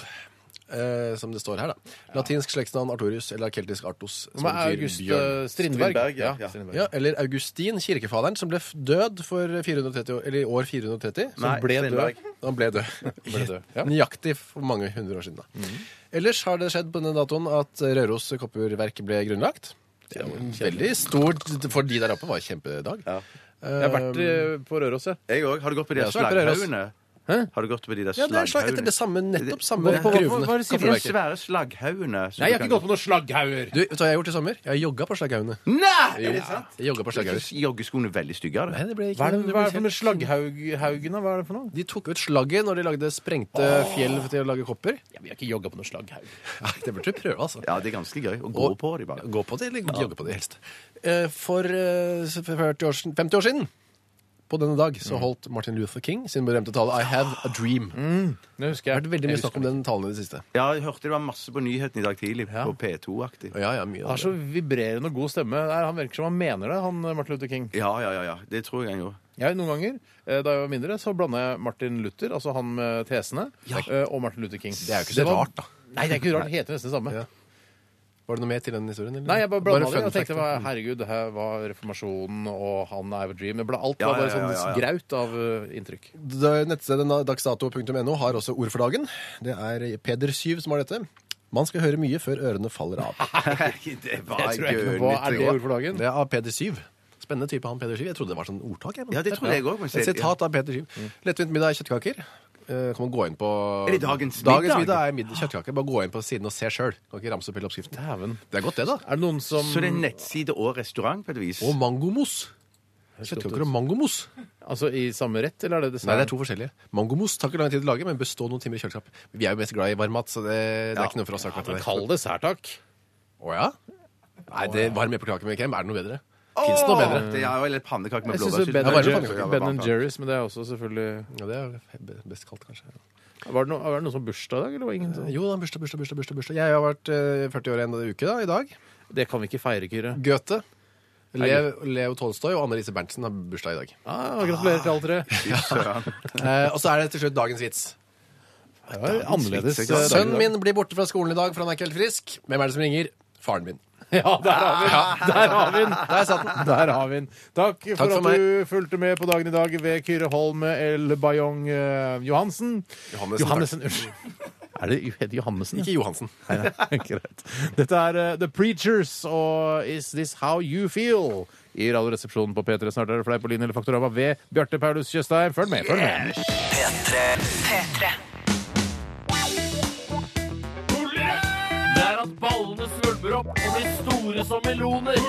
Speaker 4: Eh, som det står her, da. Latinsk slektsnavn Artorius eller keltisk Artos. som
Speaker 3: Hva
Speaker 4: betyr
Speaker 3: er August
Speaker 4: bjørn.
Speaker 3: eh, Strindberg?
Speaker 5: Strindberg, ja, ja.
Speaker 3: Strindberg.
Speaker 4: Ja, eller Augustin, kirkefaderen, som ble f- død for 430, år- eller i år 430. Som
Speaker 5: Nei,
Speaker 4: ble
Speaker 5: Strindberg.
Speaker 4: død. Han ble død. Mm.
Speaker 3: Ble død, ja.
Speaker 4: Nøyaktig for mange hundre år siden. da. Ellers har det skjedd på denne datoen at Røros kopperverk ble grunnlagt. Det er jo en veldig stort For de der oppe var kjempedag.
Speaker 5: Ja.
Speaker 3: Jeg har vært eh, på Røros, jeg.
Speaker 5: Jeg òg. Har du gått på de
Speaker 4: Jeg
Speaker 5: der
Speaker 4: har vært på Røros.
Speaker 5: slagghaugene?
Speaker 3: Hæ?
Speaker 5: Har du gått på de der
Speaker 4: Ja, det er slag etter det
Speaker 5: slagghaugene?
Speaker 4: samme, nettopp samme
Speaker 5: Hva- hva-
Speaker 4: gruvene.
Speaker 3: hva er det du sier for
Speaker 5: De
Speaker 3: noe?
Speaker 4: kopperverket.
Speaker 5: svære slagghaugene. som
Speaker 3: Nei, jeg har
Speaker 5: du kan
Speaker 3: ikke gått på noen slagghauger!
Speaker 4: Du, vet du hva jeg har gjort i sommer? Jeg har jogga på slagghaugene.
Speaker 5: Nei! Er det sant?
Speaker 4: Jeg jogga på slagghaugene.
Speaker 5: Joggeskoene er veldig stygge av
Speaker 4: Nei,
Speaker 5: det.
Speaker 4: det ble ikke
Speaker 3: Hva er det,
Speaker 4: det ble
Speaker 3: hva er det
Speaker 4: kjempe-
Speaker 3: for med slagghaugene? Hva er det for noe?
Speaker 4: De tok ut slagget når de lagde sprengte fjell til å lage kopper.
Speaker 3: Ja, vi har ikke jogga på noen slagghaug.
Speaker 4: Nei, det burde du prøve, altså.
Speaker 5: Ja, det er ganske gøy å gå
Speaker 4: Og-
Speaker 5: på de bare.
Speaker 4: Gå på det, eller jogge på det, helst. Eh, For eh, 40 år, siden- 50 år siden, på denne dag, så holdt Martin Luther King sin berømte tale I Have a Dream. Det
Speaker 3: Det husker
Speaker 4: har
Speaker 3: jeg.
Speaker 4: vært veldig mye
Speaker 3: Jeg
Speaker 4: snakk om den talen i det siste.
Speaker 5: Ja, jeg hørte det var masse på nyheten i dag tidlig, på P2-aktig.
Speaker 4: Ja, ja, mye
Speaker 3: Han har
Speaker 4: av
Speaker 3: så
Speaker 4: det.
Speaker 3: vibrerende og god stemme. Det er- Han virker som han mener det, han eh, Martin Luther King.
Speaker 5: Ja, ja, ja, ja. Det tror jeg han gjorde.
Speaker 3: Jeg, noen ganger, eh, Da jeg var mindre, så blanda jeg Martin Luther, altså han med tesene, eh, og Martin Luther King.
Speaker 4: Det er jo ikke så
Speaker 3: var-
Speaker 4: rart, da.
Speaker 3: Nei, det er ikke rart. Det heter nesten det samme.
Speaker 4: Var det noe mer til den historien? eller?
Speaker 3: Nei, jeg bare blanda det.
Speaker 4: fun
Speaker 3: Jeg tenkte
Speaker 4: fact. Mm.
Speaker 3: hva- herregud, det her var reformasjonen og han er a dream. Det ble alt
Speaker 4: Ja,
Speaker 3: var bare
Speaker 4: ja, ja,
Speaker 3: sånn
Speaker 4: ja, ja.
Speaker 3: graut av eh, inntrykk.
Speaker 4: Da- Nettstedet na- dagsdato.no har også ord for dagen. Det er Peder Syv som har dette. Man skal høre mye før ørene faller av.
Speaker 5: det
Speaker 3: Det tror jeg ikke noe på. Er det ord for dagen?
Speaker 4: Det er av Peder Syv. Spennende type han Peder Syv. Jeg trodde det var sånn ordtak. Jeg, men-
Speaker 5: Ja, det trodde jeg også, men
Speaker 4: Et sitat av Peder Syv. Lettvint middag er kjøttkaker. Eh, Kan man gå inn på
Speaker 5: Er det dagens middag?
Speaker 4: middag er middag, kjøttkaker. Bare gå inn på siden og se sjøl. Kan ikke ramse opp hele oppskriften. Det er godt, det, da.
Speaker 3: Er det noen som
Speaker 5: Så det er nettside og restaurant, på et vis.
Speaker 4: Og mangomos. Kjøttkaker og mangomos.
Speaker 3: Altså i samme rett, eller er det dessert?
Speaker 4: Nei, det er to forskjellige. Mangomos tar ikke lang tid å lage, men bør stå noen timer i kjøleskap. Vi er jo mest glad i varm mat, så det, det
Speaker 5: Ja.
Speaker 4: er ikke noe for oss akkurat.
Speaker 3: Men
Speaker 4: det.
Speaker 3: Kall det særtak.
Speaker 4: Å ja? Nei, det varm epleklake med krem, er det noe bedre?
Speaker 5: Åh!
Speaker 4: Fins det noe bedre?
Speaker 5: Det er jo eller pannekake
Speaker 3: Jeg
Speaker 5: med blåbær.
Speaker 3: syns Ben,
Speaker 4: Ja, sånn. varme
Speaker 3: and
Speaker 4: pannekaker.
Speaker 3: Jer-
Speaker 4: Ja,
Speaker 3: ben and Jerry's, men det er også selvfølgelig
Speaker 4: Ja, det er be- best kaldt, kanskje.
Speaker 3: Var det, noe, var det noen som bursdag i dag, eller var det ingen som
Speaker 4: Jo da, bursdag, bursdag, bursdag. bursdag, bursdag. Jeg har vært eh, 40 år i en uke da, i dag.
Speaker 3: Det kan vi ikke feire, Kyrre.
Speaker 4: Goethe. Lev, Leo Tolstoy og Anne-Lise Berntsen har bursdag i dag.
Speaker 3: Ah, gratulerer til alle tre.
Speaker 4: Eh, og så er det til slutt dagens vits.
Speaker 3: Det var annerledes. eh, dag i
Speaker 4: Sønnen
Speaker 3: dag.
Speaker 4: min blir borte fra skolen i dag, for han er ikke helt frisk. Hvem er det som ringer? Faren min.
Speaker 3: Ja, der har vi den! Der har vi den! Der satt den. Der har vi den. Takk for,
Speaker 4: for
Speaker 3: at
Speaker 4: meg.
Speaker 3: du fulgte med på dagen i dag ved Kyrre Holm El Bayong eh, Johansen.
Speaker 4: Johannessen,
Speaker 3: Johannessen, unnskyld. Er det heter Johannessen?
Speaker 4: Ikke Johansen.
Speaker 3: Nei, nei, Greit. Dette er eh, The Preachers og Is This How You Feel? I Radioresepsjonen på P3 snart er det Fleipolin eller Faktorama ved Bjarte Paulus Tjøstheim. Følg med! følg med.
Speaker 1: P3.
Speaker 9: Det er at ballene svulmer opp og blir store som meloner.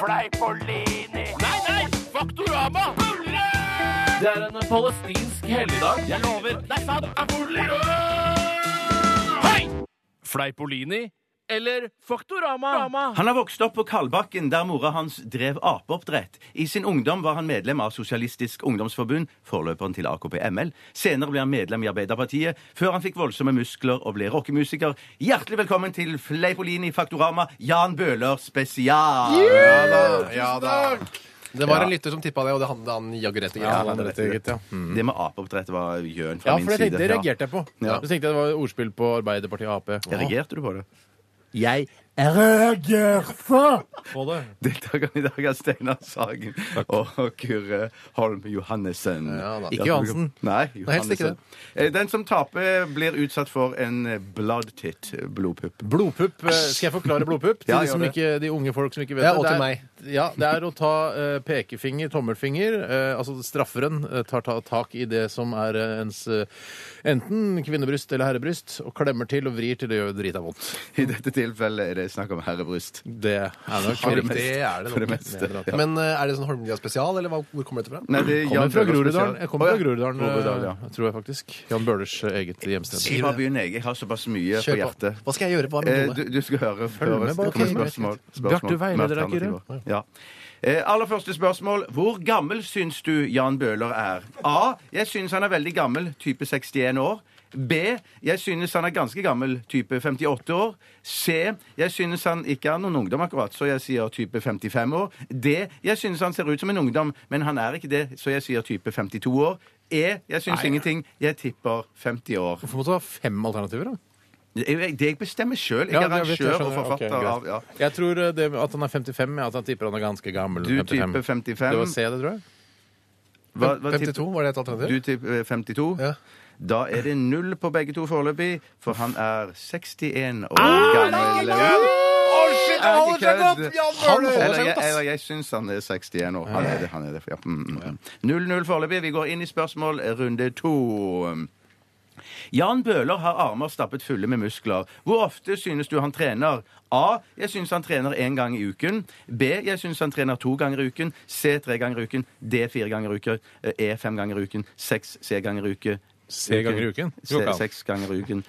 Speaker 9: Fleipolini. Nei, nei! Faktorama! Det er en palestinsk helligdag. Jeg lover. Det er sant. Hei! Fleipolini eller Faktorama?
Speaker 6: Han har vokst opp på Kalbakken, der mora hans drev apeoppdrett. I sin ungdom var han medlem av Sosialistisk Ungdomsforbund, forløperen til AKP-ML. Senere ble han medlem i Arbeiderpartiet, før han fikk voldsomme muskler og ble rockemusiker. Hjertelig velkommen til Fleipolini Faktorama, Jan Bøhler spesial!
Speaker 4: Ja da, ja da. Det var en lytter som tippa det, og det handlet han jaggu rett i
Speaker 3: Ja,
Speaker 4: greit.
Speaker 3: han hadde rett i gitt, ja.
Speaker 5: Det med apeoppdrett var gjøn fra
Speaker 3: Ja,
Speaker 5: min
Speaker 3: for det,
Speaker 5: side.
Speaker 3: tenkte, det reagerte jeg på.
Speaker 5: Ja.
Speaker 3: Så tenkte jeg det var ordspill på Arbeiderpartiet og Ap.
Speaker 5: Ja. Reagerte du på det?
Speaker 3: Jeg reagerte på det.
Speaker 5: Deltakerne i dag er Steinar Sagen og Kyrre Holm Johannessen.
Speaker 4: da.
Speaker 3: Ikke Johansen.
Speaker 5: Nei,
Speaker 4: helst ikke
Speaker 5: Johannessen. Eh, Den som taper, blir utsatt for en blood tit, blodpupp.
Speaker 3: Blodpupp. eh, Skal jeg forklare blodpupp til
Speaker 5: Ja,
Speaker 3: de, som
Speaker 5: gjør det.
Speaker 3: ikke, de unge folk som ikke vet
Speaker 4: Ja,
Speaker 3: det?
Speaker 4: og
Speaker 3: Det
Speaker 4: til
Speaker 3: er-
Speaker 4: meg.
Speaker 3: Ja, det er å ta eh, pekefinger, tommelfinger eh, Altså strafferen eh, tar ta, tak i det som er eh, ens eh, enten kvinnebryst eller herrebryst, og klemmer til og vrir til det gjør drita vondt.
Speaker 5: I dette tilfellet er det snakk om herrebryst.
Speaker 3: Det er nok
Speaker 4: Ja,
Speaker 3: riktig.
Speaker 4: det er det
Speaker 5: For det
Speaker 4: nok.
Speaker 5: meste.
Speaker 4: Ja. Men eh, er det sånn Holmlia spesial, eller hva- hvor kommer dette fra?
Speaker 5: Nei, det er
Speaker 3: Kommer
Speaker 5: Jan
Speaker 3: fra
Speaker 5: Bøhler
Speaker 3: Groruddalen,
Speaker 5: spesial.
Speaker 3: jeg kommer fra
Speaker 5: Å, ja.
Speaker 3: Groruddalen,
Speaker 5: Groruddalen, ja.
Speaker 3: eh, tror jeg faktisk. Jan Bøhlers eh, eget hjemsted.
Speaker 5: Jeg bare begynner, jeg. Jeg har såpass mye på hjertet.
Speaker 4: Hva skal jeg gjøre på hva er
Speaker 5: Eh,
Speaker 4: min
Speaker 5: du,
Speaker 4: kone?
Speaker 5: du skal høre
Speaker 3: med,
Speaker 5: høre-
Speaker 3: bare.
Speaker 5: det kommer
Speaker 3: Ok,
Speaker 5: spørsmål.
Speaker 3: greit.
Speaker 5: spørsmål
Speaker 3: Bjarte, veier
Speaker 5: med
Speaker 3: dere ikke,
Speaker 5: alternativer. Ja. Eh, aller første spørsmål. Hvor gammel syns du Jan Bøhler er? A. Jeg syns han er veldig gammel, type 61 år. B. Jeg synes han er ganske gammel, type 58 år. C. Jeg synes han ikke er noen ungdom akkurat, så jeg sier type 55 år. D. Jeg synes han ser ut som en ungdom, men han er ikke det, så jeg sier type 52 år. E. Jeg synes ingenting. Jeg tipper 50 år.
Speaker 3: Hvorfor måtte du ha fem alternativer, da?
Speaker 5: Det er jeg- det jeg bestemmer sjøl. Jeg
Speaker 3: Ja,
Speaker 5: er
Speaker 3: jeg vet, jeg
Speaker 5: arrangør og
Speaker 3: skjønner. Ok,
Speaker 5: forfatter
Speaker 3: greit.
Speaker 5: av ja.
Speaker 3: Jeg tror eh, det, at han er 55, ja, at han tipper han er ganske gammel.
Speaker 5: Du tipper 55.
Speaker 3: Det var C, det, tror jeg.
Speaker 5: Hva- hva tipper-
Speaker 4: 52, var det et alternativ?
Speaker 5: Du tipper eh, 52.
Speaker 4: Ja.
Speaker 5: Da er det null på begge to foreløpig, for han er 61 år
Speaker 4: Ah,
Speaker 5: gammel.
Speaker 4: holder seg
Speaker 5: godt,
Speaker 4: Jan Bøhler!
Speaker 5: Eller jeg, eller jeg syns han er 61 år. Han er det. han er det. Ja. Mm, mm, mm. 0-0 foreløpig. Vi går inn i spørsmål eh, runde to. Jan Bøhler har armer stappet fulle med muskler. Hvor ofte synes du han trener? A. Jeg synes han trener én gang i uken. B. Jeg synes han trener to ganger i uken. C. Tre ganger i uken. D. Fire ganger i uken. E. Fem ganger i uken. Seks. C. ganger i uke.
Speaker 3: C ganger i uken?
Speaker 5: C. Seks ganger i uken.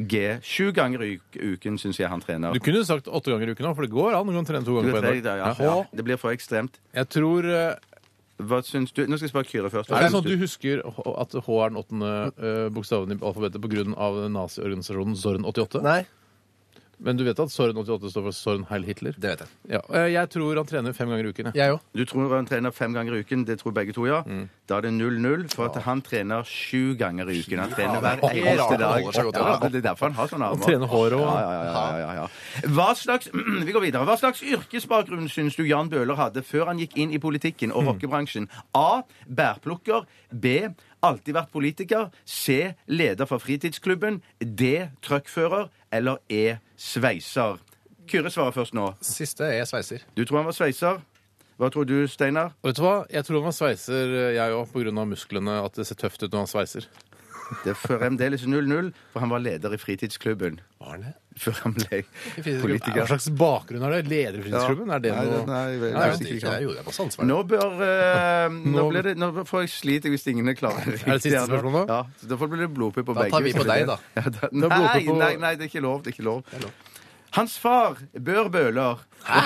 Speaker 5: G. Sju ganger i uk- uken synes jeg han trener.
Speaker 3: Du kunne sagt åtte ganger i uken òg, for det går an. Du kan trene to ganger på en dag.
Speaker 5: Ja,
Speaker 3: Ja.
Speaker 5: ja. Det blir for ekstremt.
Speaker 3: Jeg tror eh,
Speaker 5: Hva syns du? Nå skal jeg spørre Kyrre først.
Speaker 3: Er det sånn at du husker h- at H er den åttende eh, bokstaven i alfabetet pga. naziorganisasjonen Zorn 88?
Speaker 4: Nei.
Speaker 3: Men du vet at Soren 88 står for Soren Heil Hitler?
Speaker 4: Det vet jeg.
Speaker 3: Ja, eh, jeg tror han trener fem ganger i uken.
Speaker 4: Jeg òg.
Speaker 5: Du tror han trener fem ganger i uken, det tror begge to, ja.
Speaker 3: Mm.
Speaker 5: Da er det 0-0, for at han trener sju ganger i uken. Han trener hver
Speaker 4: han holder
Speaker 5: eneste
Speaker 4: seg godt, ja.
Speaker 5: dag. Ja, det er derfor han har sånne
Speaker 3: altså. Han
Speaker 5: armer.
Speaker 3: trener håret og
Speaker 5: Ja, ja, ja, ja, ja, ja. Hva slags, vi går videre. Hva slags yrkesbakgrunn syns du Jan Bøhler hadde før han gikk inn i politikken
Speaker 3: Mm.
Speaker 5: og rockebransjen? A. Bærplukker. B. Alltid vært politiker. C. Leder for fritidsklubben. D. Truckfører. Eller E. Sveiser. Kyrre svarer først nå.
Speaker 4: Siste er sveiser.
Speaker 5: Du tror han var sveiser. Hva tror du, Steinar?
Speaker 3: Og Vet du hva? Jeg tror han var sveiser, eh, jeg òg, pga. musklene. At det ser tøft ut når han sveiser.
Speaker 5: Det er fremdeles 0-0, for han var leder i fritidsklubben
Speaker 4: Var han det?
Speaker 5: før han ble
Speaker 3: Hva
Speaker 5: politiker.
Speaker 3: slags bakgrunn har det? Leder i fritidsklubben? Er det
Speaker 5: Nei,
Speaker 3: noe
Speaker 5: nei, jeg vet
Speaker 3: Nei,
Speaker 5: ikke.
Speaker 4: Jeg gjorde det masse ansvar.
Speaker 5: Nå bør eh, Nå
Speaker 3: Nå-
Speaker 5: blir det Nå får jeg slite hvis ingen er klare. Er
Speaker 3: det siste spørsmål nå?
Speaker 5: Ja, så da får det bli blodpupp på
Speaker 4: Da
Speaker 5: begge.
Speaker 4: tar vi på deg, da.
Speaker 5: Ja, da
Speaker 3: blodpupp
Speaker 5: nei,
Speaker 3: på-
Speaker 5: nei, nei, det er ikke lov. Det er ikke lov. Hans far, Bør Bøhler Nei,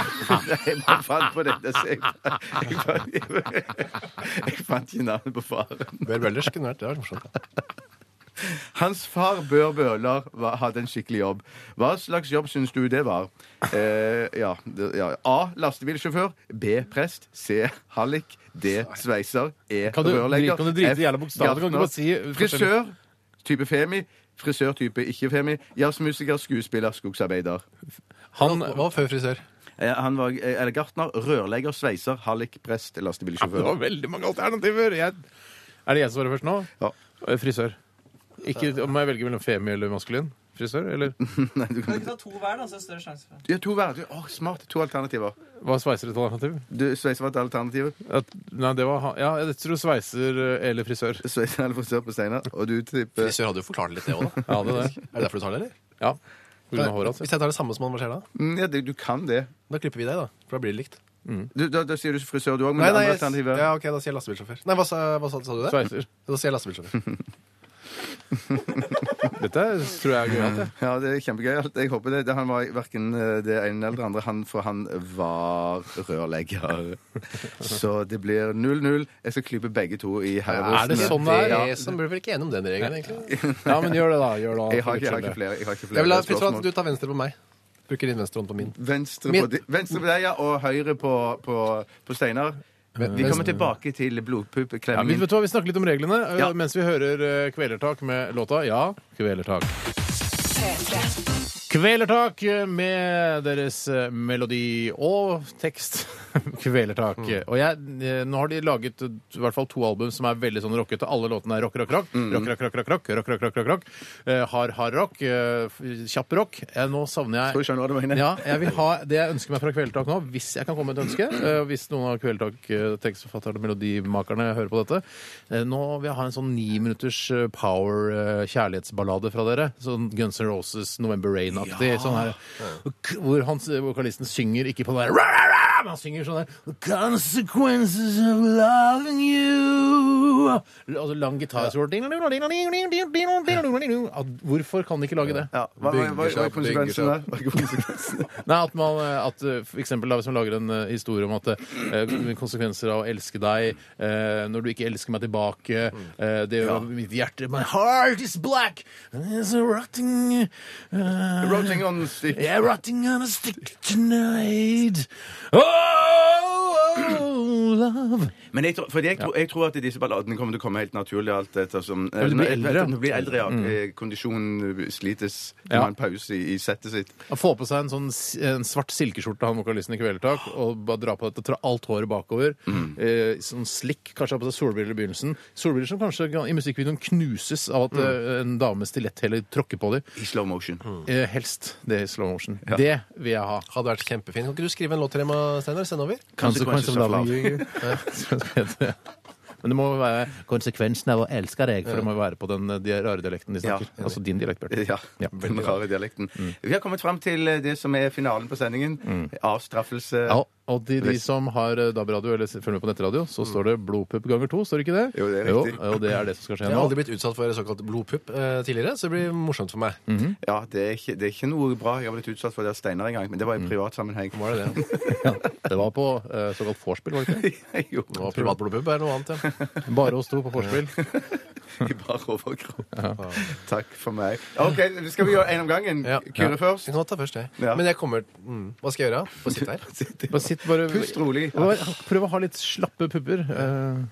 Speaker 5: Jeg bare fant på dette. så Jeg, jeg, fant, jeg fant ikke navnet på faren.
Speaker 4: Bør Bøllers kunne vært det. var morsomt.
Speaker 5: Hans far Bør Bøhler var- hadde en skikkelig jobb. Hva slags jobb syns du det var? Eh, ja, det- ja. A. Lastebilsjåfør. B. Prest. C. Hallik. D. Sveiser. E.
Speaker 3: Kan du-
Speaker 5: Rørlegger.
Speaker 3: kan du drite i
Speaker 5: F.
Speaker 3: jævla bokstaver? Kan du ikke bare si-
Speaker 5: gartner. Frisør. Type femi. Frisør type ikke femi. Jazzmusiker, skuespiller, skogsarbeider.
Speaker 3: Han
Speaker 4: Hva var før frisør?
Speaker 5: Eh, han var eh, eller gartner, rørlegger, sveiser, hallik, prest,
Speaker 3: Det var
Speaker 5: lastebilsjåfør.
Speaker 3: veldig mange alternativer. Jeg... Er det jeg som svarer først nå?
Speaker 5: Ja.
Speaker 3: Eh, Frisør. Ikke, må jeg velge mellom femi eller maskulin? Frisør, eller
Speaker 5: Nei, du
Speaker 10: Kan
Speaker 5: kan
Speaker 10: du ikke ta to hver, da, så er det større sjanse for
Speaker 5: ja, to hver. Du- Åh, smart. To alternativer.
Speaker 3: hva er sveiser et alternativ?
Speaker 5: Du, sveiser var et alternativ.
Speaker 3: At, nei, det var han- Ja, jeg tror sveiser eh, eller frisør.
Speaker 5: Sveiser eller frisør på Steinar. Og du tipper
Speaker 4: Frisør hadde jo forklart litt, det òg, da.
Speaker 3: Ja, det er det.
Speaker 4: Er det derfor du tar det, eller?
Speaker 3: Ja. På grunn av håret hans.
Speaker 4: Hvis jeg tar det samme som han, hva skjer da?
Speaker 5: Mm, Ja, det, du kan det.
Speaker 4: Da klipper vi deg, da. For da blir det likt.
Speaker 5: Du, da, da sier du frisør, du òg, men det andre alternativet
Speaker 4: ja, ok, da sier jeg lastebilsjåfør. Nei, hva sa, hva sa, sa du det?
Speaker 3: Sveiser.
Speaker 4: Da sier jeg lastebilsjåfør.
Speaker 3: Dette tror jeg er gøyalt, jeg.
Speaker 5: Ja, det er kjempegøyalt. Jeg håper det. det han var verken det ene eller det andre, han, for han var rørlegger. Så det blir 0-0. Jeg skal klype begge to i herrebrosten.
Speaker 3: Er det sånn det er?
Speaker 5: Ja.
Speaker 4: Jeg som blir vel ikke enig om den regelen, egentlig.
Speaker 3: Ja, men gjør det, da. Gjør det, da.
Speaker 5: Jeg har ikke, jeg har ikke flere, jeg har ikke flere
Speaker 4: Jeg vil ha, Fritz,
Speaker 5: spørsmål.
Speaker 4: du tar venstre på meg. Bruker din venstre hånd på min.
Speaker 5: Venstre
Speaker 4: Min-
Speaker 5: på, di- venstre på deg, ja, og høyre på, på, på Steinar. Vi kommer tilbake til
Speaker 3: Ja, vi,
Speaker 5: blodpuppeklemmen.
Speaker 3: vet du hva, vi snakker litt om reglene eh,
Speaker 5: Ja.
Speaker 3: mens vi hører eh, Kvelertak med låta Ja, Kvelertak.
Speaker 1: P3.
Speaker 3: Kvelertak med deres eh, melodi og tekst. Kvelertak. Og jeg, eh, nå har de laget eh, i hvert fall to album som er veldig sånn rockete. Alle låtene er rock, rock, rock. Rock, rock, rock, rock, rock, rock, rock, rock, rock, rock. Eh, Hard, hard rock. eh, f- Kjapp rock. Eh, Nå savner
Speaker 5: Tror du
Speaker 3: jeg
Speaker 5: skjønner hva du mener?
Speaker 3: ja, jeg vil ha det jeg ønsker meg fra Kvelertak nå, hvis jeg kan komme med et ønske. eh, Hvis noen av Kvelertak, eh, tekstforfatterne og melodimakerne hører på dette. Eh, Nå vil jeg ha en sånn ni minutters eh, power eh, kjærlighetsballade fra dere. Sånn Guns N' Roses November Rain-aktig. Sånn her k- Hvor han, vokalisten synger ikke på det der men han synger sånn der The consequences of loving you Altså lang gitar. så- At- Hvorfor kan de ikke lage det?
Speaker 5: Ja, hva, hva, hva, hva er konsekvensen der? Hva er konsekvensen?
Speaker 3: Nei, at man eh, at, eh, for eksempel, da, Hvis man lager en eh, historie om at eh, konsekvenser av å elske deg eh, når du ikke elsker meg tilbake eh, Det gjør mitt hjerte My heart is black! and It's a rotting eh,
Speaker 5: Roting on stick.
Speaker 3: Yeah, rotting on a stick tonight. Oh, oh love.
Speaker 5: Men jeg tror, fordi jeg, tror, jeg tror at disse balladene kommer til å komme helt naturlig alt etter som
Speaker 3: Ja, du blir eldre.
Speaker 5: Du blir eldre, ja. Eh, Kondisjonen slites. Du
Speaker 3: Ja.
Speaker 5: må ha en pause i, i settet sitt.
Speaker 3: Han får på seg en, sånn, s- en svart silkeskjorte, han vokalisten i Kvelertak, og bare drar på dette, drar alt håret bakover. Eh, sånn slikk, kanskje har på seg solbriller i begynnelsen. Solbriller som kanskje kan- i musikkvideoen knuses av at eh, en dame med stiletthæler tråkker på dem.
Speaker 5: I slow motion.
Speaker 3: Eh, helst det i slow motion. Det vil jeg ha.
Speaker 4: Hadde vært kjempefint. Kan ikke du skrive en låt til dem, Steinar? Send over?
Speaker 5: Consequences of love.
Speaker 3: Ja. Men det må være konsekvensen av å elske deg, for det må være på den eh, de rare dialekten de snakker.
Speaker 5: Ja.
Speaker 3: Altså din dialekt, Bjarte.
Speaker 5: Eh, Ja.
Speaker 3: Ja.
Speaker 5: Den rare dialekten. Vi har kommet fram til eh, det som er finalen på sendingen. Avstraffelse.
Speaker 3: Ja, og de, de som har eh, DAB-radio eller følger med på nettradio,
Speaker 4: Mm.
Speaker 3: så står det blodpupp ganger to, står det ikke det?
Speaker 5: Jo, det er riktig.
Speaker 3: Jo, og det er det som skal skje
Speaker 4: Jeg har aldri
Speaker 3: nå.
Speaker 4: blitt utsatt for såkalt blodpupp eh, tidligere, så det blir morsomt for meg.
Speaker 5: Ja, det er, ikke, det er ikke noe bra. Jeg har blitt utsatt for det av Steinar en gang, men det var i privat sammenheng.
Speaker 4: Var det det?
Speaker 3: Det var på eh, såkalt vorspiel, var det ikke?
Speaker 5: Jo.
Speaker 4: Og privat blodpupp er noe annet, ja.
Speaker 3: Bare oss to på vorspiel.
Speaker 5: I bar overkropp. Takk for meg. OK, skal vi gjøre en om gangen? Kure først?
Speaker 4: Vi kan ta først det.
Speaker 5: Ja.
Speaker 4: Men jeg kommer mm. Hva skal jeg gjøre? Bare sitte her?
Speaker 3: Bare sitt bare
Speaker 5: Pust rolig.
Speaker 3: Bare Prøv å ha litt slappe pupper. eh.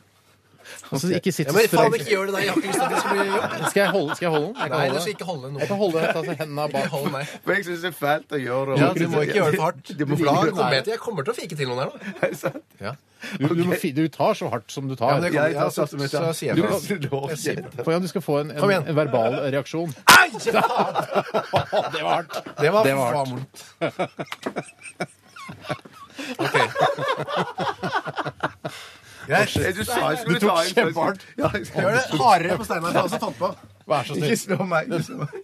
Speaker 3: Altså, ikke sitt
Speaker 4: Ja, men faen,
Speaker 3: strakt.
Speaker 4: ikke gjør det der! Jeg har ikke lyst til at det skal bli
Speaker 3: Skal jeg holde skal jeg holde den? Jeg
Speaker 4: Nei, du
Speaker 3: kan holde den.
Speaker 4: skal ikke holde
Speaker 3: Jeg
Speaker 4: noe.
Speaker 3: kan holde den, altså, hendene bak.
Speaker 4: Hold meg.
Speaker 5: For jeg syns det er fælt å gjøre
Speaker 4: Ja, du må ikke gjøre det for hardt.
Speaker 5: Du må
Speaker 4: Lille
Speaker 5: flagge.
Speaker 4: komet, Jeg kommer til å fike til noen her nå.
Speaker 5: Er det sant?
Speaker 3: Du, du, må fi- du tar så hardt som du
Speaker 4: Ja,
Speaker 3: tar.
Speaker 4: men det
Speaker 5: Jeg
Speaker 4: kommer, ja,
Speaker 5: tar
Speaker 4: så,
Speaker 5: satt med
Speaker 4: så sier jeg
Speaker 5: Du
Speaker 4: fra.
Speaker 5: kan- du lover ikke.
Speaker 3: For om du skal få en,
Speaker 4: Kom
Speaker 3: en,
Speaker 4: igjen.
Speaker 3: en verbal reaksjon.
Speaker 4: Ai, faen!
Speaker 3: Det var hardt.
Speaker 4: Det var,
Speaker 3: Det var hardt.
Speaker 4: faen vondt. OK. Greit.
Speaker 5: Du sa jeg skulle
Speaker 4: Du tok
Speaker 5: ta en
Speaker 4: kjempehardt.
Speaker 5: Ja, jeg skal
Speaker 4: Gjør det hardere på Steinar. Jeg har også fant på.
Speaker 3: Vær så
Speaker 5: Ikke
Speaker 3: snill.
Speaker 5: slå meg. Ikke slå meg.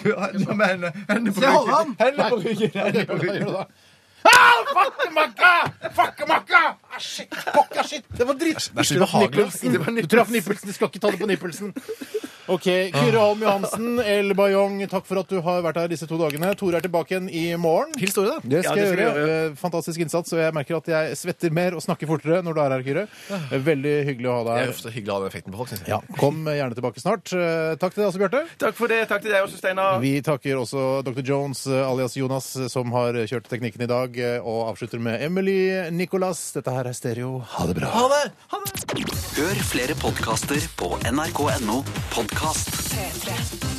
Speaker 5: Du har hendene med hendene- hendene på
Speaker 4: Skal jeg holde
Speaker 5: ryggen.
Speaker 4: ham?
Speaker 5: Hendene på ryggen. Hendene
Speaker 3: Hva
Speaker 5: på
Speaker 3: gjør
Speaker 5: ryggen.
Speaker 3: du da?
Speaker 4: Ah, Det er så ubehagelig. ass.
Speaker 3: Nippelsen. Du traff nippelsen. Du skal ikke ta det på nippelsen. OK. Kyrre Holm Johansen, El Bayong, takk for at du har vært her disse to dagene. Tore er tilbake igjen i morgen.
Speaker 4: Hils Tore, da.
Speaker 3: Det skal,
Speaker 5: Ja, det skal
Speaker 3: jeg gjøre. Eh, Fantastisk innsats. Og jeg merker at jeg svetter mer og snakker fortere når du er her, Kyrre. Eh, Veldig hyggelig å ha
Speaker 4: Det
Speaker 3: deg
Speaker 4: er
Speaker 3: her.
Speaker 4: ofte hyggelig å ha den effekten på folk. Synes jeg.
Speaker 3: Ja, kom eh, gjerne tilbake snart. Eh, Takk til deg også, Bjarte.
Speaker 5: Takk for det. Takk til deg også, Steinar.
Speaker 3: Vi takker også Dr. Jones eh, alias Jonas, eh, som har kjørt teknikken i dag, eh, og avslutter med Emily Nicolas. Dette her er Stereo. Ha det bra.
Speaker 12: Hør flere podkaster på nrk.no podkast.
Speaker 1: P13.